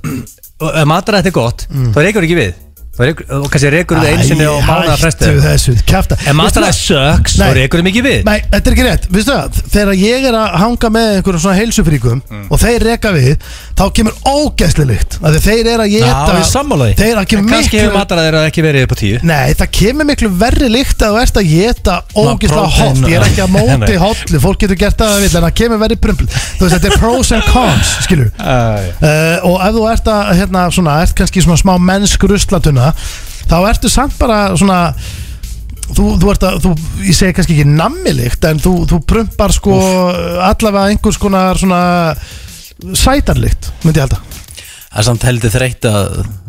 Speaker 3: matarætt er gott, þá reykur ekki við þá reykur, og kannski reykur þú einu sinni á mánaða fresti
Speaker 2: Hættu þessu, kæfta
Speaker 3: ef matarætt söks, þá
Speaker 2: Nei.
Speaker 3: reykur þú mikið við
Speaker 2: Nei, þetta er ekki rétt, veistu það, þegar ég er að hanga með einhverjum svona heilsufríkum og þeir reka við, þá kemur ógæslega lykt, af því þeir eru að geta
Speaker 9: ég er sammála því.
Speaker 2: Þeir eru að
Speaker 3: En
Speaker 2: kemur
Speaker 3: kannski hefur
Speaker 2: miklu
Speaker 3: matarætt er ekki verið upp á tíu
Speaker 2: Nei, það kemur miklu verri lykt að þú ert að geta ógislega
Speaker 9: prótein
Speaker 2: hótt Ég er ekki að móti
Speaker 3: Nei.
Speaker 2: hóttlu, fólk getur gert það að vilja en það kemur verri prumpl Þú veist, þetta er pros and cons, skilur uh, Og ef þú ert að, hérna, svona, ert kannski svona smá mennsk ruslatuna Þá ertu samt bara svona Þú, þú ert að, þú, ég segi kannski ekki nammilikt En þú, þú prumpar sko allavega einhvers konar svona sætarlikt, myndi ég halda
Speaker 1: Það er samt heldur þreytt að,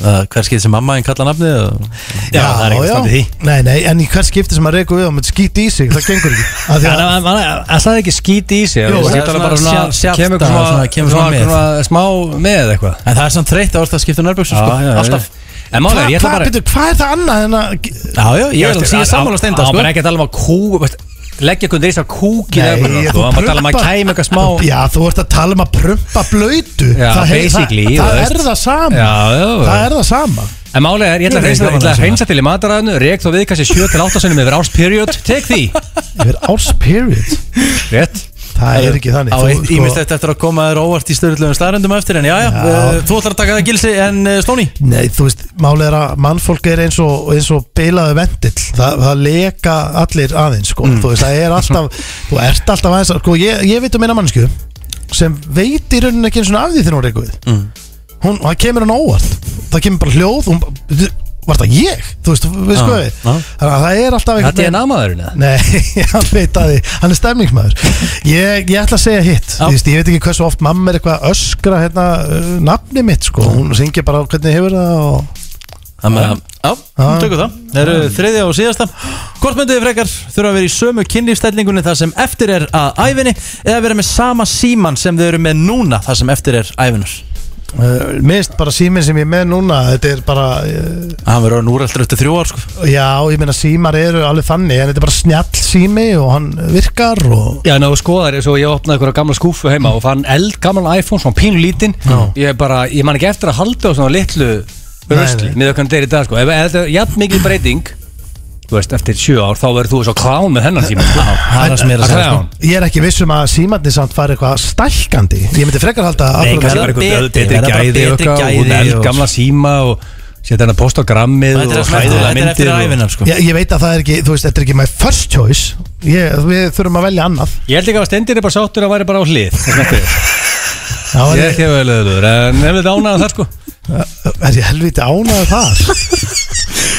Speaker 1: að hver skil sem mamma einn kalla nafnið og...
Speaker 3: Já, það er ekki
Speaker 2: já.
Speaker 3: standið því
Speaker 2: Nei, nei, en í hvert skipti sem að reyku við og maður skýti í sig, það gengur
Speaker 3: [laughs]
Speaker 2: ekki Af því að-
Speaker 3: En það er ekki skít í sig
Speaker 2: Jú,
Speaker 3: þú
Speaker 1: það er
Speaker 3: skýtur alveg
Speaker 1: svona
Speaker 3: bara svona-
Speaker 1: sjálf- sjálft
Speaker 3: kemur
Speaker 1: að- svona- kemur
Speaker 3: svona-
Speaker 1: svona
Speaker 3: svona-
Speaker 1: með.
Speaker 3: svona smá með eitthvað
Speaker 1: En það er samt þreytt að orða að skipta nörbjöksum sko, alltaf
Speaker 3: En málega,
Speaker 2: Hvað
Speaker 3: ég ætla
Speaker 2: hva,
Speaker 3: bara
Speaker 2: betur, hvað er það annað en að
Speaker 1: Já, já, ég er
Speaker 3: veist,
Speaker 1: alveg
Speaker 3: að-
Speaker 1: sammála
Speaker 3: að-
Speaker 1: steinda
Speaker 3: Á,
Speaker 1: sko
Speaker 3: maður er ekki að tala um að kú veist, Leggja kundir í þess að kúki
Speaker 2: Nei,
Speaker 3: Nei,
Speaker 2: þú
Speaker 3: þú maður tala um að
Speaker 2: prumpar-
Speaker 3: kæma eitthvað smá
Speaker 2: Já, þú ert að tala um að prumpa blötu
Speaker 3: Já,
Speaker 2: það, hei-
Speaker 3: basically,
Speaker 2: það,
Speaker 3: þú
Speaker 2: það
Speaker 3: veist.
Speaker 2: er það sama
Speaker 3: Já, já,
Speaker 2: Það er það sama
Speaker 3: En málega er, ég ætla
Speaker 1: Ég
Speaker 3: að hreinsa-
Speaker 1: veit
Speaker 3: ég ætla
Speaker 1: gaman
Speaker 3: að
Speaker 1: að
Speaker 3: hreinsa til í mataræðinu Rek þó við kannski 7 til 8 sinum yfir árs period Take því
Speaker 2: Yfir árs period
Speaker 3: Rétt
Speaker 2: Það er ekki þannig
Speaker 1: Á
Speaker 2: Þú,
Speaker 1: eitt ímislegt eftir að koma þér óvart í styrlugum starrendum eftir En já, já, eh, þú ætlar að taka það gilsi en eh, Stóni
Speaker 2: sko, Nei, þú veist, málið er að mannfólk er eins og, eins og bilaðu vendill það, það leka allir aðeins sko. Þú veist, það er alltaf Þú ert alltaf aðeins að- sko, ég, ég veit um eina mannsku sem veit í rauninni ekki eins og af því þegar hún reyku við hún, það kemur hann óvart það kemur bara hljóð hún, bara, var það ég, þú veist, við sko við
Speaker 1: já.
Speaker 2: þannig að það er alltaf
Speaker 3: Það er
Speaker 2: einhvern
Speaker 3: DNA maðurinn eða?
Speaker 2: Nei, [laughs] hann veit að því, hann er stemningsmæður ég, ég ætla að segja hitt
Speaker 1: Já.
Speaker 2: Þú veist, Ég veit ekki hversu oft mamma er eitthvað að öskra hérna, uh, nafni mitt sko. Hún syngir bara hvernig hefur það og...
Speaker 1: Þannig að, já, við tökum það Það eru þriðja og síðasta Hvort myndu þið frekar þurfa að vera í sömu kynlífstellingunni þar sem eftir er að æfinni Eða vera með sama síman sem þið eru með núna þar sem eftir er æfinur
Speaker 2: uh, Mist bara síminn sem ég er með núna Þetta er bara, uh,
Speaker 1: Hann verður orðin úreldur eftir þrjú ár sko
Speaker 2: já, ég meina símar eru alveg þannig En þetta er bara snjall sími og hann virkar og...
Speaker 3: Já, ná, sko, skoðar, svo ég opnaði einhverja gamla skúfu heima og fann eld gamlan iPhone, svona pínu lítinn ég bara, ég man ekki eftir að halda á svona litlu rösli,
Speaker 2: nei.
Speaker 3: með okkur þeir í dag sko. ef ef þetta er jafn mikil breyting þú veist, eftir sjö ár, þá verður þú svo klán með hennan síma sko.
Speaker 1: Það er það sem ég er að segja sko
Speaker 3: Klán.
Speaker 2: Ég er ekki viss um að símarni samt fari eitthvað stælkandi Ég myndi frekar halda
Speaker 3: Nei,
Speaker 2: akkurat-
Speaker 3: kannski bara
Speaker 1: verða
Speaker 3: eitthvað
Speaker 1: betri,
Speaker 3: betri
Speaker 1: verða bara
Speaker 3: gæði og
Speaker 1: betri
Speaker 3: eitthvað,
Speaker 1: gæði
Speaker 3: og eld
Speaker 1: og-
Speaker 3: gamla síma og setja hennar post á grammið
Speaker 1: Þetta er
Speaker 3: og
Speaker 1: það sem eftir-
Speaker 3: hræðilega
Speaker 1: þetta er eftir
Speaker 3: myndir
Speaker 1: er
Speaker 3: og-
Speaker 1: æfinur sko
Speaker 2: Já, ég veit að það er ekki, þú veist, þetta er ekki my first choice ég, Við þurfum að velja annað
Speaker 3: Ég held ekki að stendir er bara sáttur að væri bara á
Speaker 1: [laughs]
Speaker 3: hlið
Speaker 2: Já,
Speaker 3: Ég
Speaker 2: er,
Speaker 3: er ekki að vel öðruður, en ef þetta ánaði það sko
Speaker 2: er ég helviti ánæður þar?
Speaker 3: [laughs]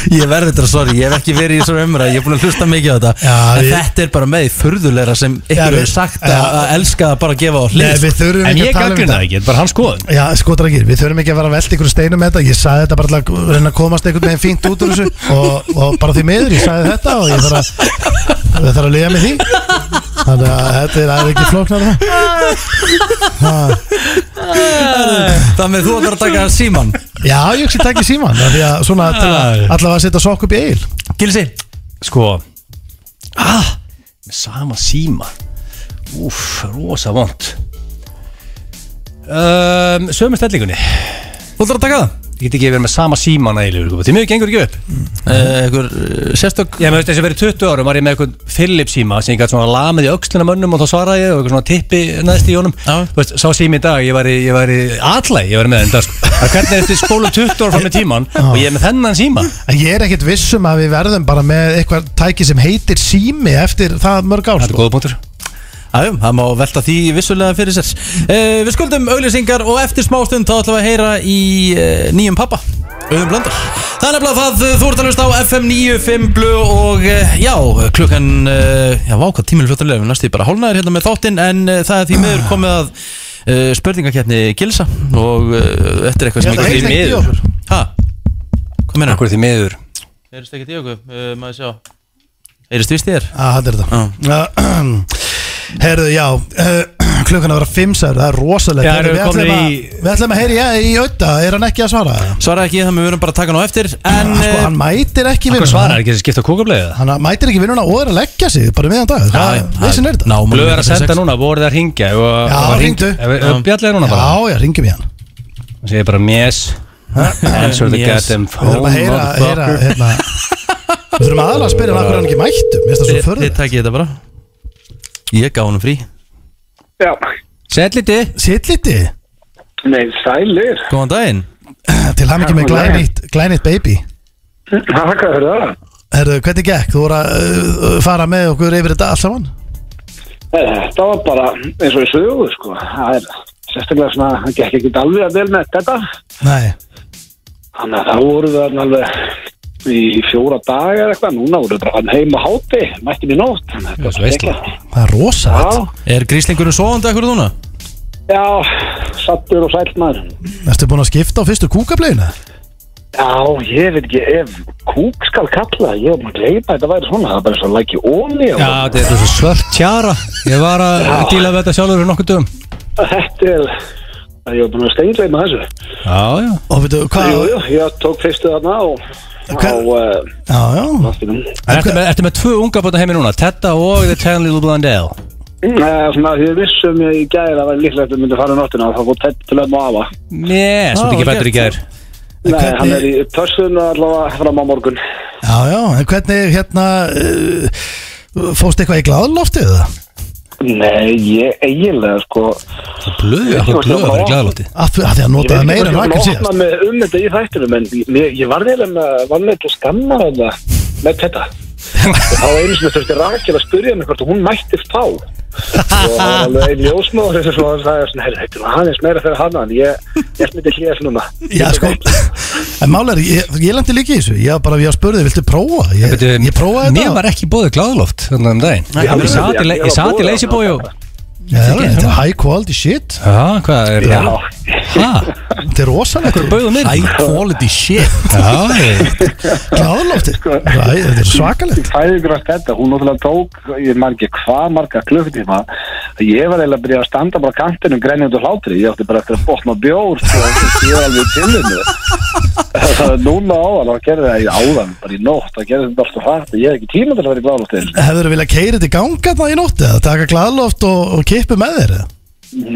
Speaker 1: Ég verði þetta, sorry, ég hef ekki verið í svona umræð Ég er búin að hlusta mikið á þetta
Speaker 2: Já,
Speaker 1: En
Speaker 2: ég-
Speaker 1: þetta er bara með því furðulegra sem ykkur
Speaker 2: Já, við-
Speaker 1: hefur sagt að,
Speaker 2: Já.
Speaker 1: að elska að bara gefa á
Speaker 2: Nei,
Speaker 1: hlið sko.
Speaker 2: við þurfum
Speaker 3: En
Speaker 2: ekki
Speaker 3: ég
Speaker 2: að tala um
Speaker 3: gaggrina það
Speaker 2: þetta
Speaker 3: ekki, þetta er bara hans skoðun
Speaker 2: Já, sko dragir, við þurfum ekki að vera að velta ykkur steinum með þetta Ég sagði þetta bara til að reyna að komast einhvern veginn fínt út úr þessu og, og bara því miður, ég sagði þetta og ég þarf að Við þarf að liða með því Þannig að þetta er, það er ekki flóknar það
Speaker 1: Þannig að þú ætlar að taka síman
Speaker 2: [laughs] Já, ég hugsi takk í síman Því að svona til að allavega að setja sokk upp í eil
Speaker 1: Gilsi,
Speaker 3: sko ah, með sama síma úf, rosa vond um, sömu stellingunni ég
Speaker 1: þú ætlar að taka það?
Speaker 3: get ekki verið með sama síma nægilegur sko. því mjög gengur ekki upp
Speaker 1: Eh, Einhver eh, sérstök
Speaker 3: ég með þess að verið 20 árum var ég með eitthvað Philips síma sem ég gæti svona lamið í öxlina mönnum og þá svaraði ég og eitthvað svona tippi næðist í honum
Speaker 1: Já.
Speaker 3: Þú veist, sá sími í dag, ég var í, ég var í allæg, ég var með þetta sko.
Speaker 2: [laughs]
Speaker 3: Það er hvernig eftir spólum 20 ára fram með tíman og ég er með þennan síma
Speaker 2: En ég er ekkit vissum að við verðum bara með eitthvað tæki sem heitir sími eftir það mörg ár
Speaker 3: þetta er
Speaker 2: sko.
Speaker 3: góða punktur
Speaker 1: Æjum, það má velta því vissulega fyrir sér uh, Við skuldum auglýsingar og eftir smástund þá ætlum við að heyra í uh, nýjum pappa Auðum blöndar Það er nefnilega það, eh, þú ert að hlusta á FM 95 blu og uh, já, klukkan, uh, já váka tímil fljóttanlega Við næstu því bara hálnaður hérna með þáttinn en uh, það er því miður komið að uh, spurningakeppni Gilsa og uh, þetta er eitthvað
Speaker 2: Ég
Speaker 1: sem
Speaker 2: held að
Speaker 1: ég
Speaker 2: heyrist ekkert í okkur.
Speaker 1: Hæ? Hvað meina?
Speaker 3: Akkur því miður
Speaker 1: Heyrist ekkert í okkur, uh, maður sjá Heyrist vist þér?
Speaker 2: [clears throat] Ah, þetta er þetta Herðu, já uh, [clears throat] klukkan að vera 5 sæður, það er rosalegt
Speaker 3: Já,
Speaker 2: Herru,
Speaker 3: erum við
Speaker 2: við, ætlum
Speaker 3: komnir
Speaker 2: að,
Speaker 3: í-
Speaker 2: við ætlum að heyri ja, í auða, er hann ekki að svara
Speaker 1: Svara ekki, þannig við verum bara að taka hann á eftir En
Speaker 2: sko,
Speaker 1: eh,
Speaker 2: hann mætir ekki
Speaker 3: Hvað svarar
Speaker 2: vinnuna
Speaker 3: ekki þessi skipta kúkableiða?
Speaker 2: hann mætir ekki vinnuna og er að leggja sig bara meðan dag, það
Speaker 1: já,
Speaker 2: er vissin er þetta
Speaker 1: námannum
Speaker 3: Blöð er að
Speaker 1: 56.
Speaker 3: senda núna, voru það að ringja
Speaker 2: Já, hringdu.
Speaker 3: Bjallega núna bara
Speaker 2: já, já, ringjum í hann
Speaker 3: Það segir bara mjess Answer the
Speaker 1: Yes.
Speaker 3: goddamn
Speaker 2: [clears throat] við
Speaker 3: phone
Speaker 2: þurfum að heyra, heyra
Speaker 3: motherfucker.
Speaker 2: hérna, við þurfum aðalega að spyrja hann af hverju hann ekki mættum, veist það
Speaker 1: Þið
Speaker 2: svo förður
Speaker 1: þið takið þetta bara Ég gaf honum frí
Speaker 10: Já,
Speaker 3: Sæll liti
Speaker 2: Sittliti,
Speaker 10: nei, sælir.
Speaker 1: Góðan daginn
Speaker 2: [clears throat] til hann ekki með
Speaker 10: Já,
Speaker 2: glænýtt glænýtt baby
Speaker 10: Takk fyrir það.
Speaker 2: Herru, hvernig gekk? Þú voru að uh, fara með okkur yfir þetta allt saman?
Speaker 10: Eh, Þetta var bara eins og í sögu, sko. Það er sérstaklega svona, það gekk ekki alveg að vel með þetta.
Speaker 2: Nei,
Speaker 10: Þannig að þá voru við þarna alveg í fjóra daga eða eitthvað. Núna voru við bara hann heim á háti, mættum í nótt. Þannig að
Speaker 3: Já,
Speaker 10: þetta
Speaker 3: svo
Speaker 10: var
Speaker 3: veistla.
Speaker 10: geggjað.
Speaker 2: það er rosalegt
Speaker 10: Já,
Speaker 1: Er gríslingurinn sovandi ekkur núna?
Speaker 10: já, sattur og sælt maður.
Speaker 2: Erstu búin að skipta á fyrstu kúkableginu?
Speaker 10: Já, ég veit ekki ef kúk skal kalla, ég var maður að gleyma að þetta væri svona, það var bara eins og læki óni og
Speaker 3: Já, þetta er svo svört tjara Ég var að díla við þetta sjálfur fyrir nokkuð dögum
Speaker 10: þetta er, ég var búin að steingleima þessu.
Speaker 3: Já, já
Speaker 2: Og veitu, hvað?
Speaker 10: Jú, jú, ég tók fyrstu þarna og,
Speaker 2: Hver-
Speaker 10: og uh,
Speaker 2: Já, já
Speaker 10: Ástinum.
Speaker 3: Ertu með, ertu með tvö unga bóta heimi núna Tetta og The Ten Little Blondell
Speaker 10: Nei, Mm, eh, svona, því við vissum ég í gæri að það væri líklegt að myndi fara á nóttina þá fór Ted til ömmu afa.
Speaker 3: Yes, þú ert ekki
Speaker 2: vel
Speaker 3: fættur í
Speaker 2: gert.
Speaker 3: gær
Speaker 10: Nei,
Speaker 2: hvernig-
Speaker 10: hann er í pössun allavega fram á morgun.
Speaker 2: Já, já, en hvernig hérna uh, fóst eitthvað í gláðloftið það?
Speaker 10: Nei, ég eiginlega, sko.
Speaker 3: Blöð, eitthvað blöð að vera í glæðalóti
Speaker 2: Af af því að
Speaker 10: Ég veit
Speaker 2: notaði
Speaker 10: ekki
Speaker 2: meira en vakar
Speaker 10: hvort ég var
Speaker 2: síðast
Speaker 10: opnað með um þetta í þættinum en ég, ég var neila með, var neila til að skamma þetta með
Speaker 2: [laughs]
Speaker 10: þetta. Þá einu sinni þurfti Rakel að spyrja mig hvort hún mætti þá. Og það var alveg einn ljósmáður sem svona sagði svona, herri, þetta var aðeins meira fyrir hana en ég, ég er myndi hlýðast núna.
Speaker 2: Já, sko En málar, ég, ég lendi líka í þessu Ég var bara, ég spurði, viltu prófa? Ég, ég prófaði
Speaker 3: Mér
Speaker 2: þetta
Speaker 3: var ekki bóðið glæðalóft Þannig um daginn
Speaker 10: Ég
Speaker 3: Ég
Speaker 10: alveg-
Speaker 3: sat í le-
Speaker 10: ég-
Speaker 3: Ég
Speaker 10: ég
Speaker 3: sat
Speaker 10: var
Speaker 3: í
Speaker 10: boðið
Speaker 3: leysibói og
Speaker 2: Já, þetta er high quality shit
Speaker 3: Já, hvað er
Speaker 2: Já.
Speaker 3: það? Hæ?
Speaker 2: Þetta er rosalegt
Speaker 10: Sko,
Speaker 3: Bauðu mér?
Speaker 1: High quality shit
Speaker 3: Já, ég-
Speaker 2: Gláðloftið
Speaker 10: Sko.
Speaker 2: Þetta er svakalegt
Speaker 10: Í fæðingrönd þetta, hún náttúrulega tók, ég man ekki hvað marga klukkutíma, að ég var eiginlega að byrja að standa bara á kantinum grænjandi og hlátri, ég átti bara eftir að botna bjór, sko, ég var alveg til henni. Það er [laughs] núna áðan, þá gerði það í áðan, bara í nótt, það gerði þetta alltaf hrætt, ég hef ekki tíma til að vera í gláðlóttin.
Speaker 2: Hefur þú viljað keira þetta í ganga það í nótti eða taka glæðloft og, og kippu með þér eða?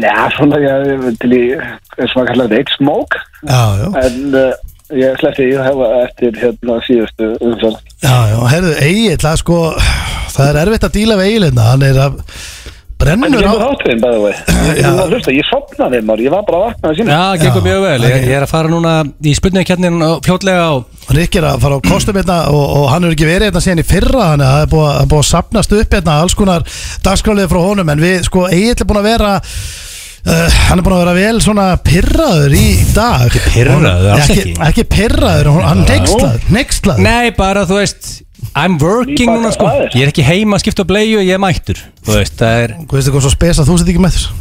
Speaker 10: Næ, svona, ég til í, eins og maður kallar þetta, eitt smók,
Speaker 2: Já, já,
Speaker 10: en uh, ég sleppti í það eftir hérna síðustu umfjörn.
Speaker 2: já, já, herðu, Egil, það er sko, það er erfitt að díla við Egilina, hann er að hérna.
Speaker 10: En
Speaker 2: brennur
Speaker 10: ég
Speaker 2: á,
Speaker 10: var þátturinn, bæði vei. Ég var að hlusta, ég sopnaði maður, ég var bara að vaknaði sína.
Speaker 3: Já, gengur
Speaker 2: Já,
Speaker 3: mjög vel Ég ég er að fara núna í spurningkjarnin fljótlega og
Speaker 2: Rikki er að fara á kostum hérna og, og hann er ekki verið hérna síðan í fyrra, þannig að það er búið, að- búið að sapnast upp hérna alls konar dagskrálið frá honum, en við, sko, Egil er búin að vera, uh, hann er búin að vera vel svona pirraður í dag. Ekki
Speaker 3: pirraður, alls
Speaker 2: ekki.
Speaker 3: ekki.
Speaker 2: Ekki pirraður, hún- hann nexlaður, nexlaður.
Speaker 3: Nei, bara þú veist I'm working
Speaker 10: Nýbakað
Speaker 3: núna sko
Speaker 10: faðir.
Speaker 3: Ég er ekki heima að skipta á bleiu, ég er mættur Þú veist, það er,
Speaker 2: Þú veist eitthvað svo spes að þú sett ekki með þessu.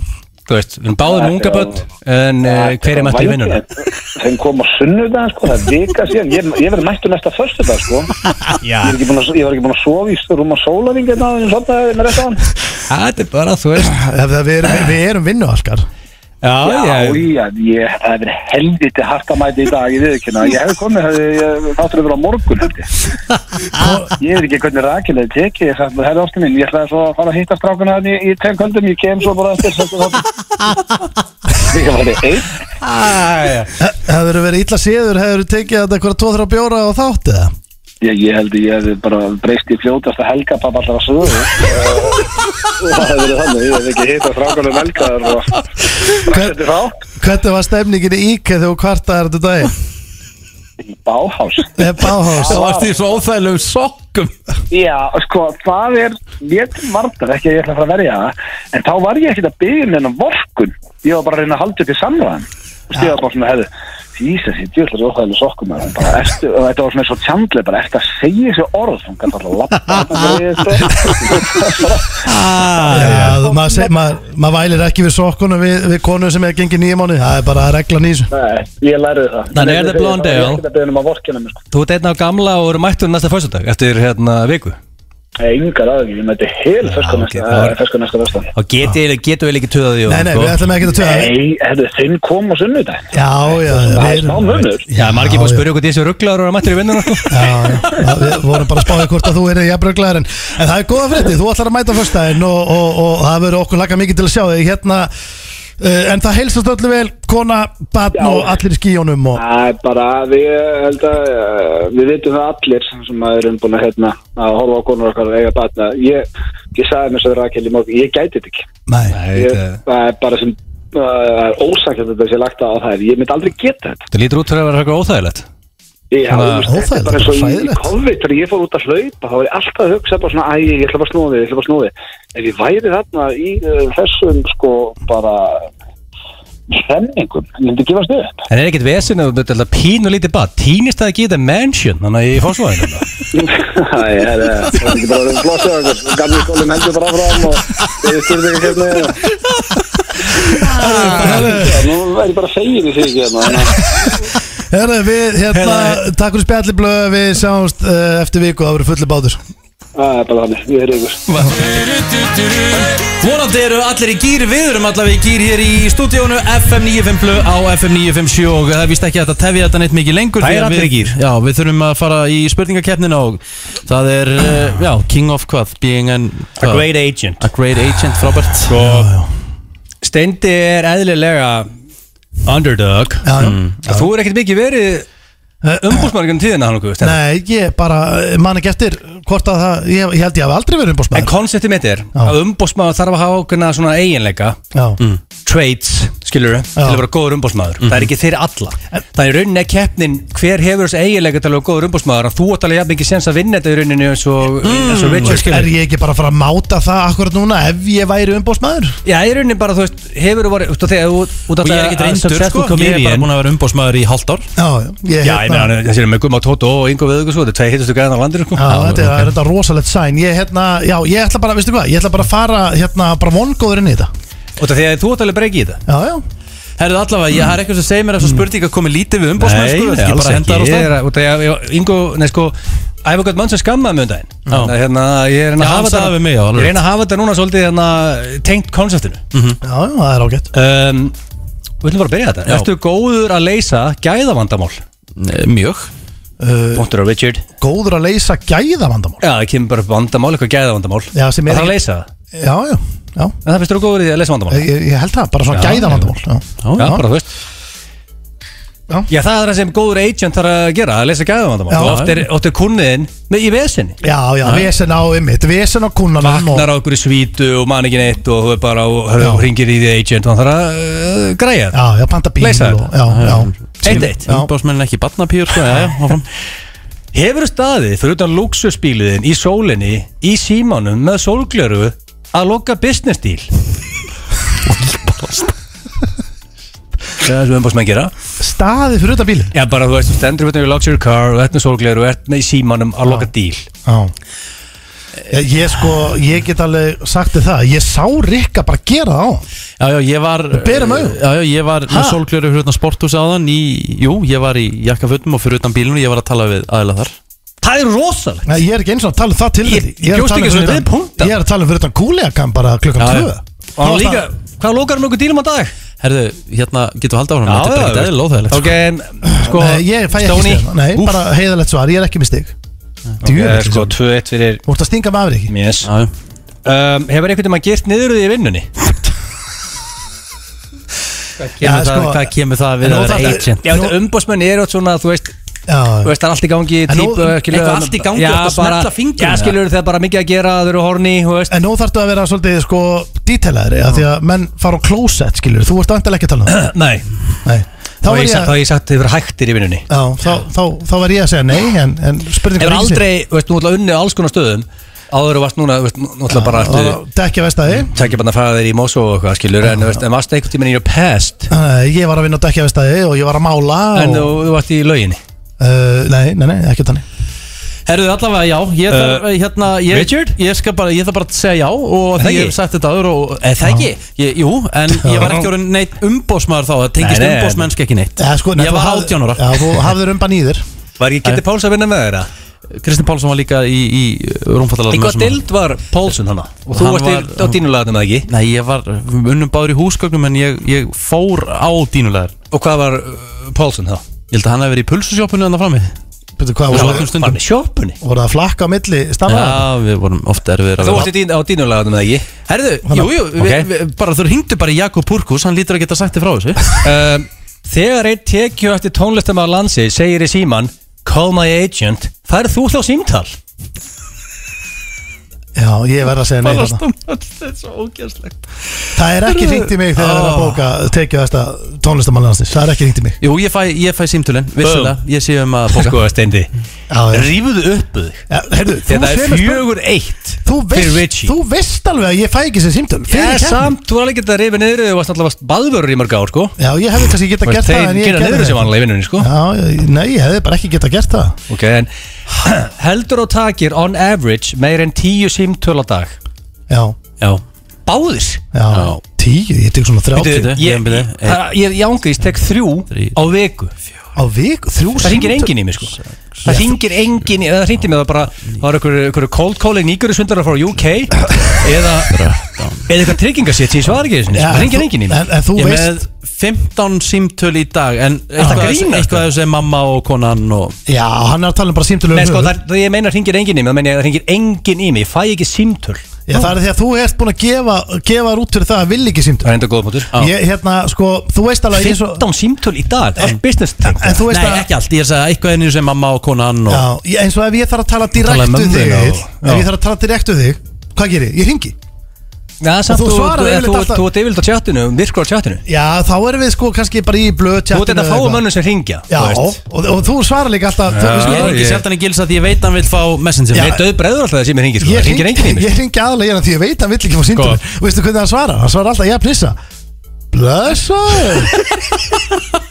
Speaker 3: þú veist, við erum báðið með unga börn En uh, hver er mættur í vinnuna?
Speaker 10: Þeim kom á sunnudag sko, það er vika síðan Ég, ég verði mættur næsta förstudag
Speaker 3: [laughs]
Speaker 10: sko ég, er ekki búinn að, ég var ekki búin að sofa í rúma sólaring En það er svona með þetta hann
Speaker 3: Það er bara, þú veist
Speaker 2: Ef það- Við erum, við erum vinnualkar.
Speaker 3: [laughs] Já,
Speaker 10: Já,
Speaker 3: ég,
Speaker 10: já, ég, það hefur helviti hart að mæta í dag, ég veit ekki hérna Ég hefði komið, hefði, ég þáttur að vera á
Speaker 3: [laughs]
Speaker 10: morgun held ég. Ég veit ekki hvernig rakilega tekið Ég sagði, herri ástu mín, ég ætlaði svo að fara að hitta strákuna hann í, í tveim kvöldum Ég kem svo bara eftir
Speaker 3: [laughs]
Speaker 10: sagði hann. Ég var einn
Speaker 2: Hefur verið illa séður, hefur tekið þetta eitthvað tvo-þrjá bjóra og þátt eða?
Speaker 10: Ég, ég held að ég hefði bara breyst í fljótasta helgapap allra [laughs] sögur Það hefði verið þannig, ég hef ekki hitta frákvæmlega melgaðar og þetta er þá
Speaker 2: Hvernig var stemningin í íkja þegar þú kvartaði þetta daginn? Eh,
Speaker 10: í Báhás
Speaker 2: Eða báhás?
Speaker 1: Þá varst því svo óþægilegum sokkum
Speaker 10: Já, sko, það er ég til vartar, ekki að ég ætla að fara að verja það en þá var ég ekkert að byggja með hennar vorkun ég var bara að reyna að halda upp í samræðan og stíða bara svona hefðu Ísas, ég djöðlar svo óþægilega sokkum maður." Hún bara, ertu, og þetta var svona svo tjandlega bara, ertu að segja þessi orð hún gæti alltaf
Speaker 3: [laughs]
Speaker 10: að lappa
Speaker 2: Ah, Já, þú- maður seg- maður maður vælir ekki við sokkunum við, við konu sem er gengið nýja mánu Það er bara að regla nýsu
Speaker 10: Nei, ég læriði það
Speaker 3: Þannig er það Blondale.
Speaker 10: Ég er ekki að beða um að vorkina mér sko
Speaker 3: þú ert einn á gamla og eru mættur næsta fyrstudag Eftir hérna viku
Speaker 10: Engar aðeins, ég mæti hel eh,
Speaker 3: ok, Eh. það var-
Speaker 10: fersku næsta vestan
Speaker 3: Þá geti, getum við ekki töðað í honum,
Speaker 2: Nei, nei,
Speaker 3: sko.
Speaker 2: við ætlum ekki að töða
Speaker 10: Nei, þetta er þinn kom á sunnudaginn
Speaker 2: Já, já,
Speaker 10: Það
Speaker 2: við
Speaker 10: er smá
Speaker 2: erum
Speaker 10: munur
Speaker 3: Já, margir búið að
Speaker 2: já.
Speaker 3: spyrja okkur þessi rugglaður og að mættir í vinnuna sko.
Speaker 2: Já, já, við vorum bara að spáði hvort að þú er jafnbröglegar en, en það er góða frétti, þú ætlar að mæta fyrstæðin og, og, og það verður okkur laka mikið til að sjá þig hérna uh, en það heilsast öllu vel, kona, batn
Speaker 10: Já.
Speaker 2: og allir í skíjónum og
Speaker 10: Það er bara, við held að eh, við vitum það allir sem að erum búin að hérna að horfa á konur okkar og eiga batna ég, ég sagði mér svo Rakel í morgun, ég gæti þetta ekki
Speaker 2: [laughs] nei,
Speaker 10: ég, það er bara sem eh, það er ósakjönd að þetta sé lagt á það ég myndi aldrei geta þetta
Speaker 3: Það lítur út fyrir að vera eitthvað óþægilegt
Speaker 10: ég,
Speaker 3: Svona
Speaker 10: þú veist, þetta
Speaker 2: óþægilegt,
Speaker 10: er bara eins og í, í
Speaker 2: hræðilegt.
Speaker 10: COVID þegar ég fór út að hlaupa þá var ég alltaf að hugsa bara svona æ, ég ætla bara að snúa við, ég ætla bara að snúa við ef ég væri þarna í uh, þessum sko bara hremmingum, ég myndi gefast
Speaker 2: [laughs]
Speaker 10: upp
Speaker 3: En er ekkert vesinn að þú þetta pínu lítið bad Týnist það ekki í þetta mansion Þannig að ég fór svo aðeins
Speaker 10: Æ, það er eh, það er ekki bara að flossa okkur gamli skólinn heldur bara fram og ég spurði ekki
Speaker 2: [laughs]
Speaker 10: hérna nú væri ég bara fegin í því ekki hérna þannig að-
Speaker 2: herra, við hérna, takk fyrir spjalli blöð, við sjáumst uh, eftir viku, það verður fulli bátur
Speaker 10: það er bara þannig, ég er ykkur
Speaker 1: Vonandi eru allir í gýr, við erum allavega í gýr hér í stúdíónu FM 95 á FM 957 og það er vist ekki hægt að tefja þetta neitt mikið lengur
Speaker 3: Það
Speaker 1: því
Speaker 3: er
Speaker 1: að
Speaker 3: allir í
Speaker 1: við-
Speaker 3: gír.
Speaker 1: Já, við þurfum að fara í spurningakeppnina og það er, eh, já, king of hvað, being an
Speaker 3: A
Speaker 1: hvað?
Speaker 3: great agent
Speaker 1: a great agent, Robert
Speaker 3: Sko Steindi er eðlilega Underdog Mm.
Speaker 2: já, já.
Speaker 3: Þú er ekkert mikið verið eh, Umbúsmargum tíðina hann okkur Steindi.
Speaker 2: Nei, ég bara eh, man ekki eftir hvort að það, ég, ég held ég hafi aldrei verið
Speaker 3: En
Speaker 2: umbósmaður
Speaker 3: konseptið mitt er Að umbúsmaður þarf að hafa ákveðna svona eiginleika
Speaker 2: Já,
Speaker 3: Traits, skilur við Til
Speaker 2: Já.
Speaker 3: að vera góður umbúsmaður
Speaker 1: Mhm.
Speaker 3: Það er ekki þeir alla Það er í rauninni ekki keppnin Hver hefur þessi eiginleika til að vera góður umbúsmaður Þú átt alveg jafn mikið sens að vinna þetta í rauninni eins og, eins og Richard skilur
Speaker 2: Mm. er ég ekki bara að fara að máta það akkurat núna ef ég væri umbósmaður?
Speaker 3: Já, í rauninni bara, þú veist, hefur þú verið, þú veist, þegar þú
Speaker 1: og
Speaker 3: út
Speaker 1: ég er ekki reyndur, sko, ég er bara búin að vera umbósmaður í halvt ár
Speaker 2: Já, já, ég, hérna-
Speaker 3: Já, ég meina, þessi er með Gumma Tóto og Ingo Veðugur, sko, þetta er tvei hittastu gæðan á landinu, sko
Speaker 2: Já, þetta er þetta rosalegt sæn Ég, hérna, já, ég ætla bara, veistu hvað, ég ætla bara að fara hérna, bara vongóður inn í þetta
Speaker 3: Og það þegar þú átt alveg breyki í þetta
Speaker 2: Já, já,
Speaker 1: Herðu allavega, ég það er eitthvað sem segir mér að þessu spurninga komið lítið við umbósmaður, sko, þetta er bara að henda þar á
Speaker 3: Ég
Speaker 1: stað
Speaker 3: er að, út af því að, ég- Ingo, nei, sko Æfa gott mann sem skammaði mjög daginn Þannig að, hérna, ég er
Speaker 1: Já,
Speaker 3: að
Speaker 1: hann
Speaker 3: hafa
Speaker 1: sagði
Speaker 3: þetta-
Speaker 1: við mig, já, alveg Mhm.
Speaker 3: Ég reyna að hafa þetta núna svolítið, hérna, tengt konseptinu
Speaker 2: já, já, það er ágætt
Speaker 3: um, Við ætlum bara að byrja þetta
Speaker 1: Já.
Speaker 3: Ertu góður að leysa gæðavandamál?
Speaker 1: Eh, Mjög
Speaker 3: Punktur á Richard
Speaker 2: Uh, Góður að leysa gæðavandamál
Speaker 3: Já, það kemur bara upp vandamál, eitthvað gæðavandamál
Speaker 2: Já, sem er
Speaker 3: Það þarf að
Speaker 2: ekki-
Speaker 3: leysa það
Speaker 2: Já, já, já,
Speaker 3: En það finnst þú góður í því að leysa vandamál
Speaker 2: ég, ég held það, bara svona
Speaker 3: Já,
Speaker 2: gæðavandamál Já,
Speaker 3: Já, bara þú veist
Speaker 2: Já.
Speaker 3: Já, það er það sem góður agent þarf að gera að lesa gæðavandamál
Speaker 2: Já.
Speaker 3: og oft er, oft er kunniðin með í vesinni
Speaker 2: já, já vesen á ymmit, vesen á kunnan
Speaker 3: vaknar á okkur í svítu og man ekki neitt og þú er bara og hörðu,
Speaker 2: Já.
Speaker 3: hringir í því agent og hann þarf að uh, græja
Speaker 2: Já, já, panta bíl
Speaker 3: Leysa
Speaker 2: og,
Speaker 3: þetta.
Speaker 2: Já, já,
Speaker 3: Eitt eitt
Speaker 2: Já.
Speaker 1: umbósmenn ekki batnapýr, sko, já, já, áfram
Speaker 3: Hefur staðið fyrir utan luxusbíliðin í sólinni í símanum með sólglöru að loka business deal Það er sem umbásmenn gera
Speaker 2: staði fyrir utan bílinn
Speaker 3: Já, bara þú veist, þú stendur fyrir luxury car og þetta með sólgleru og ert með í símanum að loka díl
Speaker 2: Já Ég, ég sko, ég get alveg sagt þið það Ég sá Rikka bara gera það á honum.
Speaker 1: Já, já, ég var eh,
Speaker 2: berum augum.
Speaker 1: Já, já, ég var með
Speaker 2: Ha?
Speaker 1: sólgljöru fyrir utan sporthús áðan í, Jú, ég var í jakkafutum og fyrir utan bílun Ég var að tala við aðila þar
Speaker 3: Það er rosalegt
Speaker 2: Nei, ég er ekki eins og að tala um það til því
Speaker 3: Ég-
Speaker 2: er
Speaker 3: ég
Speaker 2: að
Speaker 3: bjóst
Speaker 2: tala um
Speaker 3: ekki
Speaker 2: fyrir
Speaker 3: svona
Speaker 2: utan-
Speaker 3: við punkta.
Speaker 2: Ég er að tala um fyrir utan kúleakam bara klukkan
Speaker 1: Já,
Speaker 2: tvö
Speaker 1: já.
Speaker 3: Og hann
Speaker 2: Þá
Speaker 3: líka,
Speaker 2: var það-
Speaker 3: hvað lokar hann okkur dílum á dag?
Speaker 1: Herðu, hérna, getum við haldið áfram Þetta er bara ekki eðil óþægilegt
Speaker 3: Ok, en, sko,
Speaker 2: Nei, ég fæ ekki
Speaker 3: Stóni,
Speaker 2: stig Nei,
Speaker 3: úff,
Speaker 2: bara heiðalegt svar, ég er ekki með stig
Speaker 3: eh,
Speaker 2: Djúvill
Speaker 3: Sko,
Speaker 2: Þú
Speaker 3: 2-1 fyrir
Speaker 2: ert að stinga með afrið ekki
Speaker 3: Yes
Speaker 1: Já, já.
Speaker 3: um, Hefur einhvern veginn girt niður úr því í vinnunni?
Speaker 2: Já,
Speaker 1: Kemur það-
Speaker 2: sko,
Speaker 1: Hvað kemur það við
Speaker 2: en
Speaker 1: að
Speaker 2: nú
Speaker 1: vera
Speaker 2: þarf-
Speaker 1: agent?
Speaker 3: Já, þetta umbósmenn er átt svona, þú veist, þú
Speaker 2: Já,
Speaker 3: veist, það er allt í gangi
Speaker 2: En nú-
Speaker 3: típu, skilur,
Speaker 1: Eitthvað allt í gangi,
Speaker 3: já,
Speaker 1: átt að
Speaker 3: bara-
Speaker 1: smella fingrum,
Speaker 3: Já,
Speaker 1: eða?
Speaker 3: skilur, það er bara mikið að gera, þau eru horni, þú veist
Speaker 2: En nú þarftu að vera svolítið sko detailaðri af Því að menn fara á closet skilur Þú ert vantilega ekki að tala um það
Speaker 3: [clears throat] Nei,
Speaker 2: Nei Þá
Speaker 3: þá
Speaker 2: var
Speaker 3: hef
Speaker 2: ég
Speaker 3: ég,
Speaker 2: að
Speaker 3: ég sagt þau verið hægtir í vinnunni
Speaker 2: Já, þá, þá, þá var ég að segja nei En, en spurning
Speaker 3: Hefur aldrei, þú veist, nú ætla unni á alls konar stöðum áður og varst núna, þú veist, nú ætla bara eftir
Speaker 2: Dekja vestæði
Speaker 3: tekja bara að fara þér í Mosó og eitthvað, skilur, en, þú veist, en varst einhvern tímann í your past
Speaker 2: Ég var að vinna á dekja vestæði Og ég var að mála
Speaker 3: en þú,
Speaker 2: og,
Speaker 3: þú varst í lauginni
Speaker 2: uh, Nei, nei, nei, ekki þannig
Speaker 1: Herðu, allavega, já Ég þarf,
Speaker 3: Eh,
Speaker 1: hérna ég,
Speaker 3: Richard?
Speaker 1: Ég skal bara, ég þarf bara að segja já Og
Speaker 3: það
Speaker 1: því ég
Speaker 3: ekki?
Speaker 1: hef sagt þetta aður og eh, Það ekki? Ég, jú, en ég var ekki orðin neitt umbósmaður þá Það tengist
Speaker 3: Nei, nei,
Speaker 1: umbósmennsk ekki neitt
Speaker 2: Ja, sko, nei,
Speaker 1: Ég
Speaker 2: þú
Speaker 1: var
Speaker 2: hafði-
Speaker 1: 18 ára
Speaker 2: Já, þú hafðir umban í þér
Speaker 3: Var ekki getið Páls að vinna með þeirra?
Speaker 1: Kristinn Pálsson var líka í, í eh, rúmfattalarnum
Speaker 3: Í hvað dild var Pálsson hana? Og þú
Speaker 1: Hann
Speaker 3: varst
Speaker 1: var-
Speaker 3: í- á dínulagarnum eða ekki?
Speaker 1: Nei, ég var við unnum báður í húsgögnum en ég, ég fór á dínulegar
Speaker 3: Og hvað var uh, Pálsson þá?
Speaker 1: Ég held að hann hefði verið í pulsusjópunni þannig frammi Já,
Speaker 2: Betur
Speaker 1: Já.
Speaker 2: hvað, voru,
Speaker 1: nokkrum stundum.
Speaker 3: Var með sjoppunni
Speaker 2: voru það flakka á milli stanna?
Speaker 1: við vorum ofta erfiðir að
Speaker 3: Þú
Speaker 1: vera
Speaker 3: varst í dín, á dínulagarnum eða ekki?
Speaker 1: Herðu, jú, jú,
Speaker 3: Ok.
Speaker 1: við, við, bara þú hringdu bara í Jakob Purkus, hann lítur að geta sagt þið frá [laughs] þessu
Speaker 3: Um, Þegar einn tekju eftir tónlistamæður landsi segir í síman Call my agent Færð þú þá símtal?
Speaker 2: Já, ég verð að segja nei þarna.
Speaker 1: þetta er svo ógæslegt
Speaker 2: Það er ekki hringt í mig þegar það er að bóka tekið þesta tónlistamann landsins Það er ekki hringt í mig
Speaker 1: Jú, ég fæ, ég fæ símtölinn, vissulega, ég sé um að bóka
Speaker 3: Sko, Steindi
Speaker 2: Já, já.
Speaker 3: Rífuðu uppuð
Speaker 2: Ja, heyrðu, þú,
Speaker 3: Þetta er
Speaker 2: semur spurning-
Speaker 3: fjögur eitt
Speaker 2: þú,
Speaker 3: fyrir
Speaker 2: veist,
Speaker 3: Richie.
Speaker 2: þú veist alveg að ég fæ ekki þessi símtöl
Speaker 3: Ég
Speaker 2: fyrir keppni
Speaker 3: samt, þú var alveg getað að rifa niður Þú varst alltaf baðvörur í mörg ár, sko
Speaker 2: Já, ég hefði kannski
Speaker 3: Þú
Speaker 2: getað
Speaker 3: veist,
Speaker 2: gert það
Speaker 3: Þeir
Speaker 2: en ég gerði
Speaker 3: gera niður
Speaker 2: það
Speaker 3: sem
Speaker 2: ekki.
Speaker 3: vanlega í vinnunni, sko
Speaker 2: Já, ég- nei, ég hefði bara ekki getað gert það
Speaker 3: Ok, en [clears throat] heldur og takir on average meir en tíu símtöl á dag
Speaker 2: Já,
Speaker 1: Já,
Speaker 3: Báðir
Speaker 2: já, tíu, ég tek svona þrjá
Speaker 1: Bíddu,
Speaker 3: Ég, ég,
Speaker 1: bíddu,
Speaker 3: ég, það- ég, ég ángriðis tek þrjú
Speaker 1: Þrír.
Speaker 3: á viku
Speaker 2: á vik, þrjú
Speaker 3: Það ringir
Speaker 2: símtöl.
Speaker 3: enginn í mig sko Það ringir enginn í Það ringdi mig það bara Það var einhver, einhver cold calling nýgurusvindara frá UK Eða Eða eitthvað tryggingarsett Ég svar ekki þessu
Speaker 2: Já,
Speaker 3: Það
Speaker 2: en
Speaker 3: ringir
Speaker 2: þú-
Speaker 3: enginn í mig
Speaker 2: En, en þú
Speaker 1: ég er
Speaker 2: veist,
Speaker 1: með 15 símtöl í dag en eitthvað,
Speaker 3: grínast.
Speaker 1: eitthvað þessi mamma og konan og
Speaker 2: já, hann er að tala um bara símtölu
Speaker 3: Nei sko það, það ég meina ringir enginn í mig Það meina ég að ringir enginn í mig Ég fæ ekki símtöl Það
Speaker 2: Já, það er því að þú ert búin að gefa, gefa þér út fyrir það að vil ekki símtöl
Speaker 3: er enda góð mútur
Speaker 2: Ég, hérna, sko, þú veist alveg að ég er svo-
Speaker 3: 15 símtöl í dag Það er business tengt
Speaker 2: En þú veist
Speaker 1: Nei,
Speaker 2: að
Speaker 1: ekki allt, ég er að segja eitthvað ennir sem mamma og konan og
Speaker 2: Já, ég- eins og ef ég þarf að tala
Speaker 1: Tala um
Speaker 2: direkt við
Speaker 1: mömmu
Speaker 2: þig
Speaker 1: þína og-
Speaker 2: Egill, Ef ég þarf að tala direkt við þig Hvað gerir ég? Ég ringi
Speaker 3: Já samt
Speaker 2: þú
Speaker 3: þú
Speaker 2: svarar
Speaker 3: Þú
Speaker 2: yfirleitt
Speaker 3: þú-
Speaker 2: alltaf-
Speaker 3: þú ert yfirleitt á chatinu Virkur á chatinu
Speaker 2: Já, þá erum við sko kannski bara í blöð
Speaker 3: Þú
Speaker 2: tjattinu
Speaker 3: ert
Speaker 2: eða
Speaker 3: þetta fáum
Speaker 2: eitthvað.
Speaker 3: mönnum sem ringja
Speaker 2: Já, og, og þú svarar líka alltaf þú,
Speaker 1: Ég
Speaker 2: sko,
Speaker 1: er ekki
Speaker 3: ég-
Speaker 1: sjaldan í gils að ég veit að hann vil fá messenger
Speaker 2: Já.
Speaker 3: Ég döð bregður alltaf þessi mér ringir sko
Speaker 2: Ég
Speaker 3: Það ringir enginn í mig
Speaker 2: ég hringi aðlega hérna því ég veit að hann vill ekki fá síndum Veistu hvernig hann svarar? Hann svarar alltaf, ég er plissa
Speaker 3: [laughs]
Speaker 2: Blessaður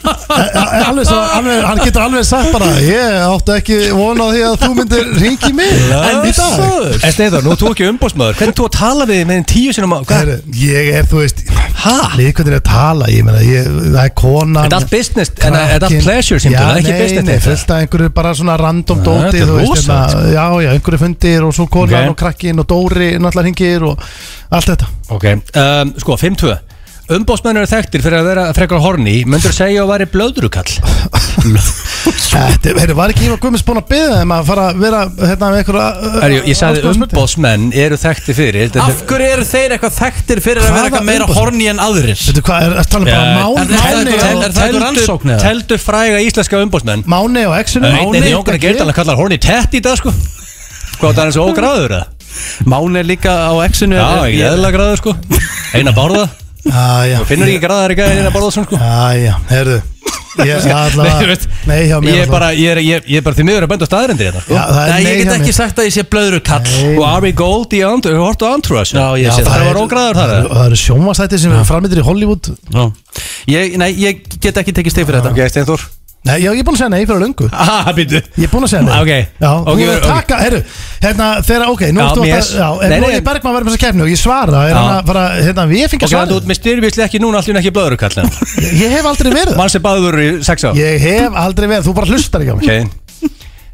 Speaker 2: E- e- alveg svo, alveg, Hann getur alveg sagt bara Ég áttu ekki vona því að þú myndir ringi mig En í dag
Speaker 3: En Sneiðar, nú er þú ekki umbóðsmaður Hvernig þú að tala við þig með einn tíu sinum á hvað?
Speaker 2: Heyrðu, Ég er, þú veist
Speaker 3: Ha?
Speaker 2: Við hvernig er að tala, ég meina ég, Það er konan
Speaker 3: Þetta er allt business, en það er allt pleasure sem það er ekki business
Speaker 2: Nei, nei,
Speaker 3: þetta.
Speaker 2: fullt af einhverju bara svona random
Speaker 3: Ja,
Speaker 2: dóti
Speaker 3: þetta er
Speaker 2: þú veist,
Speaker 3: rosalegt, sko.
Speaker 2: hérna, Já, já, einhverju fundir og svo konan
Speaker 3: Ok.
Speaker 2: og krakkin og Dóri náttúrulega hringir og allt þetta
Speaker 3: Ok um, Sko, 5-2 Umbóðsmaður eru þekktir fyrir að vera frekar horni Möndur segja að væri blöðrukall
Speaker 2: Þetta, heyrðu, var ekki Ívar Guðmunds búin að byggja þeim að fara að vera hérna með einhverja uh,
Speaker 3: Erjú, ég
Speaker 2: alls
Speaker 3: sagði
Speaker 2: konar spurningar?
Speaker 3: umbóðsmenn eru þekktir fyrir þetta er-
Speaker 1: Af hverju eru þeir eitthvað þekktir fyrir að
Speaker 2: Hvaða
Speaker 1: vera eitthvað meira
Speaker 2: umboðsmenn?
Speaker 1: horni en aðrir?
Speaker 2: Veitu hvað, er það
Speaker 3: Já,
Speaker 2: um bara
Speaker 3: er
Speaker 2: mán,
Speaker 1: þetta-
Speaker 2: Máni
Speaker 1: er-
Speaker 2: og-
Speaker 1: er- það einhver
Speaker 3: Teldu-
Speaker 1: rannsókn eða?
Speaker 3: Teldu fræga íslenska umbóðsmenn
Speaker 2: Máni og Exinu
Speaker 3: Nei, nei, Jónkar Gerdal hann kallar horni tett í dag sko Hvað það er svo ógráður eða?
Speaker 1: Máni er líka á exinu
Speaker 3: Já,
Speaker 1: er-
Speaker 3: ekki eðla gráður sko Einar Bárða Finnur
Speaker 2: Finnur
Speaker 3: ekki gráðar ekki Einar Bárðarsson sko
Speaker 2: Æja, heyrðu Ég,
Speaker 3: [laughs] Nei,
Speaker 2: allavega-
Speaker 3: þú veist,
Speaker 2: nei, hjá mér
Speaker 3: ég er
Speaker 2: allavega.
Speaker 3: bara, ég er, ég, ég er bara því miður að benda á staðarindir hérna sko.
Speaker 2: Já, það er
Speaker 1: Nei, ég
Speaker 2: nei
Speaker 1: get
Speaker 2: hjá
Speaker 1: ekki
Speaker 2: mér.
Speaker 1: sagt að ég sé blöðru kall
Speaker 2: Nei,
Speaker 3: Og Ari Gold í Andru, hefur hort á Andruas
Speaker 1: Já, ég
Speaker 2: Já,
Speaker 1: sé
Speaker 3: það
Speaker 1: það
Speaker 3: var
Speaker 2: er-
Speaker 3: ógræður þar, eða?
Speaker 2: Það eru sjónvastættir sem er framöndir í Hollywood
Speaker 1: Já. ég, Nei, ég get ekki tekið steg fyrir þetta
Speaker 3: Steinþór
Speaker 2: Nei, já, ég er búin að segja nei fyrir löngu
Speaker 3: Aha, býttu
Speaker 2: Ég er búin að segja nei
Speaker 3: Ok.
Speaker 2: Já,
Speaker 3: Ok,
Speaker 2: þú verður
Speaker 3: ok.
Speaker 2: að taka, herru Hérna, þeirra, ok, nú
Speaker 3: Já,
Speaker 2: ertu
Speaker 3: mér-
Speaker 2: að Já, en
Speaker 3: Nei,
Speaker 2: nú
Speaker 3: nei,
Speaker 2: er ég
Speaker 3: en-
Speaker 2: Bergman að vera með þessa keppni og ég svara Er
Speaker 3: Já.
Speaker 2: hann að fara, hérna, við fengið
Speaker 3: Ok,
Speaker 2: okay,
Speaker 3: þannig út með styrfisli ekki núna allir ekki blöður kallin
Speaker 2: [laughs] Ég ég hef aldrei verið það.
Speaker 3: Mann sem báður í sex á
Speaker 2: Ég hef aldrei verið, þú bara hlustar ekki á mig
Speaker 3: Ok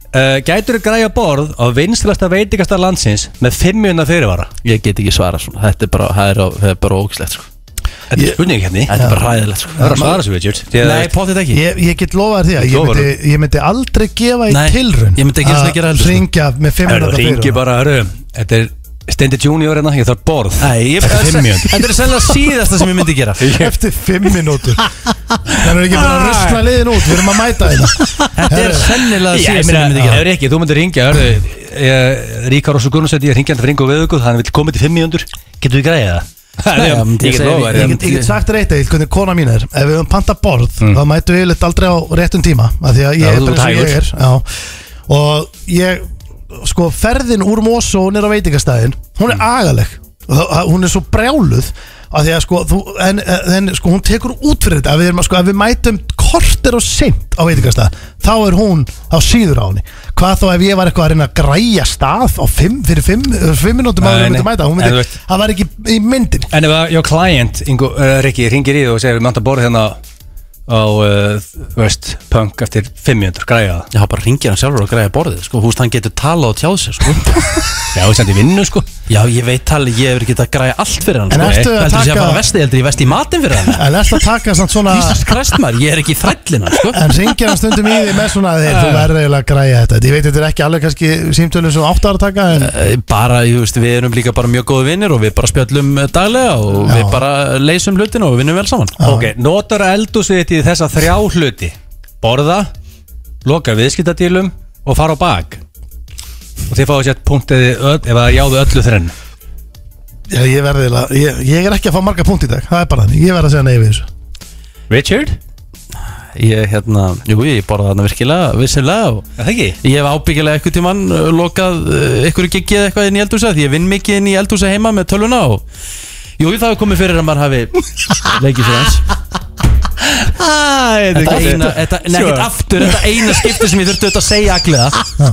Speaker 3: Uh, gætur græja borð á vinstilasta veitikasta landsins með fimmjönda fyrirvara
Speaker 1: Ég get ekki svara svona, þetta er bara, það er, á- það er bara ógislegt sko.
Speaker 3: Þetta er spurning hérna
Speaker 1: Þetta er bara ræðilegt sko.
Speaker 3: Það er að svara svo Richard Því að-
Speaker 1: Nei, potið ekki
Speaker 2: Ég, ég get lofað þér því að ég
Speaker 3: lofa
Speaker 2: myndi, ég myndi aldrei gefa í
Speaker 1: Nei,
Speaker 2: tilrun
Speaker 1: ég myndi ekki einu sinni gera heldur, sko.
Speaker 2: Ringja með fimm
Speaker 3: Hörru,
Speaker 2: minúta
Speaker 3: ringi
Speaker 2: fyrir
Speaker 3: bara, hörru Þetta er Steindi Junior hérna, ég þarf borð
Speaker 1: Nei, ég,
Speaker 3: Þetta er
Speaker 1: þetta
Speaker 3: fimmjönda
Speaker 1: er sennilega síðasta sem ég myndi gera
Speaker 2: Eftir fimm minútur Það er ekki bara að röskla liðin út Við erum að mæta hérna. þetta
Speaker 1: Þetta er sennilega
Speaker 3: Já, ég
Speaker 1: síðasta sem
Speaker 3: meina,
Speaker 1: ég myndi
Speaker 3: það
Speaker 1: gera
Speaker 3: er ekki, þú myndir ringja Ríkar Rósur Gunnarsson, ég ringi hann fyrir yngur við ykkur hann vil koma til 500, getur við græðið það?
Speaker 1: Já, myndi ég
Speaker 3: Ég get
Speaker 1: segja-
Speaker 3: lofa
Speaker 2: Ég get, ég get sagt reitt eitt hvernig kona mín er Ef við höfum panta borð þá mætum við yfirleitt aldrei á réttum tíma af Því að ég
Speaker 3: Já,
Speaker 2: er
Speaker 3: þú
Speaker 2: bara eins og
Speaker 3: ert
Speaker 2: ég er já. Og ég Sko ferðin úr Mosó hún er á veitingastæðin Hún
Speaker 3: Mm.
Speaker 2: er agaleg Og það- að- Hún er svo brjáluð af Því að sko, þú, en, en sko hún tekur út fyrir þetta Ef við, erum, að- sko, ef við mætum kortir og seint á veitingastæð Þá er hún á síður á henni Hvað þá ef ég var eitthvað að reyna að græja stað á fimm, fyrir fimm, fimm minútum
Speaker 3: Nei,
Speaker 2: að
Speaker 3: nei.
Speaker 2: myndi mæta Hún
Speaker 3: En þú
Speaker 2: myndi,
Speaker 3: veist-
Speaker 2: það var ekki í myndin
Speaker 3: En ef að your client, Ingo, uh, Rikki, ringir í þú og segir við mænta borð hérna á, uh, þú veist, punk eftir 500 græja það
Speaker 1: Já, bara ringir hann sjálfur og græða borðið sko. Húst, hann getur talað og tjáð sér sko.
Speaker 3: [laughs] Já, það er samt í vinnu, sko
Speaker 1: Já, ég veit alveg, ég hefur getað að græða allt fyrir hann
Speaker 2: En
Speaker 1: sko.
Speaker 2: ertu að
Speaker 1: Heldur taka... sé að
Speaker 2: taka-
Speaker 1: fara vesti, heldur ég vesti í matinn fyrir
Speaker 2: [laughs]
Speaker 1: hann
Speaker 2: En ertu að taka samt svona
Speaker 1: Jesus Christ maður, ég er ekki í þrællina sko.
Speaker 2: En syngja hann stundum í því með svona þeir, Þú verður eiginlega að græja þetta Ég veit þetta er ekki alveg kannski símtölum sem átt að taka En
Speaker 1: Eh, Bara, ég veist, við erum líka bara mjög góði vinnir og við bara spjallum eh, daglega og
Speaker 2: Já.
Speaker 1: við bara leysum hlutin og við vinnum vel saman
Speaker 3: Ok, notar eldúsið þitt í þessa þrjá hluti Borða, lokar viðskiptadílum og fara á bak Og þið fáið sér punktið öll, ef það jáðu öllu þrenn
Speaker 2: Já, Eh, ég verði eiginlega ég, ég er ekki að fá marga punkt í dag Það er bara þannig Ég verð að segja nei við þessu
Speaker 3: Richard?
Speaker 1: Ég, hérna, jú, ég borða þarna virkilega, vissilega og
Speaker 3: Er það ekki?
Speaker 1: Ég hef ábyggilega eitthvað tímann uh, lokað uh, ykkur giggi eða eitthvað inn í eldhúsa því ég vinn mikið inn í eldhúsa heima með tölvuna og jú, það hefur komið fyrir að maður hafi leikið fyrir hans
Speaker 3: Æ,
Speaker 1: Þetta eina, þetta, nei, ekkert aftur, þetta eina skipti sem ég þurfti auðvitað að segja aglega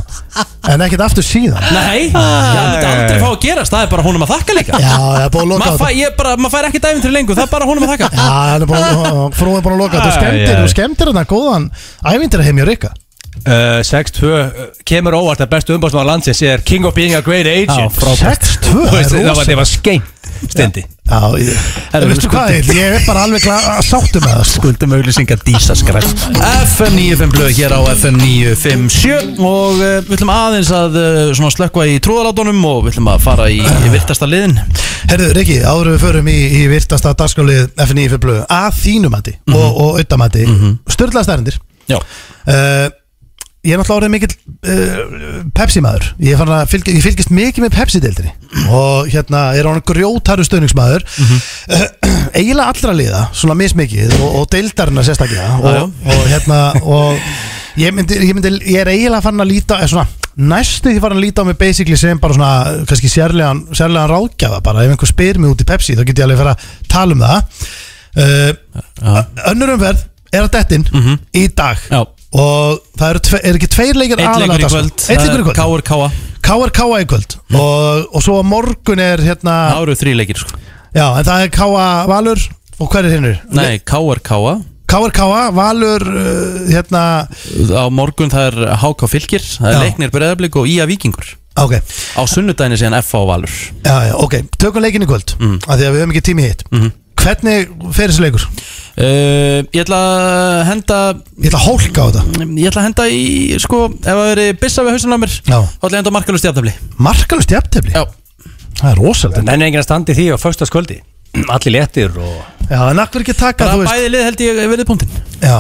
Speaker 2: En ekkert aftur síðan
Speaker 1: Nei, ég myndi aldrei fá að gerast, það er bara honum að þakka líka
Speaker 2: Já, það er búin að loka á
Speaker 1: Maður
Speaker 2: þetta
Speaker 1: fær, ég bara, maður fær ekki dæfin til lengur, það er bara honum að þakka
Speaker 2: Já, hann er búin, frúin búin að loka Þú
Speaker 3: Æ,
Speaker 2: skemmtir,
Speaker 3: æ.
Speaker 2: þú skemmtir þetta góðan Ævindir heim hjá Rikka
Speaker 3: Uh, 6-2 uh, kemur óvart að bestu umbásmaður landsins er King of Being a Great
Speaker 1: Já,
Speaker 3: Agent
Speaker 1: frábært.
Speaker 2: 6-2,
Speaker 3: Þú veist,
Speaker 2: það er
Speaker 3: það var,
Speaker 2: rosa.
Speaker 3: það var skeint Stendi
Speaker 2: Já, ég,
Speaker 1: Herra,
Speaker 2: veistu
Speaker 1: við
Speaker 2: hvað ég, ég er bara alveg gla- sáttur með það sko.
Speaker 1: Skuldum auðlýsingar dísa skræft FM 95 blöð hér á FM 957 og uh, við ætlum aðeins að uh, svona slökkva í trúðalátunum og við ætlum að fara í, í virtasta liðin
Speaker 2: Herðu, Rikki, áður en við förum í, í virtasta dagskalið FNI fyrir blöðu að þínumandi mm -hmm. og, og auðamandi mm -hmm. störðlega stærendir
Speaker 1: Já
Speaker 2: uh, Ég er náttúrulega orðið mikill uh, Pepsi-maður ég, er farinn að fylgja- ég fylgist mikið með Pepsi-deildinni og hérna er hann grjótaru stöðningsmaður mm eiginlega allra liða, svona mismikið og, og deildarinnar sérstaklega og, og hérna og ég, myndi, ég, myndi, ég er eiginlega farin að líta eða svona næstu því farin að líta á mig basically sem bara svona kannski sérlegan, sérlegan ráðgjafa bara ef einhver spyr mig út í Pepsi þá get ég alveg fyrir að tala um það uh, önnur umferð er að dettin í dag
Speaker 1: Mhm. Já.
Speaker 2: og það eru tve, er ekki tveir leikir
Speaker 1: Eitt
Speaker 2: aðalega
Speaker 1: leikur í
Speaker 2: dagskrá.
Speaker 1: kvöld
Speaker 2: sko.
Speaker 1: Eh,
Speaker 2: Einn leikur í kvöld
Speaker 1: Káur Káa
Speaker 2: KRK í kvöld og, og svo á morgun er hérna
Speaker 1: Það eru þrý leikir sko
Speaker 2: já en það er KA Valur og hver er hinnur?
Speaker 1: Nei, Káur Káa
Speaker 2: KRK Valur uh, hérna
Speaker 1: Á morgun það er HK Fylkir Það er
Speaker 2: Já.
Speaker 1: leiknir Breðablík og Ía Víkingur
Speaker 2: ok
Speaker 1: Á sunnudaginu síðan FH Valur
Speaker 2: já, já, ok tökum leikin í kvöld
Speaker 1: Mhm.
Speaker 2: af því að við höfum ekki tími hitt hvernig fer þessi leikur?
Speaker 1: uh, Ég ætla að henda
Speaker 2: ég ætla að hólka á þetta
Speaker 1: Ég ætla að henda í sko Ef það veri byssa við hausin á mér
Speaker 2: Já.
Speaker 1: Þá ætla ég að henda markalust jafnafli
Speaker 2: markalust jafntefli
Speaker 1: Já
Speaker 2: það er rosalega
Speaker 3: Menn er enginn að standi því á föstaskvöldi Allir léttir og
Speaker 2: já en akkur ekki taka
Speaker 1: Bara
Speaker 2: þú veist
Speaker 1: bæði lið held ég verið punktin
Speaker 2: Já,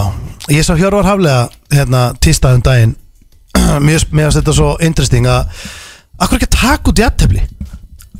Speaker 2: ég sá Hjörvar Haflega hérna tístaðum daginn [clears throat] Mér mér fannst þetta svo interesting að Akkur ekki að taka út jafntefli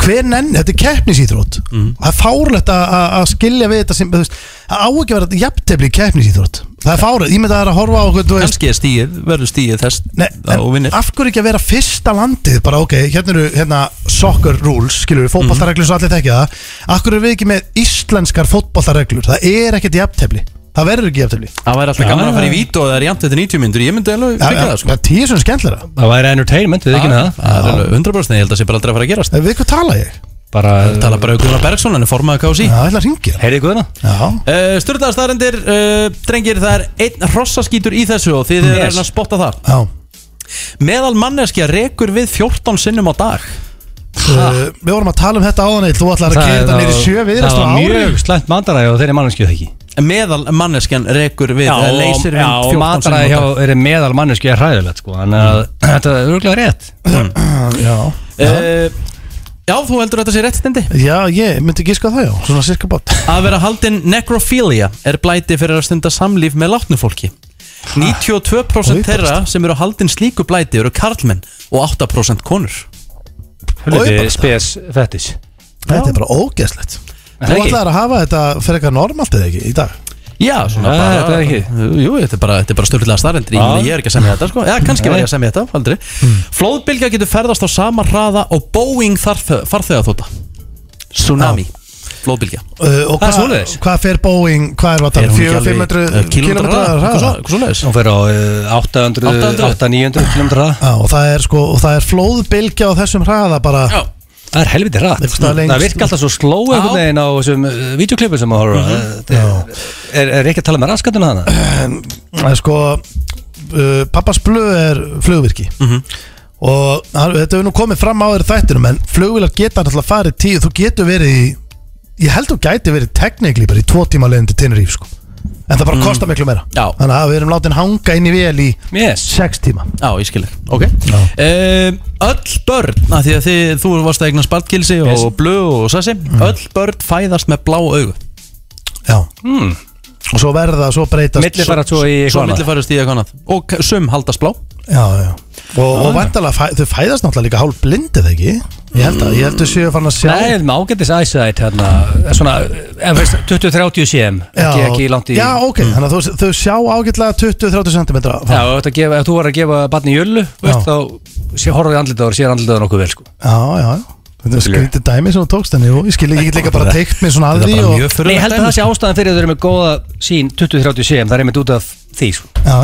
Speaker 2: Hver nenn, þetta er keppnisýþrótt Það er fárlegt að- að að skilja við þetta sem, þú veist, Það á ekki að vera jafntefli í keppnisýþrótt Það er fárlegt, ég myndi að það er að horfa á okkur, þú veist
Speaker 1: Kanski er stíð, verður stíð þess
Speaker 2: Nei,
Speaker 1: Þá
Speaker 2: en
Speaker 1: vinnir
Speaker 2: af hverju ekki að vera fyrsta landið bara ok, hérna eru hérna, soccer rules skilur við, fótballtareglur svo allir tekja það af hverju erum við ekki með íslenskar fótballtareglur það er ekkert jafntefli það verður ekki jafntefli
Speaker 1: Það væri alltaf
Speaker 3: Já,
Speaker 1: gaman að fara í
Speaker 3: já.
Speaker 1: vít og það er jæmt eftir 90 myndur Ég myndi alveg
Speaker 2: Já,
Speaker 1: fika
Speaker 2: já,
Speaker 1: það sko
Speaker 2: það er tíu sem skemmtilega
Speaker 3: Það væri entertainment, við ekki
Speaker 1: Já,
Speaker 3: neða
Speaker 1: Það er alveg 100% ég held að sé bara aldrei að fara að gerast
Speaker 2: En Eh, Við hvað tala ég?
Speaker 3: Bara
Speaker 1: Tala bara um Gunnar Bergson, hann er formaði KSI
Speaker 2: Já, ég ætla að ringja
Speaker 3: Heyrið ykkur hérna? þarna
Speaker 2: Já,
Speaker 1: uh, Sturðaðar staðarendir, uh, drengir, það er einn hrossaskítur í þessu og þið yes.
Speaker 3: Yes.
Speaker 1: er að spotta það
Speaker 2: já
Speaker 1: Meðal manneskja rekur við 14 sinnum á dag
Speaker 2: uh, Við vorum að tala um þetta áðan eitt Þú ætlar að
Speaker 3: Það
Speaker 2: kera
Speaker 3: er
Speaker 2: þetta
Speaker 3: þá-
Speaker 2: niður í sjö viðrast á
Speaker 3: Það var
Speaker 2: ári
Speaker 3: mjög slæmt mataræði og þeirri manneskju það ekki
Speaker 1: Meðal manneskjan rekur við, eða leysir
Speaker 3: já,
Speaker 1: við
Speaker 3: og
Speaker 1: 14
Speaker 3: mataræði
Speaker 1: sinnum
Speaker 3: hjá
Speaker 1: á dag
Speaker 3: þeirri meðal manneskju er hræðilegt sko Þannig að [clears throat] þetta er örgulega rétt
Speaker 2: Já,
Speaker 1: uh, Já, þú heldur þetta sé rétt stendi
Speaker 2: já ég myndi gíska það já Svona sirka bát
Speaker 1: Að vera haldin necrophilia er blæti fyrir að stunda samlíf með látnu fólki 92%
Speaker 2: Oj,
Speaker 1: þeirra sem eru haldin slíku blæti eru karlmenn og 8% konur
Speaker 2: bara
Speaker 3: Hulluði spes fettis
Speaker 2: Þetta er bara ógeðslegt Þú
Speaker 3: ekki.
Speaker 2: ætlar að hafa þetta fyrir eitthvað normalt eða ekki í dag
Speaker 1: Já, svona
Speaker 3: Nei,
Speaker 1: bara
Speaker 3: þetta er ekki.
Speaker 1: Jú, þetta Eh, er bara, þetta er bara störðlega starrendur ég,
Speaker 3: Já.
Speaker 1: meina, ég er ekki að semja þetta, sko Já, kannski var ég að semja þetta, aldrei Flóðbylgja getur ferðast á sama hraða og Boeing farþega þóta Tsunami Flóðbylgja
Speaker 2: uh, Og
Speaker 3: Það er
Speaker 2: hvað-
Speaker 3: svoleiðis.
Speaker 2: hvað fer Boeing, hvað er
Speaker 1: Er
Speaker 2: vatnum?
Speaker 1: hún ekki
Speaker 2: 400-500
Speaker 1: alveg- eh,
Speaker 2: km
Speaker 1: hraða, eitthvað
Speaker 2: hraða
Speaker 1: svo- eitthvað svoleiðis?
Speaker 3: Hún fyrir á eh, 800,
Speaker 1: 800.
Speaker 3: 800 900 km hraða
Speaker 2: Já, og það er sko, og það er flóðbylgja á þessum hraða bara
Speaker 1: Já.
Speaker 3: Það er helviti hratt
Speaker 2: Mér finnst það lengst.
Speaker 3: Það virka alltaf svo sló einhvern veginn á þessum uh, vídeoklipum sem maður horfa er, er ekki að tala með raskatuna hana?
Speaker 2: Það er sko uh, Pappas blöð er flugvirki Og hann, þetta hefur nú komið fram á þeirra þættinum En flugvilar geta alltaf farið tíu Þú getur verið í Ég held þú gæti verið teknikli bara í tvo tíma leiðin til Tenerife sko En það bara kostar miklu meira
Speaker 1: Já.
Speaker 2: Þannig að við erum látin hanga inn í vél í
Speaker 3: Yes
Speaker 2: sex tíma
Speaker 1: Já, ég skilur Ok uh, Öll börn að Því að þið, þú varst að eigna spartkilsi yes. og blö og sassi Öll börn fæðast með blá augu
Speaker 2: Já mm. Og svo verða, svo breytast
Speaker 3: Milli fara svo í
Speaker 1: Svo
Speaker 3: eitthvað
Speaker 1: milli
Speaker 3: annað
Speaker 1: farast í eitthvað annað Og k- sum haldast blá
Speaker 2: Já, já Og, og vandalega, fæ, þau fæðast náttúrulega líka hálf blindið ekki Ég held að, ég held að séu fann að sjá
Speaker 3: Nei, með ágættis eyesight hérna Svona, ef
Speaker 2: [clears throat]
Speaker 3: veist, 20-30 cm ekki, ekki langt í Mm.
Speaker 2: Já, ok, þannig að þau, þau sjá ágætlega 20-30 cm
Speaker 3: Já, ef þú ert að gefa- ef þú var að gefa barni jölu veist, þá sé- horfðu í andlitaður, sér andlitaður nokkuð vel sko.
Speaker 2: Já, já, já Þetta er skrítið dæmi sem þú tókst en jú, ég skil ekki, ég get líka bara teikt mig svona að því og, já,
Speaker 3: Nei, ég held að það sé
Speaker 1: sko.
Speaker 3: ástæðan fyrir að þau eru með góða sín 20-30 cm, það er einmitt út af því sko.
Speaker 2: já.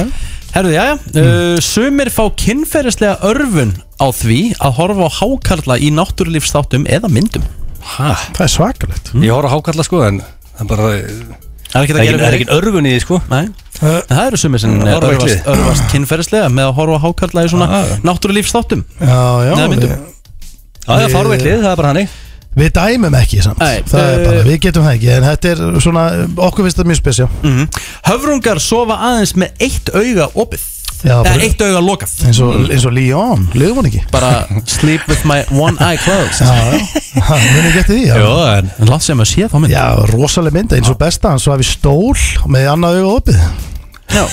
Speaker 1: Herðu, jæja uh, Sumir fá kynferðislega örfun á því að horfa á hákarla í náttúrulífsþáttum eða myndum
Speaker 2: það er svakalegt
Speaker 3: Ég horf að hákalla sko en það er bara Það
Speaker 1: Það er ekki að
Speaker 3: er,
Speaker 1: gera
Speaker 3: er ekki örfun í því sko
Speaker 1: Nei,
Speaker 2: Uh,
Speaker 1: það eru sumir sem
Speaker 3: horfa í
Speaker 1: örfast,
Speaker 3: kliðið.
Speaker 1: örfast kynferðislega með að horfa á hákarla í svona náttúrulífsþáttum
Speaker 2: Já, já,
Speaker 1: Nei,
Speaker 2: við,
Speaker 1: myndum.
Speaker 3: Já, það er fárveitlið, það er bara hannig
Speaker 2: við dæmum ekki samt
Speaker 1: Nei,
Speaker 2: Það er
Speaker 1: eh,
Speaker 2: bara, við getum það ekki En þetta er svona, okkur finnst þetta mjög spesja
Speaker 3: Mm.
Speaker 1: Mhm. Höfrungar sofa aðeins með eitt auga opið
Speaker 2: Já,
Speaker 1: Eða
Speaker 2: bara-
Speaker 1: eitt auga lokað
Speaker 2: eins og,
Speaker 3: Mm.
Speaker 2: eins og Leon, lögum hún ekki
Speaker 1: Bara sleep with my one eye closed
Speaker 2: Já, já, Ha, munið ekki eftir því já.
Speaker 1: Jó, en en látt sem að sé þá mynd
Speaker 2: já, rosaleg mynda, eins og besta Hann svo hafi stól með annað auga opið
Speaker 1: Já.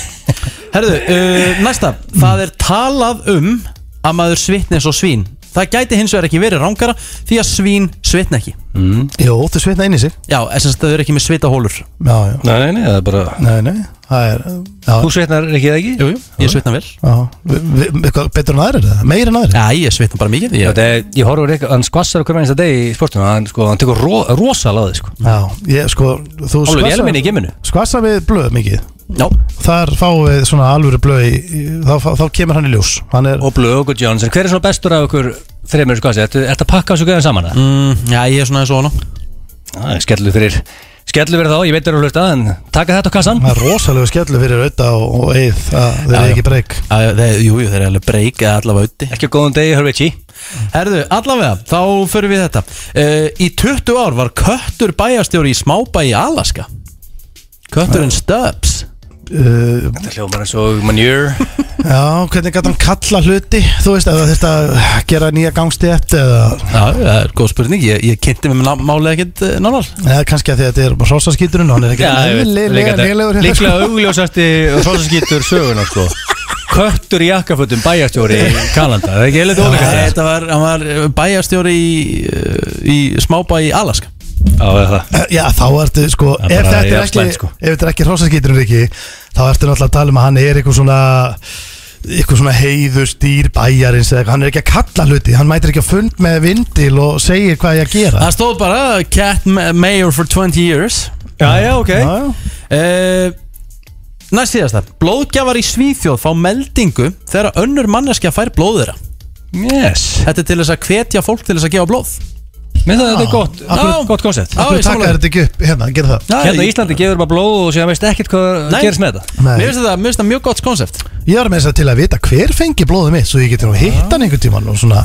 Speaker 1: Herðu, uh, næsta Það er talað um að maður svitni eins og svín Það gæti hins vegar ekki verið rángara því að svín svitna ekki
Speaker 2: Jó, þau svitna inn í sig
Speaker 1: Já, þess að þau eru ekki með svitahólur
Speaker 2: Já, já,
Speaker 3: Nei, nei, nei, það er bara
Speaker 2: nei, nei, það er Já,
Speaker 3: Þú sveitnar ekki það ekki?
Speaker 1: Jú, jú, ég svitna vel
Speaker 2: já, Vi- vi- eitthvað betur en aðrir eða? Meir en aðrir
Speaker 1: Já, ég svitna bara mikið
Speaker 3: Já,
Speaker 1: ég,
Speaker 3: þetta er, ég horfur ekki, hann skvassar okkur einsta deg í sportuna Hann, sko, hann tekur ro, rosa laði sko
Speaker 2: Já, ég sko Þú
Speaker 3: Álur, ég er
Speaker 2: skvassar-
Speaker 3: minni í geminu
Speaker 2: skvassa við blöð mikið
Speaker 1: Já,
Speaker 2: þar fáum við svona alvöru blöð í, í, þá, þá, þá kemur hann í ljós hann er,
Speaker 3: Og Blög og Johnson, hver er svona bestur af okkur þreymur skvassi? Ertu ertu að pakka þessu gæðan saman? Mm.
Speaker 1: mm, já ég er svona eins og hana
Speaker 3: Skellu Mm. fyrir, skellu fyrir þá, ég veit þér að hlusta En taka þetta á kassan
Speaker 2: hann er rosalega skellu fyrir auða og, og eið að þeir eru ekki breyk
Speaker 1: Já, já, þeir- Jú, jú, þeir eru alveg breyk eða allavega auði
Speaker 3: Ekki á góðum degi, hörðu ekki
Speaker 1: Herðu, allavega, þá förum við í þetta uh, Í 20 ár var köttur bæjarstjóri í smábæ í Alaska Kötturinn Stubbs
Speaker 2: uh,
Speaker 3: Þetta hljómar eins og [laughs] manjur
Speaker 2: já, hvernig gæti hann kalla hluti þú veist, eða þetta gera nýja gangstétt eða,
Speaker 1: Já, það er góð spurning, ég, ég kynnti mér ná- málið ekkert eh, nánar
Speaker 2: eða kannski að því að þetta er rosaskíturinn og hann er ekki hérna, neðilegur
Speaker 3: Líklega augljósasti rosaskýtur söguna sko Köttur í jakkafötum bæjarstjóri í Kanada Það er ekki heilig
Speaker 1: Nei,
Speaker 3: ólíka það
Speaker 1: Þetta var, hann var eh, bæjarstjóri í, eh, í smábæ í Alaska
Speaker 3: Já, það er það
Speaker 2: já, þá ertu sko,
Speaker 3: Það er
Speaker 2: ef
Speaker 3: bara
Speaker 2: þetta er
Speaker 3: jafn
Speaker 2: ekki
Speaker 3: slæmt, sko.
Speaker 2: ef þetta er ekki rosaskíturinn ekki þá ertu náttúrulega að tala um að hann er eitthvað svona eitthvað svona heiðustýr bæjarins eða eitthvað, hann er ekki að kalla hluti hann mætir ekki að fund með vindil og segir hvað ég að gera
Speaker 1: Það stóð bara Cat ma- Mayor for 20 years
Speaker 3: Já, já, ok
Speaker 2: Já, já.
Speaker 1: uh, Næst síðasta Blóðgjafar í Svíþjóð fá meldingu þegar önnur manneskja fær blóð þeirra
Speaker 3: Yes
Speaker 1: Þetta er til þess að hvetja fólk til þess að gefa blóð
Speaker 3: Mér það þetta er gott,
Speaker 1: akkurat-
Speaker 3: gott koncept
Speaker 1: Já,
Speaker 2: Þú
Speaker 1: ég
Speaker 2: taka
Speaker 1: sammála.
Speaker 2: þetta ekki upp hérna, gera það
Speaker 3: Hérna í Íslandi gefur bara blóð og séðan veist ekkert hvað
Speaker 1: Nei.
Speaker 3: gerist með þetta
Speaker 2: Nei.
Speaker 1: Mér finnst þetta, mér finnst þetta mjög gott konsept
Speaker 2: Ég var með þess að til að vita hver fengi blóðið mitt Svo ég geti nú hitt hann einhvern tímann Og svona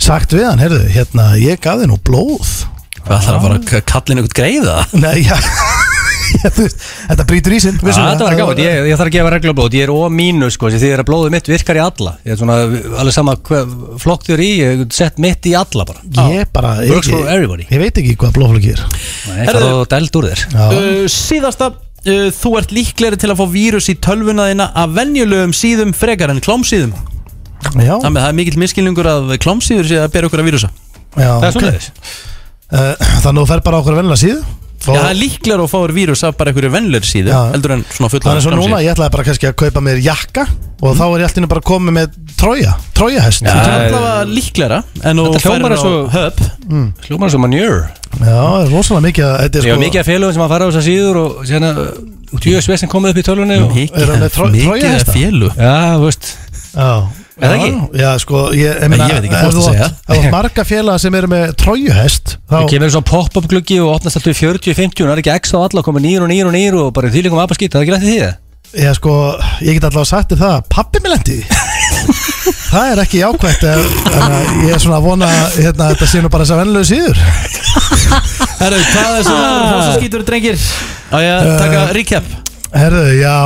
Speaker 2: sagt við hann, heyrðu, hérna Ég gaf þið nú blóð
Speaker 1: Hvað þarf að fara að k- kalla inn eitthvað greiða?
Speaker 2: Nei, já, [laughs] já þú veist, Þetta brýtur í sinn
Speaker 3: Já, þetta var gátt, ég, ég þarf að gefa reglublót, ég er ómínus sko, því að blóðið mitt virkar í alla Ég er svona, alveg sama hvað flokk þér í, ég get sett mitt í alla bara
Speaker 2: Ég bara,
Speaker 3: Works
Speaker 2: ég,
Speaker 3: for everybody.
Speaker 2: ég veit ekki hvað blóðflöki er
Speaker 3: Nei, hvað þú dælt úr þér
Speaker 2: Já,
Speaker 1: Uh, síðasta uh, Þú ert líklegri til að fá vírus í tölvunaðina af venjulegum síðum frekar en klámsíðum
Speaker 2: já,
Speaker 1: Þannig að það er mikill miskilningur að klámsíður sé að bera okkur að vírusa
Speaker 2: já
Speaker 3: Það er
Speaker 2: ok.
Speaker 3: svona
Speaker 2: Uh, Þannig að þú fer bara á okkur vennilega síðu
Speaker 1: Já, það er líklegri að fá þér vírus af bara einhverju venjulegri síðu
Speaker 2: Já.
Speaker 1: heldur en svona fulla
Speaker 2: Það er svo núna, ég ætlaði bara kannski að kaupa mér jakka Og þá er ég alltaf bara komið með trója Trójahest
Speaker 1: Það
Speaker 2: Já,
Speaker 1: er allavega líklegra en þú
Speaker 3: Þetta
Speaker 1: færir á
Speaker 3: hljómar eins og-
Speaker 1: höpp
Speaker 2: Mm.
Speaker 3: Hljómar sem manjör
Speaker 2: það er rosalega mikið að þetta er
Speaker 3: Ég
Speaker 2: sko-
Speaker 3: var mikið af félögum sem að fara á þessar síður og eh, sérna út í US Vestin komið upp í tölunni og,
Speaker 1: Mikið
Speaker 2: Er hann með
Speaker 1: af-
Speaker 2: tró-
Speaker 1: mikið
Speaker 2: trójuhesta?
Speaker 1: af félu
Speaker 3: Já, þú veist
Speaker 2: Já,
Speaker 3: Er það ekki?
Speaker 2: Já, já, sko, ég, ég,
Speaker 1: ég veit ekki hvað
Speaker 2: ef
Speaker 1: þú
Speaker 2: þú
Speaker 1: ert að segja.
Speaker 2: átt- ef þú átt marga félaga sem eru með trójuhest þá,
Speaker 3: Það kemur svona pop-up gluggi og opnast alltaf í 40-50 og það er ekki x á alla, koma nýr og nýr og nýr og bara í þýlingum apaskýt, það er ekki rættið því það?
Speaker 2: ég, sko, ég get allavega sagt þér það pappi mig lendi í því. það er ekki jákvæmt en, en að ég er svona að vona hérna, að þetta sé nú bara þess að vennlegu síður
Speaker 1: Herru, hvað er svona hossaskítur drengir? Ah. Á ég
Speaker 2: Eh.
Speaker 1: að taka recap
Speaker 2: herðu, já,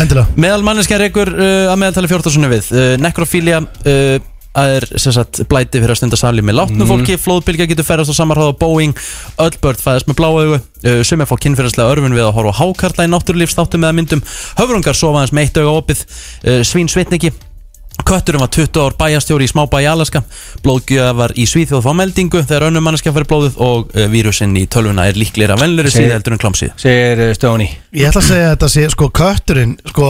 Speaker 2: endilega
Speaker 1: Meðal manneskja reykur uh, að meðaltali 14 við uh, Nekrofília uh, að er sem sagt blæti fyrir að stunda sali með látnu fólki, flóðbylgja getur ferðast á samarháð á Boeing, öll börn fæðast með bláa augu, uh, sumir fá kynferðislega örfun við að horfa á hákarla í náttúrulífstáttum eða myndum, höfrungar sofa aðeins meitt auga opið, uh, svín svitniki Kötturum var 20 ár bæjastjóri í smábæ í Alaska Blóðgjöfar í Svíþjóð fá meldingu þegar önnum manneskja fyrir blóðið og uh, vírusin í tölvuna er líklega venlur í
Speaker 3: Segir-
Speaker 1: síða heldur en [laughs] klámsíð
Speaker 3: Segir uh, Stóni.
Speaker 2: ég ætla að segja að þetta sé, sko, kötturinn sko,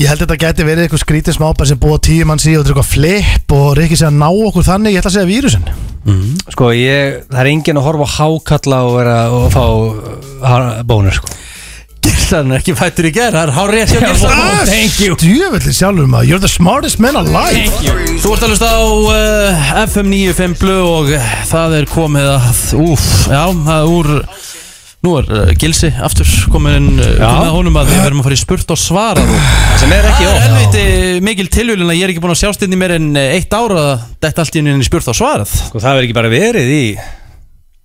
Speaker 2: ég held að þetta geti verið eitthvað skrítið smápar sem búa tíu manns í og þetta er eitthvað flip og Rikki sé að ná okkur þannig ég ætla að segja vírusin
Speaker 3: Sko ég, það er enginn að horfa á hákalla og vera og fá uh, bónur sko.
Speaker 1: Gildan er ekki fættur í gerð, það er hár rétt hjá
Speaker 2: Ah,
Speaker 1: Gildan
Speaker 3: Thank you.
Speaker 2: djöfellir sjálfur maður, you're the smartest man alive
Speaker 1: Þú ert að hlusta á uh, FM 95 Blu og uh, það er komið að, úf, já, það er úr Nú er uh, Gilsi aftur komin inn, uh, komið að honum að við verðum að fara í spurt og svara þú
Speaker 3: Sem er
Speaker 1: Það
Speaker 3: ekki
Speaker 1: er
Speaker 3: ofn.
Speaker 1: helviti mikil tilvílun að ég er ekki búin að sjást inn í mér en uh, eitt ára að þetta allt í einu inn í spurt og svarað
Speaker 3: Sko það verður ekki bara verið í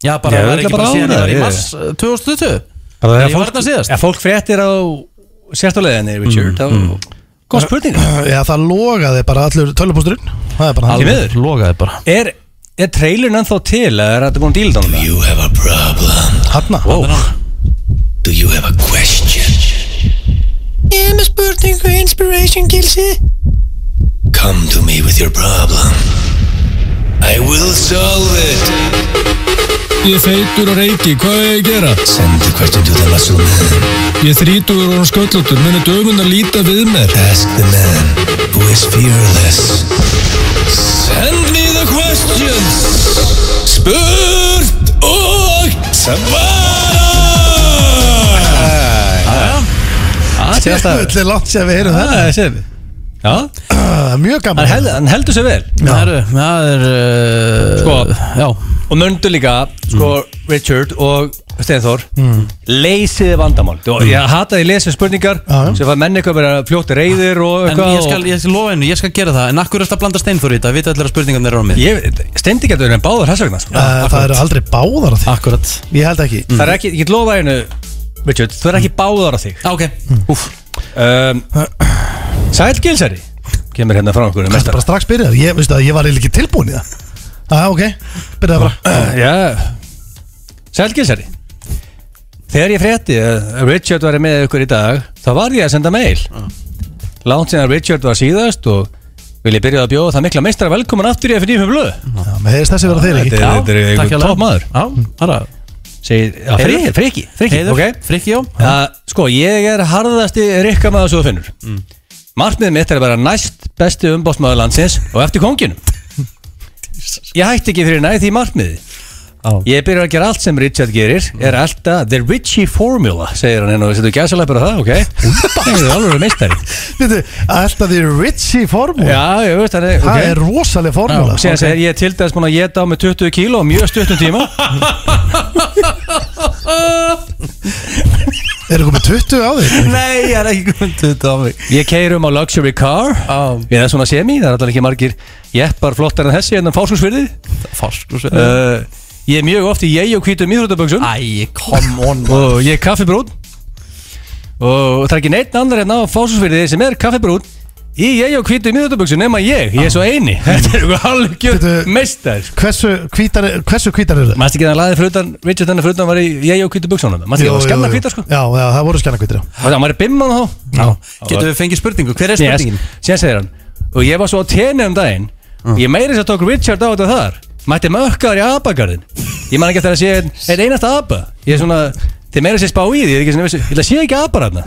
Speaker 1: Já, bara, það
Speaker 3: Já,
Speaker 1: er
Speaker 3: örugglega
Speaker 1: ekki bara
Speaker 3: bara
Speaker 1: síðan
Speaker 3: áður,
Speaker 1: það er í
Speaker 3: ég-
Speaker 1: mars uh, 2020
Speaker 3: Það
Speaker 1: Ég var þarna síðast.
Speaker 3: Ef fólk fréttir á sérstuleginni, Richard, þá... Góð spurning.
Speaker 2: Já, það logaði bara allur tölupústurinn Það er bara hann
Speaker 3: miður.
Speaker 1: Alveg logaði bara
Speaker 3: Er, er trailun ennþá til eða er þetta búin að díla þannig?
Speaker 5: You have a problem.
Speaker 2: Hanna wow.
Speaker 5: Do you have a question? Ég er með spurningu Inspiration Gilsi. Come to me with your problem. I will solve it.
Speaker 6: Ég er feitur og reiki, hvað er ég að gera?
Speaker 5: Send the question to the muscle man.
Speaker 6: Ég er þrítur og sköllutur, muni dögun að líta við mér.
Speaker 5: Ask the man who is fearless. Send me the questions. Spurt og svara.
Speaker 3: Sér alltaf...
Speaker 2: Þetta er langt sér við heyrum
Speaker 3: Það er sér. Já,
Speaker 2: það Mjög
Speaker 3: hann
Speaker 2: gaman
Speaker 3: held- hann heldur sér vel.
Speaker 1: Herru, Það er, uh,
Speaker 3: Sko.
Speaker 1: já
Speaker 3: Og möndu líka, sko, Richard og Steinþór Leysiði vandamál og Ég hataði lesið spurningar
Speaker 2: Já.
Speaker 3: sem fær menn eitthvað að vera fljótt reiðir og
Speaker 1: En
Speaker 3: eitthvað
Speaker 1: ég skal, ég skal lofa hennu, ég skal gera það En akkur er þetta að blanda steinþór í þetta, vita allir að spurningarnir eru á mig
Speaker 3: og ég stendi getur en báður þess vegna sko.
Speaker 2: Uh, Það eru aldrei báðar á því
Speaker 1: Akkurat
Speaker 2: Ég held ekki
Speaker 3: Það er ekki, ég get lofa einu Richard, þú er
Speaker 1: Mm.
Speaker 3: ekki báðar á þig
Speaker 1: Ah, Ok, úf
Speaker 3: um, Sæl Gilsari kemur hérna frá okkur
Speaker 2: Þetta
Speaker 3: mesta-
Speaker 2: bara strax byrjaði Ég, veistu að ég var eiginlega ekki tilbúin í það Já, ah, ok Byrjaði bara
Speaker 3: Já Sæl Gilsari Þegar ég frétti að Richard var með ykkur í dag þá var ég að senda mail Langt sinna Richard var síðast og vil ég byrja að bjóða það mikla meistara velkomin aftur í F95 blöð
Speaker 2: Já, Mér hefðist þessi vera þeir ekki
Speaker 3: Þetta er- þetta er
Speaker 1: takk
Speaker 3: einhver
Speaker 1: hérlega.
Speaker 3: topp maður
Speaker 1: Já, bara
Speaker 3: Segir, já,
Speaker 1: Heiður.
Speaker 3: Frikki, Frikki, Frikki,
Speaker 1: Heiður,
Speaker 3: ok
Speaker 1: Frikki, já
Speaker 3: að, Sko, ég er harðasti rikkamaður svo þú finnur
Speaker 2: Mm.
Speaker 3: Markmiðið mitt er að vera næst besti umbásmaður landsins og eftir konginum Ég hætti ekki fyrir næði því markmiði Ég byrja að gera allt sem Richard gerir
Speaker 2: Mm.
Speaker 3: er alltaf the Richie formula segir hann enn og setur gæsalæpur á það, ok Það er alveg meistari
Speaker 2: Þetta er alltaf því Richie formúl
Speaker 3: Já, ég veist, hann er,
Speaker 2: Það
Speaker 3: ok
Speaker 2: er rosaleg formúla
Speaker 3: Og síðan segir ég er til dæs búin að geta á mig 20 kíló á mjög stuttum tíma
Speaker 2: Eru komið 20 á því
Speaker 1: Nei, ég er ekki komin til þetta á mig
Speaker 3: Ég keirum á luxury car
Speaker 1: Já.
Speaker 3: Við erum svona semi, það er alltaf ekki margir jeppar flottar en þessi hérna en það fáskúsfyrði
Speaker 1: Farsk og sveið
Speaker 3: uh, Ég er mjög oft í ég og hvítum íþrótaböksum
Speaker 1: Æ, come on
Speaker 3: og ég er kaffibrún og það er ekki neitt annar hérna á fáskúsfyrði sem er kaffibrún í ég og hvítum íþrótaböksum nema ég, ég er svo eini [laughs] Þetta er eitthvað
Speaker 2: Þetta-
Speaker 3: halvgjör meistar
Speaker 2: Hversu hvítar, hversu hvítar eru það?
Speaker 3: Mæstu ekki að hann laði frutan, Richard þannig frutan var í ég og hvítum buksunum Mæstu ekki að hann var skanna hvítar sko
Speaker 2: Já, já, það voru skanna hvítar
Speaker 3: Það var bimman þá
Speaker 1: Getum við fengið spurningu, hver er
Speaker 3: yes. Mm.
Speaker 1: spurningin?
Speaker 3: síðan segir hann og ég var svo á tenni um daginn ég meiri þess að tók Richard á þetta þar mætti mökkaður í abagarðin ég man ekki eftir að sé einn ein einasta aba ég er svona, þið meira sér spá í því ég er ekki svona, vissu- ég ætla að sé ekki abar hana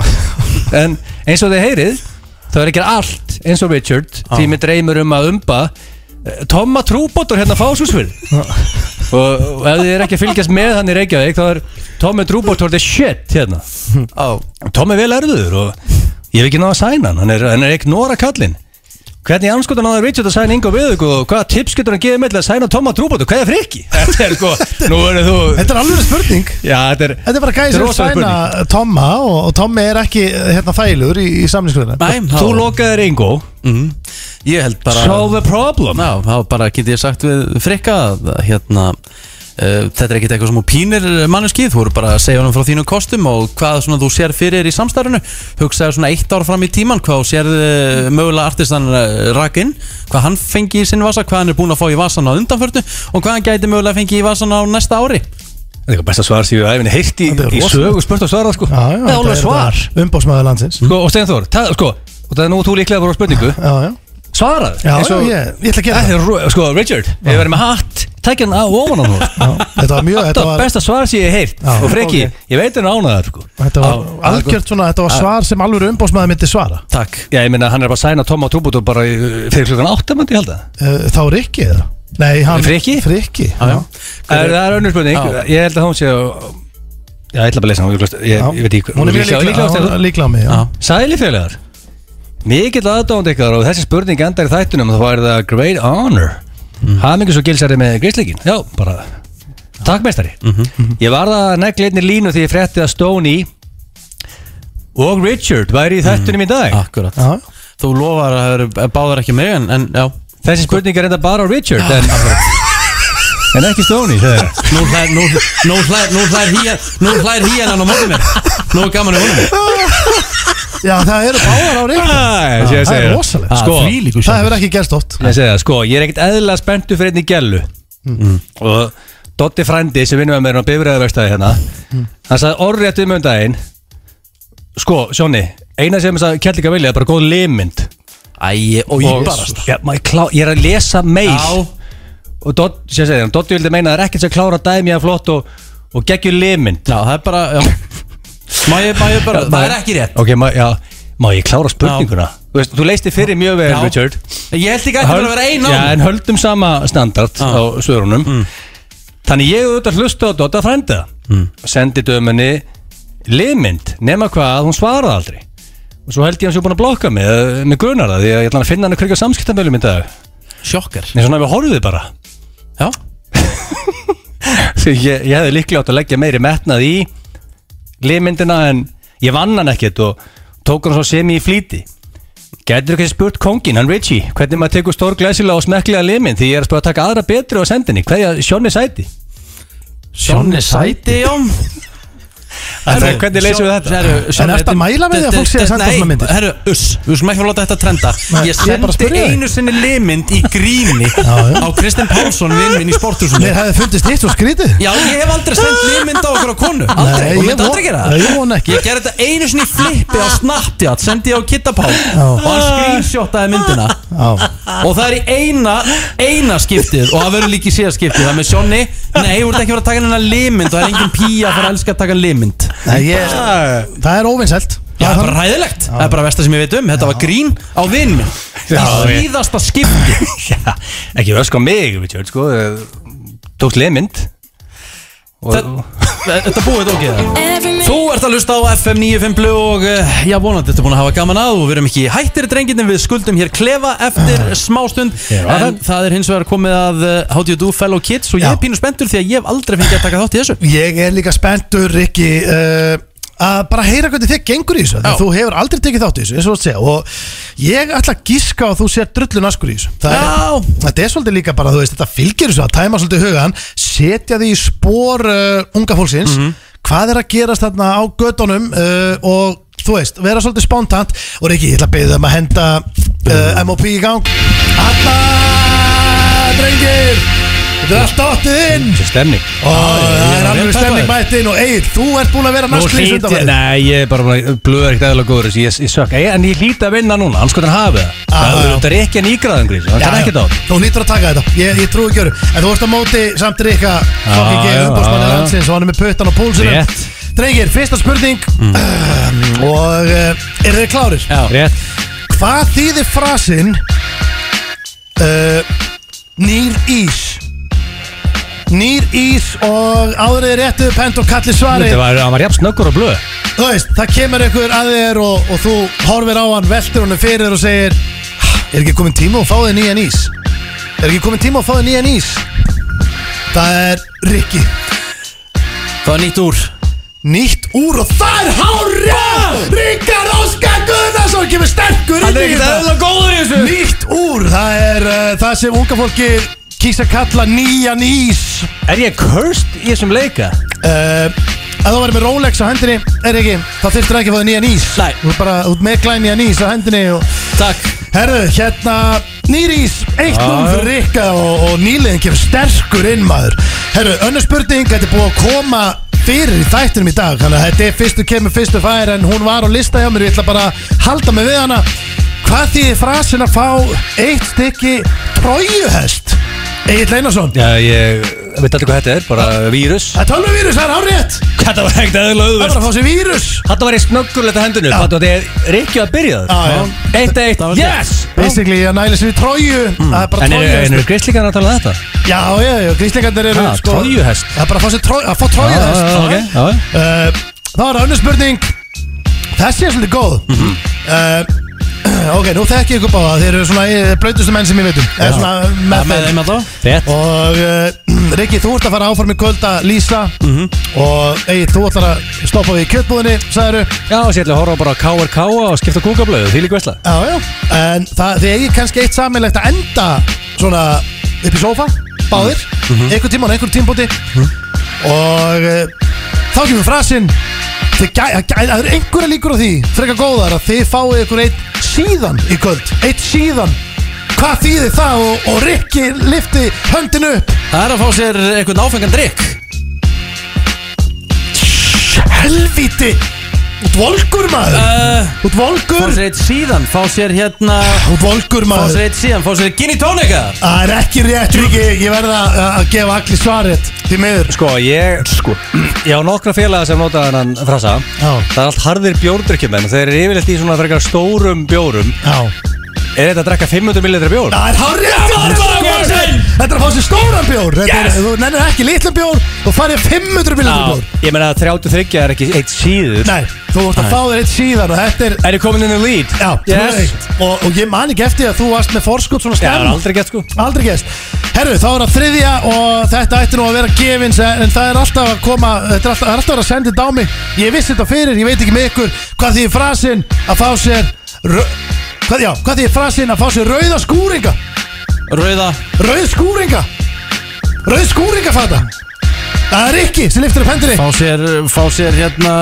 Speaker 3: en eins og þið heyrið þá er ekki allt eins og Richard því mér dreymur um að umba eh, Tomma Trúbóttur hérna fásúsfyrð og, og ef þið er ekki að fylgjast með hann í Reykjavík þá er Tommi Trúbóttur the shit hérna
Speaker 1: Á Ah,
Speaker 3: Tom er vel erður og ég hef ekki náða að sæna hann, hann er, hann er ekki nora kallinn Hvernig anskotan náður Richard að sæna Ingo Viðug og hvaða tips getur hann gefið með til að sæna Toma Trúbótu? Hvað er frikki? [laughs] Þetta er sko, nú verður þú
Speaker 2: Þetta er alveg spurning
Speaker 3: Já, þetta er
Speaker 2: Þetta er bara gæði sem er
Speaker 3: Þetta er
Speaker 2: að
Speaker 3: rosaleg
Speaker 2: sæna eh, Tomma og, og Tommi er ekki hérna þægilegur í, í samlingskvöðina
Speaker 1: Bæm,
Speaker 3: Þú lokaðir Ingo
Speaker 1: mm, Ég held bara
Speaker 3: Solve the problem
Speaker 1: Já, þá bara geti ég sagt við frikka að hérna Uh, þetta er ekkert eitthvað sem hún pínir manneskið þú voru bara að segja honum frá þínum kostum og hvað svona þú sér fyrir í samstarfinu hugsaðu svona eitt ár fram í tíman hvað þú sér uh, mögulega artistan uh, rakinn hvað hann fengi í sinn vasa hvað hann er búin að fá í vasan á undanförnu og hvað hann gæti mögulega fengi í vasan á næsta ári
Speaker 3: Þetta er eitthvað besta svar sem ég hef heilt í,
Speaker 2: Þetta er
Speaker 3: í
Speaker 2: rosalegt.
Speaker 3: sögu spurt og svara sko
Speaker 2: Já, já,
Speaker 3: Það er
Speaker 2: þetta
Speaker 3: alveg svar
Speaker 2: þetta Umbóðsmaður landsins
Speaker 3: Sko, og Steinþór, það, sko, og það er nú þú líklega voru á spurningu
Speaker 2: Já, já
Speaker 3: Svarað
Speaker 2: Já,
Speaker 3: eins og-
Speaker 2: já, ég- ég ætla að gera
Speaker 3: Þetta er ro- Sko, Richard, ef ég verið með hatt Tækja hann á ofan á nú
Speaker 2: [laughs] Já, Þetta var mjög,
Speaker 3: Þetta
Speaker 2: þetta
Speaker 3: var
Speaker 2: var,
Speaker 3: besta svar sem ég hef heilt
Speaker 2: Já.
Speaker 3: Og frikki, ég veit hann ánaðar sko
Speaker 2: þetta var
Speaker 3: Á-
Speaker 2: algjört svona, þetta var svar sem alveg umbóðsmaður myndi svara
Speaker 1: Takk
Speaker 3: Já, ég meina, hann er bara að sæna Toma Trúbútur bara í- fyrir klukkan 8, myndi ég halda
Speaker 2: Eh, Þá Rikki eða? Nei, hann
Speaker 3: Frikki?
Speaker 2: Frikki
Speaker 1: Já, já.
Speaker 3: Það er, það er önnur spurning, ég held að hún sé að- Já, ég ætla bara að lesa hann, ég, glöst- ég, ég veit ekki
Speaker 2: Hún er mjög líklega,
Speaker 3: Líklega- líklega-
Speaker 2: hún er líklega á mig já.
Speaker 1: Já.
Speaker 3: Sæli félagar Mikill aðdánd ykkar og þessi spurning endar í þættunum þá er það great honor mm. Hamingus og gilsari með grísleikin Já, bara Takk meistari Ég var það að negli einni línu því ég frétti að Stoney og Richard væri í þættunum í dag
Speaker 1: Akkurat
Speaker 2: Já.
Speaker 1: Þú lofar að það eru báðar ekki mig en, en já
Speaker 3: Þessi spurning er enda bara á Richard en, en ekki Stoney þegar
Speaker 1: Nú hlær, nú, nú hlær, nú hlær hýjan Nú hlær hýjan hann á móti mér Nú er gaman í honum
Speaker 2: já, það eru báðar á Rikki
Speaker 3: Æ,
Speaker 2: Já,
Speaker 3: ég
Speaker 2: Það
Speaker 3: segi
Speaker 2: er
Speaker 3: það.
Speaker 2: rosalegt
Speaker 3: Sko,
Speaker 2: Það hefur ekki gerst oft
Speaker 3: Ég segi það, sko, ég er ekkert eðla spenntu fyrir einni gellu
Speaker 1: Mm.
Speaker 3: og Dotti Frændi sem vinnum með mér á bifræðarverstaði hérna
Speaker 1: Mm.
Speaker 3: hann sagði orðrétt um um daginn sko, Sjóni, eina sem sagði Kjellika Vilja er bara góð limmynd
Speaker 1: Æ, og ég barast
Speaker 3: ja, maður klá, ég er að lesa mail og Dot, sem segir hann, Dotti vildi meina það er ekkert sem klára dæmi að flott og, og geggjur limmynd
Speaker 1: Já, það er bara já. Má ég, má ég bara, það er ekki rétt
Speaker 3: ok, ma, já, má ég klára spurninguna þú, veist, þú leisti fyrir mjög vel,
Speaker 1: Já.
Speaker 3: Richard
Speaker 1: Ég held ekki að það vera ein Ah. Mm. á
Speaker 3: Já, en höldum sama standard á svörunum Þannig ég auðvitað hlusta á Dotta frænda
Speaker 1: Mm.
Speaker 3: og sendi dömunni liðmynd, nema hvað, hún svaraði aldrei og svo held ég hans ég búin að blokka mig eh, mig grunar það, því að ég ætla að finna hann hverja samskiptamölu í dag,
Speaker 1: Sjokkar
Speaker 3: en svona við horfið bara
Speaker 1: Já,
Speaker 3: Því ég, ég hefði líklega átt að leggja meiri metnað í liðmyndina en ég vann hann ekkert og tók hann svo semi í flýti Gætir ekki spurt kóngin, hann Richie hvernig maður tekur stór glæsilega og smekklega liðmynd því ég er að spara að taka aðra betri á sendinni hverja Sjónni sæti
Speaker 1: Sjónni sæti, já
Speaker 3: Herru, hvernig leysum við þetta?
Speaker 2: En ertu að mæla með því að fólk sé að senda svona myndir?
Speaker 1: Nei, herru, uss, við skulum ekki fara að láta þetta trenda
Speaker 2: Nei,
Speaker 1: Ég
Speaker 2: ég er bara
Speaker 1: sendi
Speaker 2: að spyrja þig.
Speaker 1: einu sinni limynd í gríni
Speaker 2: já.
Speaker 1: á Kristinn Pálsson, vinn minn í sporthúsinu
Speaker 2: Mér hefði fundist eitt og skrítið
Speaker 1: Já, ég hef aldrei sendt liðmynd á okkur á konu
Speaker 2: Nei,
Speaker 1: Aldrei,
Speaker 2: ég
Speaker 1: og myndi
Speaker 2: von-
Speaker 1: aldrei gera
Speaker 2: Nei,
Speaker 1: það
Speaker 2: ég von ekki.
Speaker 1: Ég gerði þetta einu sinni í flippi á Snapchat Sendi ég á Kittapál Og
Speaker 2: Ah.
Speaker 1: hann screenshotaði myndina
Speaker 2: Já.
Speaker 1: Og það er í eina, eina skiptið Og það verður líka í síða skiptið Það er með Sjonni, nei, þú ert ekki að fara að taka hennar liðmynd Og það er engin pía að fara að elska að taka liðmynd
Speaker 2: Nei, ég, það er óvinnselt
Speaker 1: Já, það er bara ræðilegt, það er bara versta sem ég veit um Þetta var grín á vinn minn Í
Speaker 3: ég-
Speaker 1: síðasta skipti
Speaker 3: [laughs] Já, ekki ösku á mig, við tjóð, sko eh, tókst liðmynd
Speaker 1: Það- Þetta búið þetta ógeða Þú ert að lusta á FM 95 Blu og eh, já, vonandi ertu búin að hafa gaman að og við erum ekki hættir drengirnir, við skuldum hér klefa eftir smástund en það er hins vegar komið að eh, How do you do fellow kids og ég er
Speaker 2: Já.
Speaker 1: pínu spenntur því að ég hef aldrei fengið að taka þátt í þessu
Speaker 2: Ég er líka spenntur, Rikki uh, að bara heyra hvernig þið gengur í þessu því
Speaker 1: Já.
Speaker 2: að þú hefur aldrei tekið þátt í þessu eins og þú ert að segja og ég ætla að gíska að þú sér drullun askur í þessu það
Speaker 1: Já.
Speaker 2: er, þetta er svolítið líka bara, þú veist, þetta fylgir þessu að tæma svolítið hugan, setja því í spór uh, unga fólksins
Speaker 1: Mhm.
Speaker 2: hvað er að gerast þarna á gödunum uh, og þú veist, vera svolítið spontant og Rikki, ég ætla að beða um að henda uh, MOP í gang Alla drengir Þetta er allt áttið inn
Speaker 3: sem stemning
Speaker 2: Ó, Það er
Speaker 3: er
Speaker 2: alveg
Speaker 3: rétt
Speaker 2: stemning
Speaker 3: peppaður.
Speaker 2: mættin og Egil, þú ert búin að vera
Speaker 3: Nú
Speaker 2: nasklís
Speaker 3: hlýt ég,
Speaker 2: undanfarið.
Speaker 3: nei, ég er bara búin að blöða ekkert eðla góður þessu, ég, Ah, ég sök, ég, en ég hlýt að vinna núna, anskotan hafi
Speaker 2: Já,
Speaker 3: það.
Speaker 2: já.
Speaker 3: Það er ekki að nýgraðan grísi, það
Speaker 2: Já,
Speaker 3: kann
Speaker 2: já.
Speaker 3: ekki það.
Speaker 2: Þú nýttur að taka þetta, ég, ég trúi ekki öru En þú ert á móti samt Rikka Fokki
Speaker 3: já,
Speaker 2: Geir, umbóðsmanni
Speaker 3: já.
Speaker 2: landsins Og hann er með puttan á pólsunum
Speaker 3: Rétt. Mm.
Speaker 2: Drengir, fyrsta spurning [clears throat] Og uh, eru þið klárir?
Speaker 3: Rétt.
Speaker 2: Hvað þýðir frasinn uh, Nýr ís Nýr ís og áðrið réttu pent og kallir svarið
Speaker 3: Þetta var, hann var jafn snöggur og blöð.
Speaker 2: Þú veist, það kemur einhver að þér og, og þú horfir á hann, veltir honum fyrir þér og segir "Ah, Er ekki komin tíma að fá þig nýjan ís? Er ekki komin tíma að fá þig nýjan ís? Það er Rikki
Speaker 1: Það var nýtt úr
Speaker 2: Nýtt úr og það er hárja Ríkar Óskar Guðnarsson kemur sterkur inn í þetta
Speaker 1: góður í þessu
Speaker 2: Nýtt úr, það er uh, það sem unga fólki kýsa að kalla nýjan ís
Speaker 3: Er ég cursed í þessum leika?
Speaker 2: uh, Ef þú verður með Rolex á hendinni, er ekki, þá þyrftir ekki að fá þig nýjan ís
Speaker 1: Nei.
Speaker 2: Þú er bara út með glæn nýjan ís á hendinni og
Speaker 1: Takk
Speaker 2: Herðu, hérna Nýrís, 1-0 fyrir Rikka og, og nýliðin kemur sterkur inn maður Herðu, önnur spurning, þetta er búið að koma fyrir í þættinum í dag Þannig að þetta er fyrstu kemur, fyrstu fær en hún var á lista hjá mér Ég ætla bara að halda mig við hana Hvað þýðir frasin að fá eitt stykki trójuhest? Egil Einarsson
Speaker 3: Já, ég veit alltaf hvað þetta er, bara vírus
Speaker 2: Það er tölvuvírus, það er hárétt Það
Speaker 3: [laughs] Þetta var ekkert eðla
Speaker 2: er bara að fá sér vírus
Speaker 3: Þetta var ég snöggurleita hendunum
Speaker 2: Já.
Speaker 3: Þetta er Rikki að byrja
Speaker 2: Já, já.
Speaker 3: það Eitt eitt, yes!
Speaker 2: Basically, að næla sér í tróju Það er bara
Speaker 3: En eru er,
Speaker 2: trójuhest
Speaker 3: er grislíkan að tala um þetta?
Speaker 2: Já, já, já, gríslingarnir eru sko,
Speaker 3: Ah, trójuhest.
Speaker 2: Það er bara að fá sér tróju, að fá trójuhest
Speaker 3: Já, já, já, ok, já.
Speaker 2: Uh, Það var önnur spurning Þessi er svolítið góð uh, Ok, nú þekki ég ykkur báða Þeir eru svona eh, blautustu menn sem ég veit um Eða svona með
Speaker 1: Með
Speaker 2: þeim
Speaker 1: þeim að þá
Speaker 3: Fett
Speaker 2: Og uh, [clears throat] Rikki, þú ert að fara áfram í kvöld að lýsa
Speaker 3: Mhm.
Speaker 2: Og Egil, þú ætlar að stoppa við í kjötbúðinni Sæður
Speaker 3: Já, og sér ætla að horfa bara á KRK og skipta kúkablöðu, því líka veistla
Speaker 2: Já, já En það, þið eigið kannski eitt saminlegt að enda Svona upp í sófa Báðir
Speaker 1: Mhm.
Speaker 2: Einhver tíma og einhver tímbúti Og uh, þá kemur frasinn þið gæ- Það gæ- það eru einhverja líkur á því Frekar góðar að þið fáið ykkur eitt síðan í kvöld Eitt síðan Hvað þýðir það og, og Rikki lifti höndin upp
Speaker 1: Það er að fá sér einhvern áfengan drikk
Speaker 2: Helvíti Út volkur maður
Speaker 1: uh,
Speaker 2: Út
Speaker 1: Fá
Speaker 2: volkur
Speaker 1: sér eitt síðan Fá sér hérna
Speaker 2: Út volkur
Speaker 1: Fá
Speaker 2: maður
Speaker 1: sér eitt síðan Fá sér gin í tónika
Speaker 2: Það er ekki rétt Rikki Ég verða að gefa allir svarið Því miður
Speaker 3: Sko, ég, sko, [clears throat] ég á nokkra félaga sem nota þennan frasa
Speaker 2: Já.
Speaker 3: Það er allt harðir bjórdrykkjumenn og þeir eru yfirleitt í svona frekar stórum bjórum
Speaker 2: Já
Speaker 3: Er þetta að drekka 500 millilitra bjór?
Speaker 2: Það er hár rétt hjá þér, maður, maður. Þetta er að fá sér stóran bjór Þetta er, Þú nennir ekki litla bjór Þú farið 500 milljónir bjór
Speaker 3: Ég meina að 33 er ekki eitt síður
Speaker 2: Nei, þú vorst að fá þér eitt síðan og þetta er
Speaker 3: Er ég komin inn í lead?
Speaker 2: Já,
Speaker 3: yes.
Speaker 2: yes. og, og ég man ekki eftir að þú varst með forskot svona
Speaker 3: Já, það er
Speaker 2: snemma
Speaker 3: aldrei gett sko
Speaker 2: Aldrei gæst Herru, þá er það þriðja og þetta ætti nú að vera gefins En það er alltaf að koma, þetta er alltaf, það er alltaf að vera að senda þetta á mig Ég vissi þetta fyrir, ég veit ekki með ykkur Hvað því frasinn að fá sér rau- hvað, Já, hvað því frasinn að fá sér rauða skúringa
Speaker 1: Rauða
Speaker 2: Rauð skúringa Rauð skúringafata Það er ekki sem liftir upp hendinni
Speaker 1: Fá sér Fá sér hérna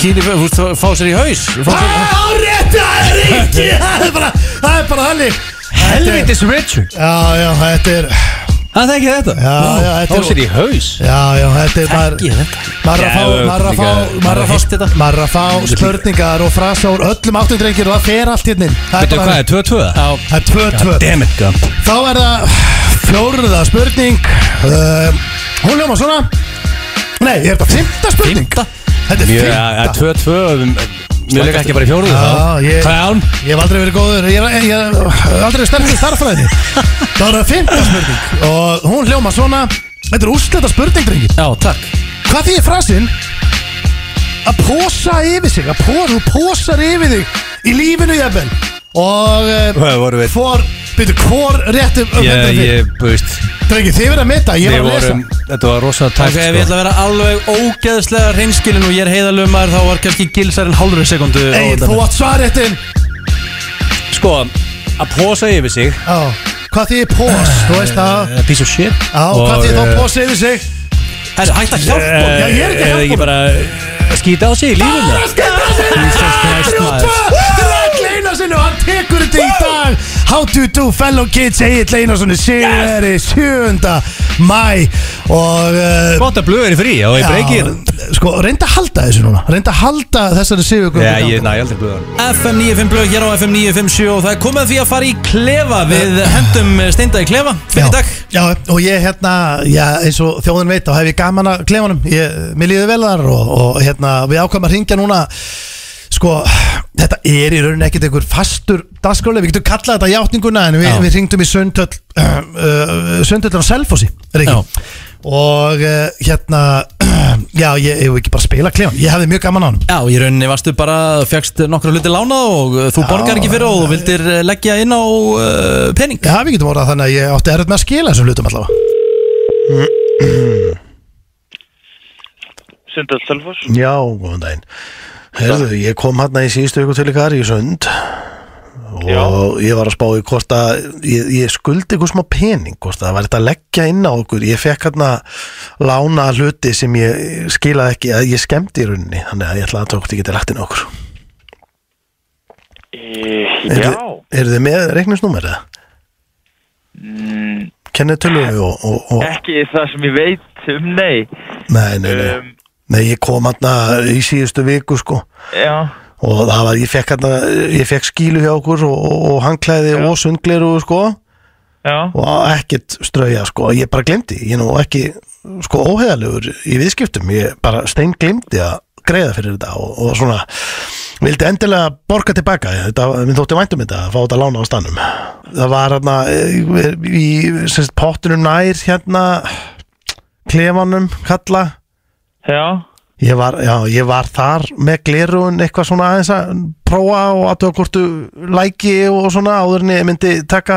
Speaker 1: Gin í Þú veist, Fá sér í haus Fá sér
Speaker 2: Á rétt, það er ekki Það er bara, það er bara þannig Helviti
Speaker 3: Helvitis Richard
Speaker 2: Já, já, þetta er
Speaker 3: Það þekki þetta
Speaker 2: Já, já, þetta
Speaker 3: Þá
Speaker 2: er-
Speaker 3: sér í haus
Speaker 2: Já, já, þetta er maður-
Speaker 1: Þekki ég þetta?
Speaker 2: Maður er að
Speaker 3: Já,
Speaker 2: fá, maður er að fá
Speaker 3: líka-
Speaker 2: Maður er að
Speaker 1: hitt
Speaker 2: fá,
Speaker 1: þetta.
Speaker 2: maður er að fá spurningar og frasa úr öllum áttum drengir og það fer allt hérna inn. Það
Speaker 3: Veitu
Speaker 2: bara-
Speaker 3: hvað er 2-2?
Speaker 2: Það er tvö, tvö
Speaker 3: Damn it, Gump
Speaker 2: Þá er það fjórða spurning uh, Hún ljóma svona Nei, er þetta fymta spurning?
Speaker 1: Fimmta.
Speaker 2: Þetta er
Speaker 3: Mjög, það er
Speaker 2: fymta
Speaker 3: 2-2 um, Mjög leika ekki bara í fjóruðu þá
Speaker 2: Já, ég,
Speaker 3: Clown
Speaker 2: ég hef aldrei verið góður Ég er- ég hef aldrei verið sterkur í starffræði
Speaker 3: [laughs]
Speaker 2: Það er það fymta spurning Og hún hljóma svona Þetta er úrslita spurning, drengi
Speaker 1: Já, takk
Speaker 2: Hvað þýðir frasinn Að posa yfir sig Að posa, þú posar yfir þig Í lífinu, jafnvel Og uh,
Speaker 3: Hvað voru við?
Speaker 2: Hvor, byrju, hvor réttum
Speaker 3: Ég, ég, þú veist
Speaker 2: Drengi, þið verið að meta, ég
Speaker 3: Við
Speaker 2: var að lesa
Speaker 3: vorum, þetta var rosa sko.
Speaker 1: Ok,
Speaker 3: tækt
Speaker 2: sko.
Speaker 1: ef ég ætla að vera alveg ógeðslega reynskilin og ég er heiðalumar þá var kannski gilsar en hálfri sekundu
Speaker 2: Egil, þú átt svarréttin
Speaker 3: sko Sko, að posa yfir sig
Speaker 2: Já, hvað því er pós, þú veist það
Speaker 3: eh, Piece of shit
Speaker 2: Já, hvað því
Speaker 3: eh,
Speaker 2: þá pós yfir sig
Speaker 1: Herri, hætt að hjálpa
Speaker 3: eh,
Speaker 1: honum.
Speaker 2: Já, ég er ekki að
Speaker 3: eða
Speaker 2: hjálpa honum.
Speaker 3: bara eh, skýta á sig í lífinu
Speaker 1: Jesus Christ, maður.
Speaker 2: Leina sinni og hann tekur þetta í dag How to do fellow kids Egil Leina sinni Sigur 7. mæ Og uh,
Speaker 3: Gott að blöð er í frí og ég breyki hérna.
Speaker 2: Sko, reynda að halda þessu núna Reynda að halda þessari sigur
Speaker 3: Já, ég næ aldrei blöðan
Speaker 1: FM 95 blöð hér á FM 957 og það er komið að því að fara í klefa við hendum steinda í klefa fyrir í dag
Speaker 2: Eh. Já, og ég hérna, já, eins og þjóðin veit þá hef ég gaman að klefanum, ég, mér líður vel þar og, og hérna, við ákvæm að ringja núna sko, þetta er í rauninni ekkert einhver fastur dagskrálega, við getum kallað þetta játninguna en við,
Speaker 1: Já.
Speaker 2: við ringdum í Sundhöll uh, uh, Sundhöll á Selfossi, er
Speaker 1: Já.
Speaker 2: ekki og uh, hérna [clears throat] Já, ég hefur ekki bara að spila klefan Ég hefði mjög gaman á hann
Speaker 1: Já, í rauninni varstu bara, fjagst nokkra hluti lána og uh, þú borgar ekki fyrir og þú vildir uh, leggja inn á uh, pening
Speaker 2: Já, við getum orðað þannig að ég átti erfitt með að skila þessum hlutum allavega
Speaker 11: Sindar Selfors
Speaker 12: Já, góðan daginn Herðu, ég kom hann í síðustu ykkur til ykkar í sund og ég var að spá í hvort að ég, ég skuldi ykkur smá pening hvort að það var þetta að leggja inn á okkur ég fekk hann að lána hluti sem ég skilaði ekki að ég skemmti í rauninni, þannig að ég ætla að tókti ekki til lagt inn á okkur
Speaker 11: e,
Speaker 12: Eru
Speaker 11: Já
Speaker 12: þið- Eru þið með reikningsnúmer eða?
Speaker 11: mm,
Speaker 12: Kennið tölu og, og, og
Speaker 11: Ekki það sem ég veit um, nei
Speaker 12: nei, nei, nei,
Speaker 11: um,
Speaker 12: nei, ég kom hann í síðustu viku sko
Speaker 11: Já
Speaker 12: og það var, ég fekk, hana, ég fekk skílu hjá okkur og, og, og hangklæði og sundgleru sko,
Speaker 11: Já,
Speaker 12: og ekkert strauja sko, ég bara glemdi, ég er nú ekki sko óheðalegur í viðskiptum ég bara stein glemdi að greiða fyrir þetta og, og svona vildi endilega borga tilbaka þetta, minn þótti væntum þetta að fá þetta lána á stannum það var hérna eh, í sérst, pottunum nær hérna klefanum kalla
Speaker 11: já
Speaker 12: Ég var, já, ég var þar með glerun eitthvað svona aðeins að prófa og aðtöða hvort þú læki og svona áður en ég myndi taka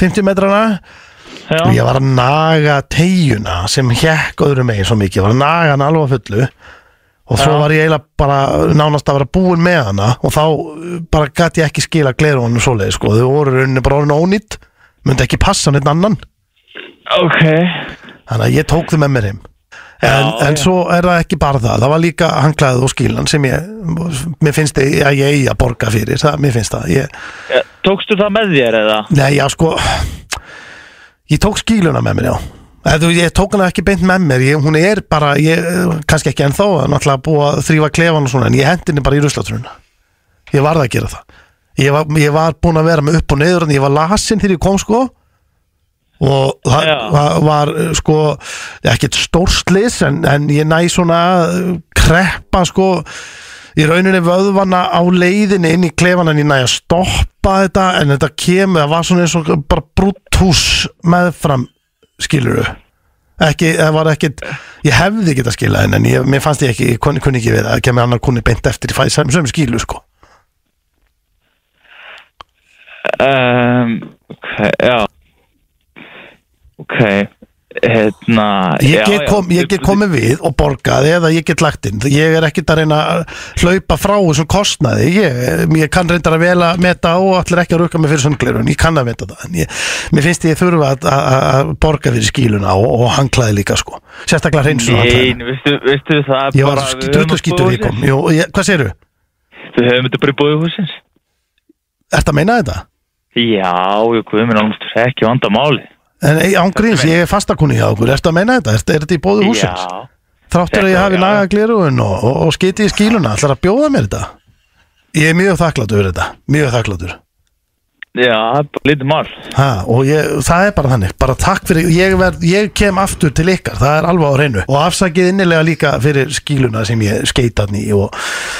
Speaker 12: 50 metrana
Speaker 11: Já,
Speaker 12: og ég var að naga tegjuna sem hjekk öðrum megin svo mikið, ég var að naga hann alveg að fullu og svo
Speaker 11: Já.
Speaker 12: var ég eiginlega bara nánast að vera búin með hana og þá uh, bara gæti ég ekki skila glerunum svoleið sko, þau voru í rauninni bara orðin ónýtt myndi ekki passa neitt annan
Speaker 11: ok
Speaker 12: Þannig að ég tók þau með mér heim En,
Speaker 11: Já,
Speaker 12: en
Speaker 11: já.
Speaker 12: svo er það ekki bara það Það var líka hanglaðið og skílan sem ég Mér finnst þið að ég eigi að borga fyrir það, Mér finnst það ég,
Speaker 11: Eh, Tókstu það með þér eða?
Speaker 12: Nei, já, sko Ég tók skíluna með mér, já Eða, þú- Ég tók hana ekki beint með mér ég, Hún er bara, ég, kannski ekki ennþá Náttúrulega búið að þrýfa klefan og svona En ég hendi henni bara í ruslatrunna Ég varð að gera það Ég var, ég var búin að vera með upp og neyður En ég var lasinn þegar ég kom, sko og það
Speaker 11: Já.
Speaker 12: var, var uh, sko ekkert stórslis en, en ég næ svona uh, kreppa sko í rauninni vöðvana á leiðinni inn í klefan en ég næ að stoppa þetta en þetta kemur, það var svona eins og bara brúthús meðfram skiluru ekki, það var ekkert, ég hefði ekki að skila en, en ég, mér fannst ég ekki, ég kunni, kunni ekki við það, að kemur annar kunni beint eftir í fæði sem, sem skilu sko
Speaker 11: Um, ok, já Ok, hérna
Speaker 12: Ég
Speaker 11: já,
Speaker 12: get,
Speaker 11: já.
Speaker 12: kom, ég get komið við og borgaði eða ég get lagt inn ég er ekkert að reyna að hlaupa frá þessum kostnaði ég, ég kann reyndar að vel að meta og allir ekki að rukka mig fyrir söngleirun ég kann að meta það en ég, mér finnst ég þurfa að, að, að borga fyrir skíluna og, og hanglaði líka sko sérstaklega hreinsun
Speaker 11: Nei,
Speaker 12: hanglaði
Speaker 11: veistu, veistu það er
Speaker 12: ég var
Speaker 11: bara- við höfum
Speaker 12: duttu skítur
Speaker 11: að
Speaker 12: ég
Speaker 11: búa
Speaker 12: kom Jú, ég, hvað segirðu?
Speaker 11: húsins. Við höfum þetta bara í búið húsins
Speaker 12: Ertu að meina þetta?
Speaker 11: Já, ég guðminn alveg ekki vanda máli
Speaker 12: En ei, ángríns, ég er fastakunni hjá okkur Ertu að meina þetta? Ertu, er þetta í bóðu húsins?
Speaker 11: Já,
Speaker 12: Þráttur að ég
Speaker 11: Þetta-
Speaker 12: hafi
Speaker 11: já.
Speaker 12: lagað glerugun og, og, og skiti í skíluna Ætlar að bjóða mér þetta? Ég er mjög þakkláttur fyrir þetta Mjög þakkláttur
Speaker 11: já, það er bara lítið mál
Speaker 12: ha, Og ég, það er bara þannig Bara takk fyrir ég, verð, ég kem aftur til ykkar Það er alveg á reynu Og afsakið innilega líka fyrir skíluna sem ég skeitan í og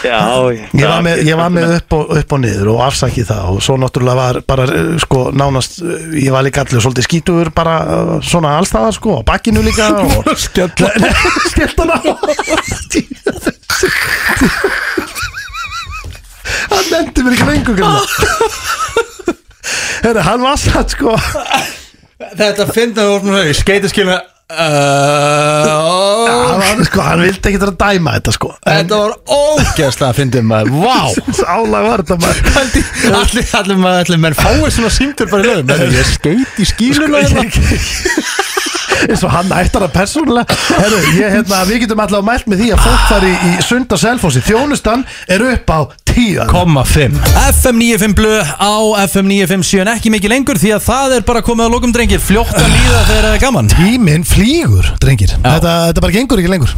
Speaker 11: Já,
Speaker 12: Ég var með, ég var með upp, og, upp og niður og afsakið það og svo náttúrulega var bara eh, sko nánast, eh, ég var líka allir svolítið skítur bara eh, svona allstaðar sko á bakkinu líka og skelltana hann nefndi mér ekki lengur hérna [laughs] Herra, hann var satt sko
Speaker 1: Þetta finnaði orðnum hög, skeitiskilna uh,
Speaker 12: hann, var- sko, hann vildi ekki vera að dæma þetta sko en
Speaker 1: var ógeðslega að fyndið maður Vá
Speaker 12: álag var þetta maður
Speaker 1: Allir, allir maður, allir menn fáið svona símtur bara í lögum En ég skeit í skíluna
Speaker 12: Sko, eins og hann ættar það persónulega Heru, ég, hérna, við getum allavega mælt með því að fólk fari í sunda selfósi þjónustan er upp á tíu
Speaker 1: Komma 5 FM 95 blöð á FM 957 en ekki mikið lengur því að það er bara komið að lokum drengir Fljótt að líða þegar það er gaman
Speaker 12: tíminn flýgur, drengir þetta, þetta bara gengur ekki lengur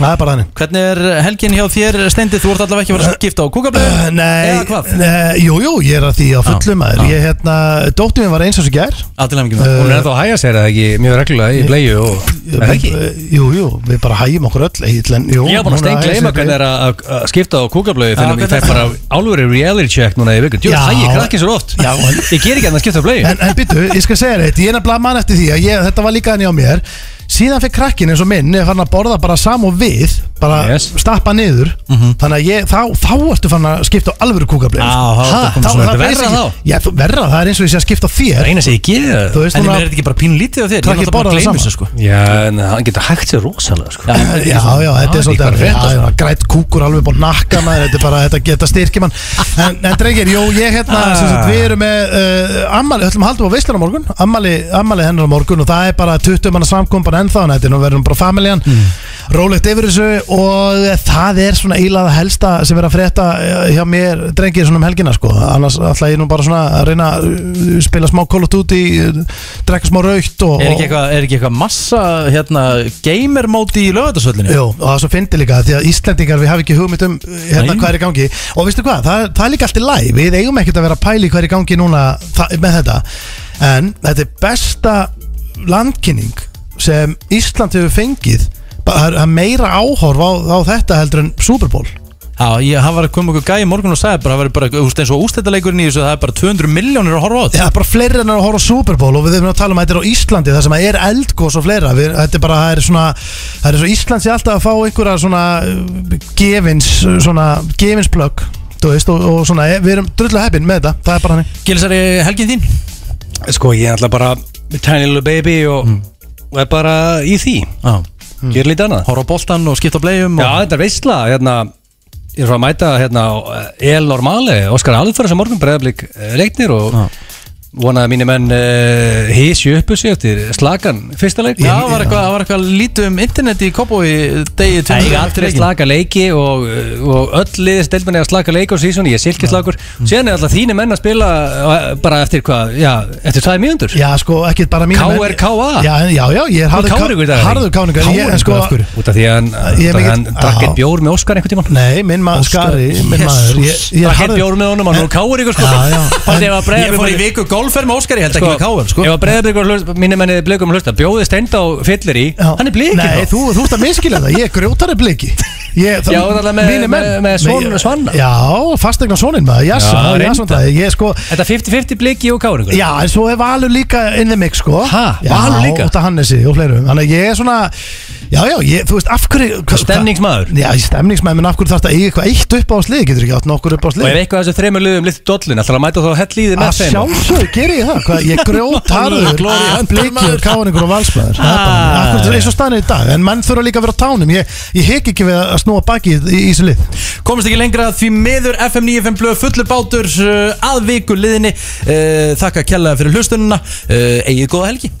Speaker 12: það er bara þannig
Speaker 1: Hvernig er helgin hjá þér Stendi? Þú ert allavega ekki að vera að skipta á kúkablöð
Speaker 12: Uh, nei,
Speaker 1: Eða hvað?
Speaker 12: nei, jú, jú, ég er að því á fullum aður Ég, hérna, dóttir minn var eins og sér gær
Speaker 1: Allir hefum ekki með
Speaker 3: Hún er þá að hæja sér eða ekki mjög reglulega í bleiðu og er það ekki?
Speaker 12: Uh, Jú, jú, við bara hægjum okkur öll Egil, en, jú,
Speaker 3: Ég var bara
Speaker 12: hún er
Speaker 3: stein gleyma
Speaker 12: aðeins-
Speaker 3: hvernig er að að skipta á kúkablöðu
Speaker 1: Já,
Speaker 3: þegar ég
Speaker 1: hvernig-
Speaker 3: fæ bara álveri reality check núna í vikund Jú,
Speaker 12: Já.
Speaker 3: það ég krakkin svo oft
Speaker 12: Já, en-
Speaker 3: Ég ger ekki að skipta á blöðu
Speaker 12: En, en byttu, ég skal segja þér eitt Ég er nefnilega mann eftir því að ég, þetta var líka henni á mér
Speaker 2: síðan fyrir krakkin eins og minn er farin að borða bara sam og við bara
Speaker 3: Yes.
Speaker 2: stappa niður þannig að ég, þá, þá ertu farin að skipta á alvöru sko. kúkablið
Speaker 1: Mhm. Já, þá ertu komin svona verra þá.
Speaker 2: Já, þú- verra, það er eins og ég sé að skipta á þér
Speaker 3: reyna sig ekki
Speaker 2: þú veist
Speaker 1: En ég
Speaker 2: núna
Speaker 1: meina, er þetta ekki bara pínu lítið á þér? Ég
Speaker 2: Krakki
Speaker 1: er náttúrulega bara
Speaker 2: borða
Speaker 1: að gleyma
Speaker 2: saman.
Speaker 1: þessu sko
Speaker 3: Já, en hann getur hægt sér rosalega sko.
Speaker 2: [clears throat] Já, já, þetta er svolítið
Speaker 3: bara
Speaker 2: að
Speaker 3: frétt,
Speaker 2: já, já, grætt kúkur alveg búin nakka maður, þetta er bara, þetta geta styrkja mann En, en drengir, jú, ég hérna, sem sagt, við erum með uh, ammali, ætlum að halda upp á veislan á morgun ammali, ammali hennar á morgun og það er bara 20 manna samkomban ennþá, en þetta er nú verðum bara familjan, rólegt yfir þessu og það er svona ílaða helsta sem er að frétta eh, hjá mér drengir svona um helgina, sko, annars ætla ég nú bara svona að reyna að eh, spila smá Call of Duty, eh, drekka smá raukt og,
Speaker 1: Er ekki eitthvað, er ekki eitthvað massa hérna, gamer móti í lögatarsöllinni?
Speaker 2: Jú, og það er svo fyndi líka því að Íslendingar við hafa ekki hugmynd um uh, hérna,
Speaker 1: Nei.
Speaker 2: hvað er í gangi og veistu hvað, það, það er líka allt í læg við eigum ekkert að vera að pæli hvað er í gangi núna það, með þetta en þetta er besta landkynning sem Ísland hefur fengið Bara- það er- það er meira áhorf á, á þetta heldur en Super Bowl
Speaker 1: Já, ég, hann var að koma okkur gæi í morgun og sagði bara, það var bara, þú veist, eins og ústættaleikurinn í þessu, það er bara 200 miljónir að horfa á þetta
Speaker 2: Já, bara fleiri en að horfa á Super Bowl og við erum að tala um að þetta er á Íslandi það sem að er eldgós og fleira við, þetta er bara, það er svona það er svo Ísland sé alltaf að fá einhverja svona uh, gefins, uh, svona gefinsplögg, þú veist, og, og svona eh, við erum drullu heppin með þetta, það er bara hannig
Speaker 1: Gilsari, helgin þín?
Speaker 3: Sko, ég er alltaf bara Tiny Little Baby og, og er bara í því
Speaker 1: Já,
Speaker 3: Ég er lítið annað
Speaker 1: horfa á boltan og skipta á bleiðum
Speaker 3: Já,
Speaker 1: og...
Speaker 3: þetta er veistla hérna, Ég er frá að mæta hérna, á El Normale, Óskar Alfæra sem morgun bregðablík leiknir og
Speaker 1: Já.
Speaker 3: vona að mínir menn uh, hísju uppu sig eftir slagan fyrsta leik
Speaker 1: Já, það var eitthvað, það var eitthvað lítið um interneti í Kópói degi
Speaker 3: Það er
Speaker 1: 20
Speaker 3: allir að slaka leiki og, eh, og öll liðið stelmenni að slaka leiki og síðan ég er silkislagur
Speaker 2: Mm.
Speaker 3: síðan er alltaf þínir menn að spila eh, bara eftir hvað, já, eftir tvæði mínundur
Speaker 2: Já, sko, ekkert bara mínu menn-
Speaker 3: KRKA?
Speaker 2: Já, en- já, já, ég er harður
Speaker 3: káringur í dag,
Speaker 2: ká- harður káringur ég- en sko,
Speaker 3: út af því að hann,
Speaker 2: Ég er
Speaker 3: út af því að hann
Speaker 2: mikill-
Speaker 3: drakk
Speaker 2: Já.
Speaker 3: eitt bjór með Óskar einhvern tímann
Speaker 2: Nei, minn maður skari, minn maður ég, ég er
Speaker 3: drakk eitt
Speaker 2: harður-
Speaker 3: bjór með honum og nú káur ykkur sko
Speaker 2: Já, já, en-
Speaker 3: Bara ef að
Speaker 1: Ég fór í
Speaker 3: Breiðablik-
Speaker 1: viku golfer með Óskar, ég held ekki með káver, sko
Speaker 3: Ef að breyðablikur minni mennið blikum hlusta bjóði stend á fyllir í
Speaker 2: Já.
Speaker 3: hann er blikið
Speaker 2: Nei, þú, þú ert að miskila það, ég er grjótari bliki ég, það,
Speaker 3: Já, þarna með-
Speaker 2: mínir menn-
Speaker 3: með- með son- svanna.
Speaker 2: Já, fastegna sonin maður,
Speaker 3: Já,
Speaker 2: jassan,
Speaker 3: reyndar.
Speaker 2: jassan það Ég sko,
Speaker 3: Þetta 50-50 bliki og káur ykkur
Speaker 2: já, en svo er Valur líka in the mix sko
Speaker 3: Ha,
Speaker 2: já,
Speaker 3: Valur líka?
Speaker 2: Óta Hannesi og fleirum Þannig að ég er svona, já, já, ég, þú veist, af hverju hva-
Speaker 3: Stemningsmaður
Speaker 2: Já, ég stemningsmæð, menn af hverju þarf þetta eiga eitthvað eitt upp á slið Getur ekki átt nokkur upp á
Speaker 3: Og ef
Speaker 2: slið
Speaker 3: eitthvað af þessu þreymur liðum litur dollin ætlar að mæta þá hell í þið
Speaker 2: Að
Speaker 3: með þeim
Speaker 2: sjálfsög gerir ég það, hvað, ég grjótarður blikur, káningur og valsmaður Það er bara,
Speaker 3: Ah.
Speaker 2: akkur, eins og stannir í dag En menn þurfa líka að vera á tánum, ég, ég hek ekki við að snúa baki í, í, í þessu lið
Speaker 1: Komist ekki lengra því miður FM 95 blöð fullur eh, bátur uh, að viku liðinni uh, Þakka kjallaði fyrir hlustununa uh, Egið góða helgi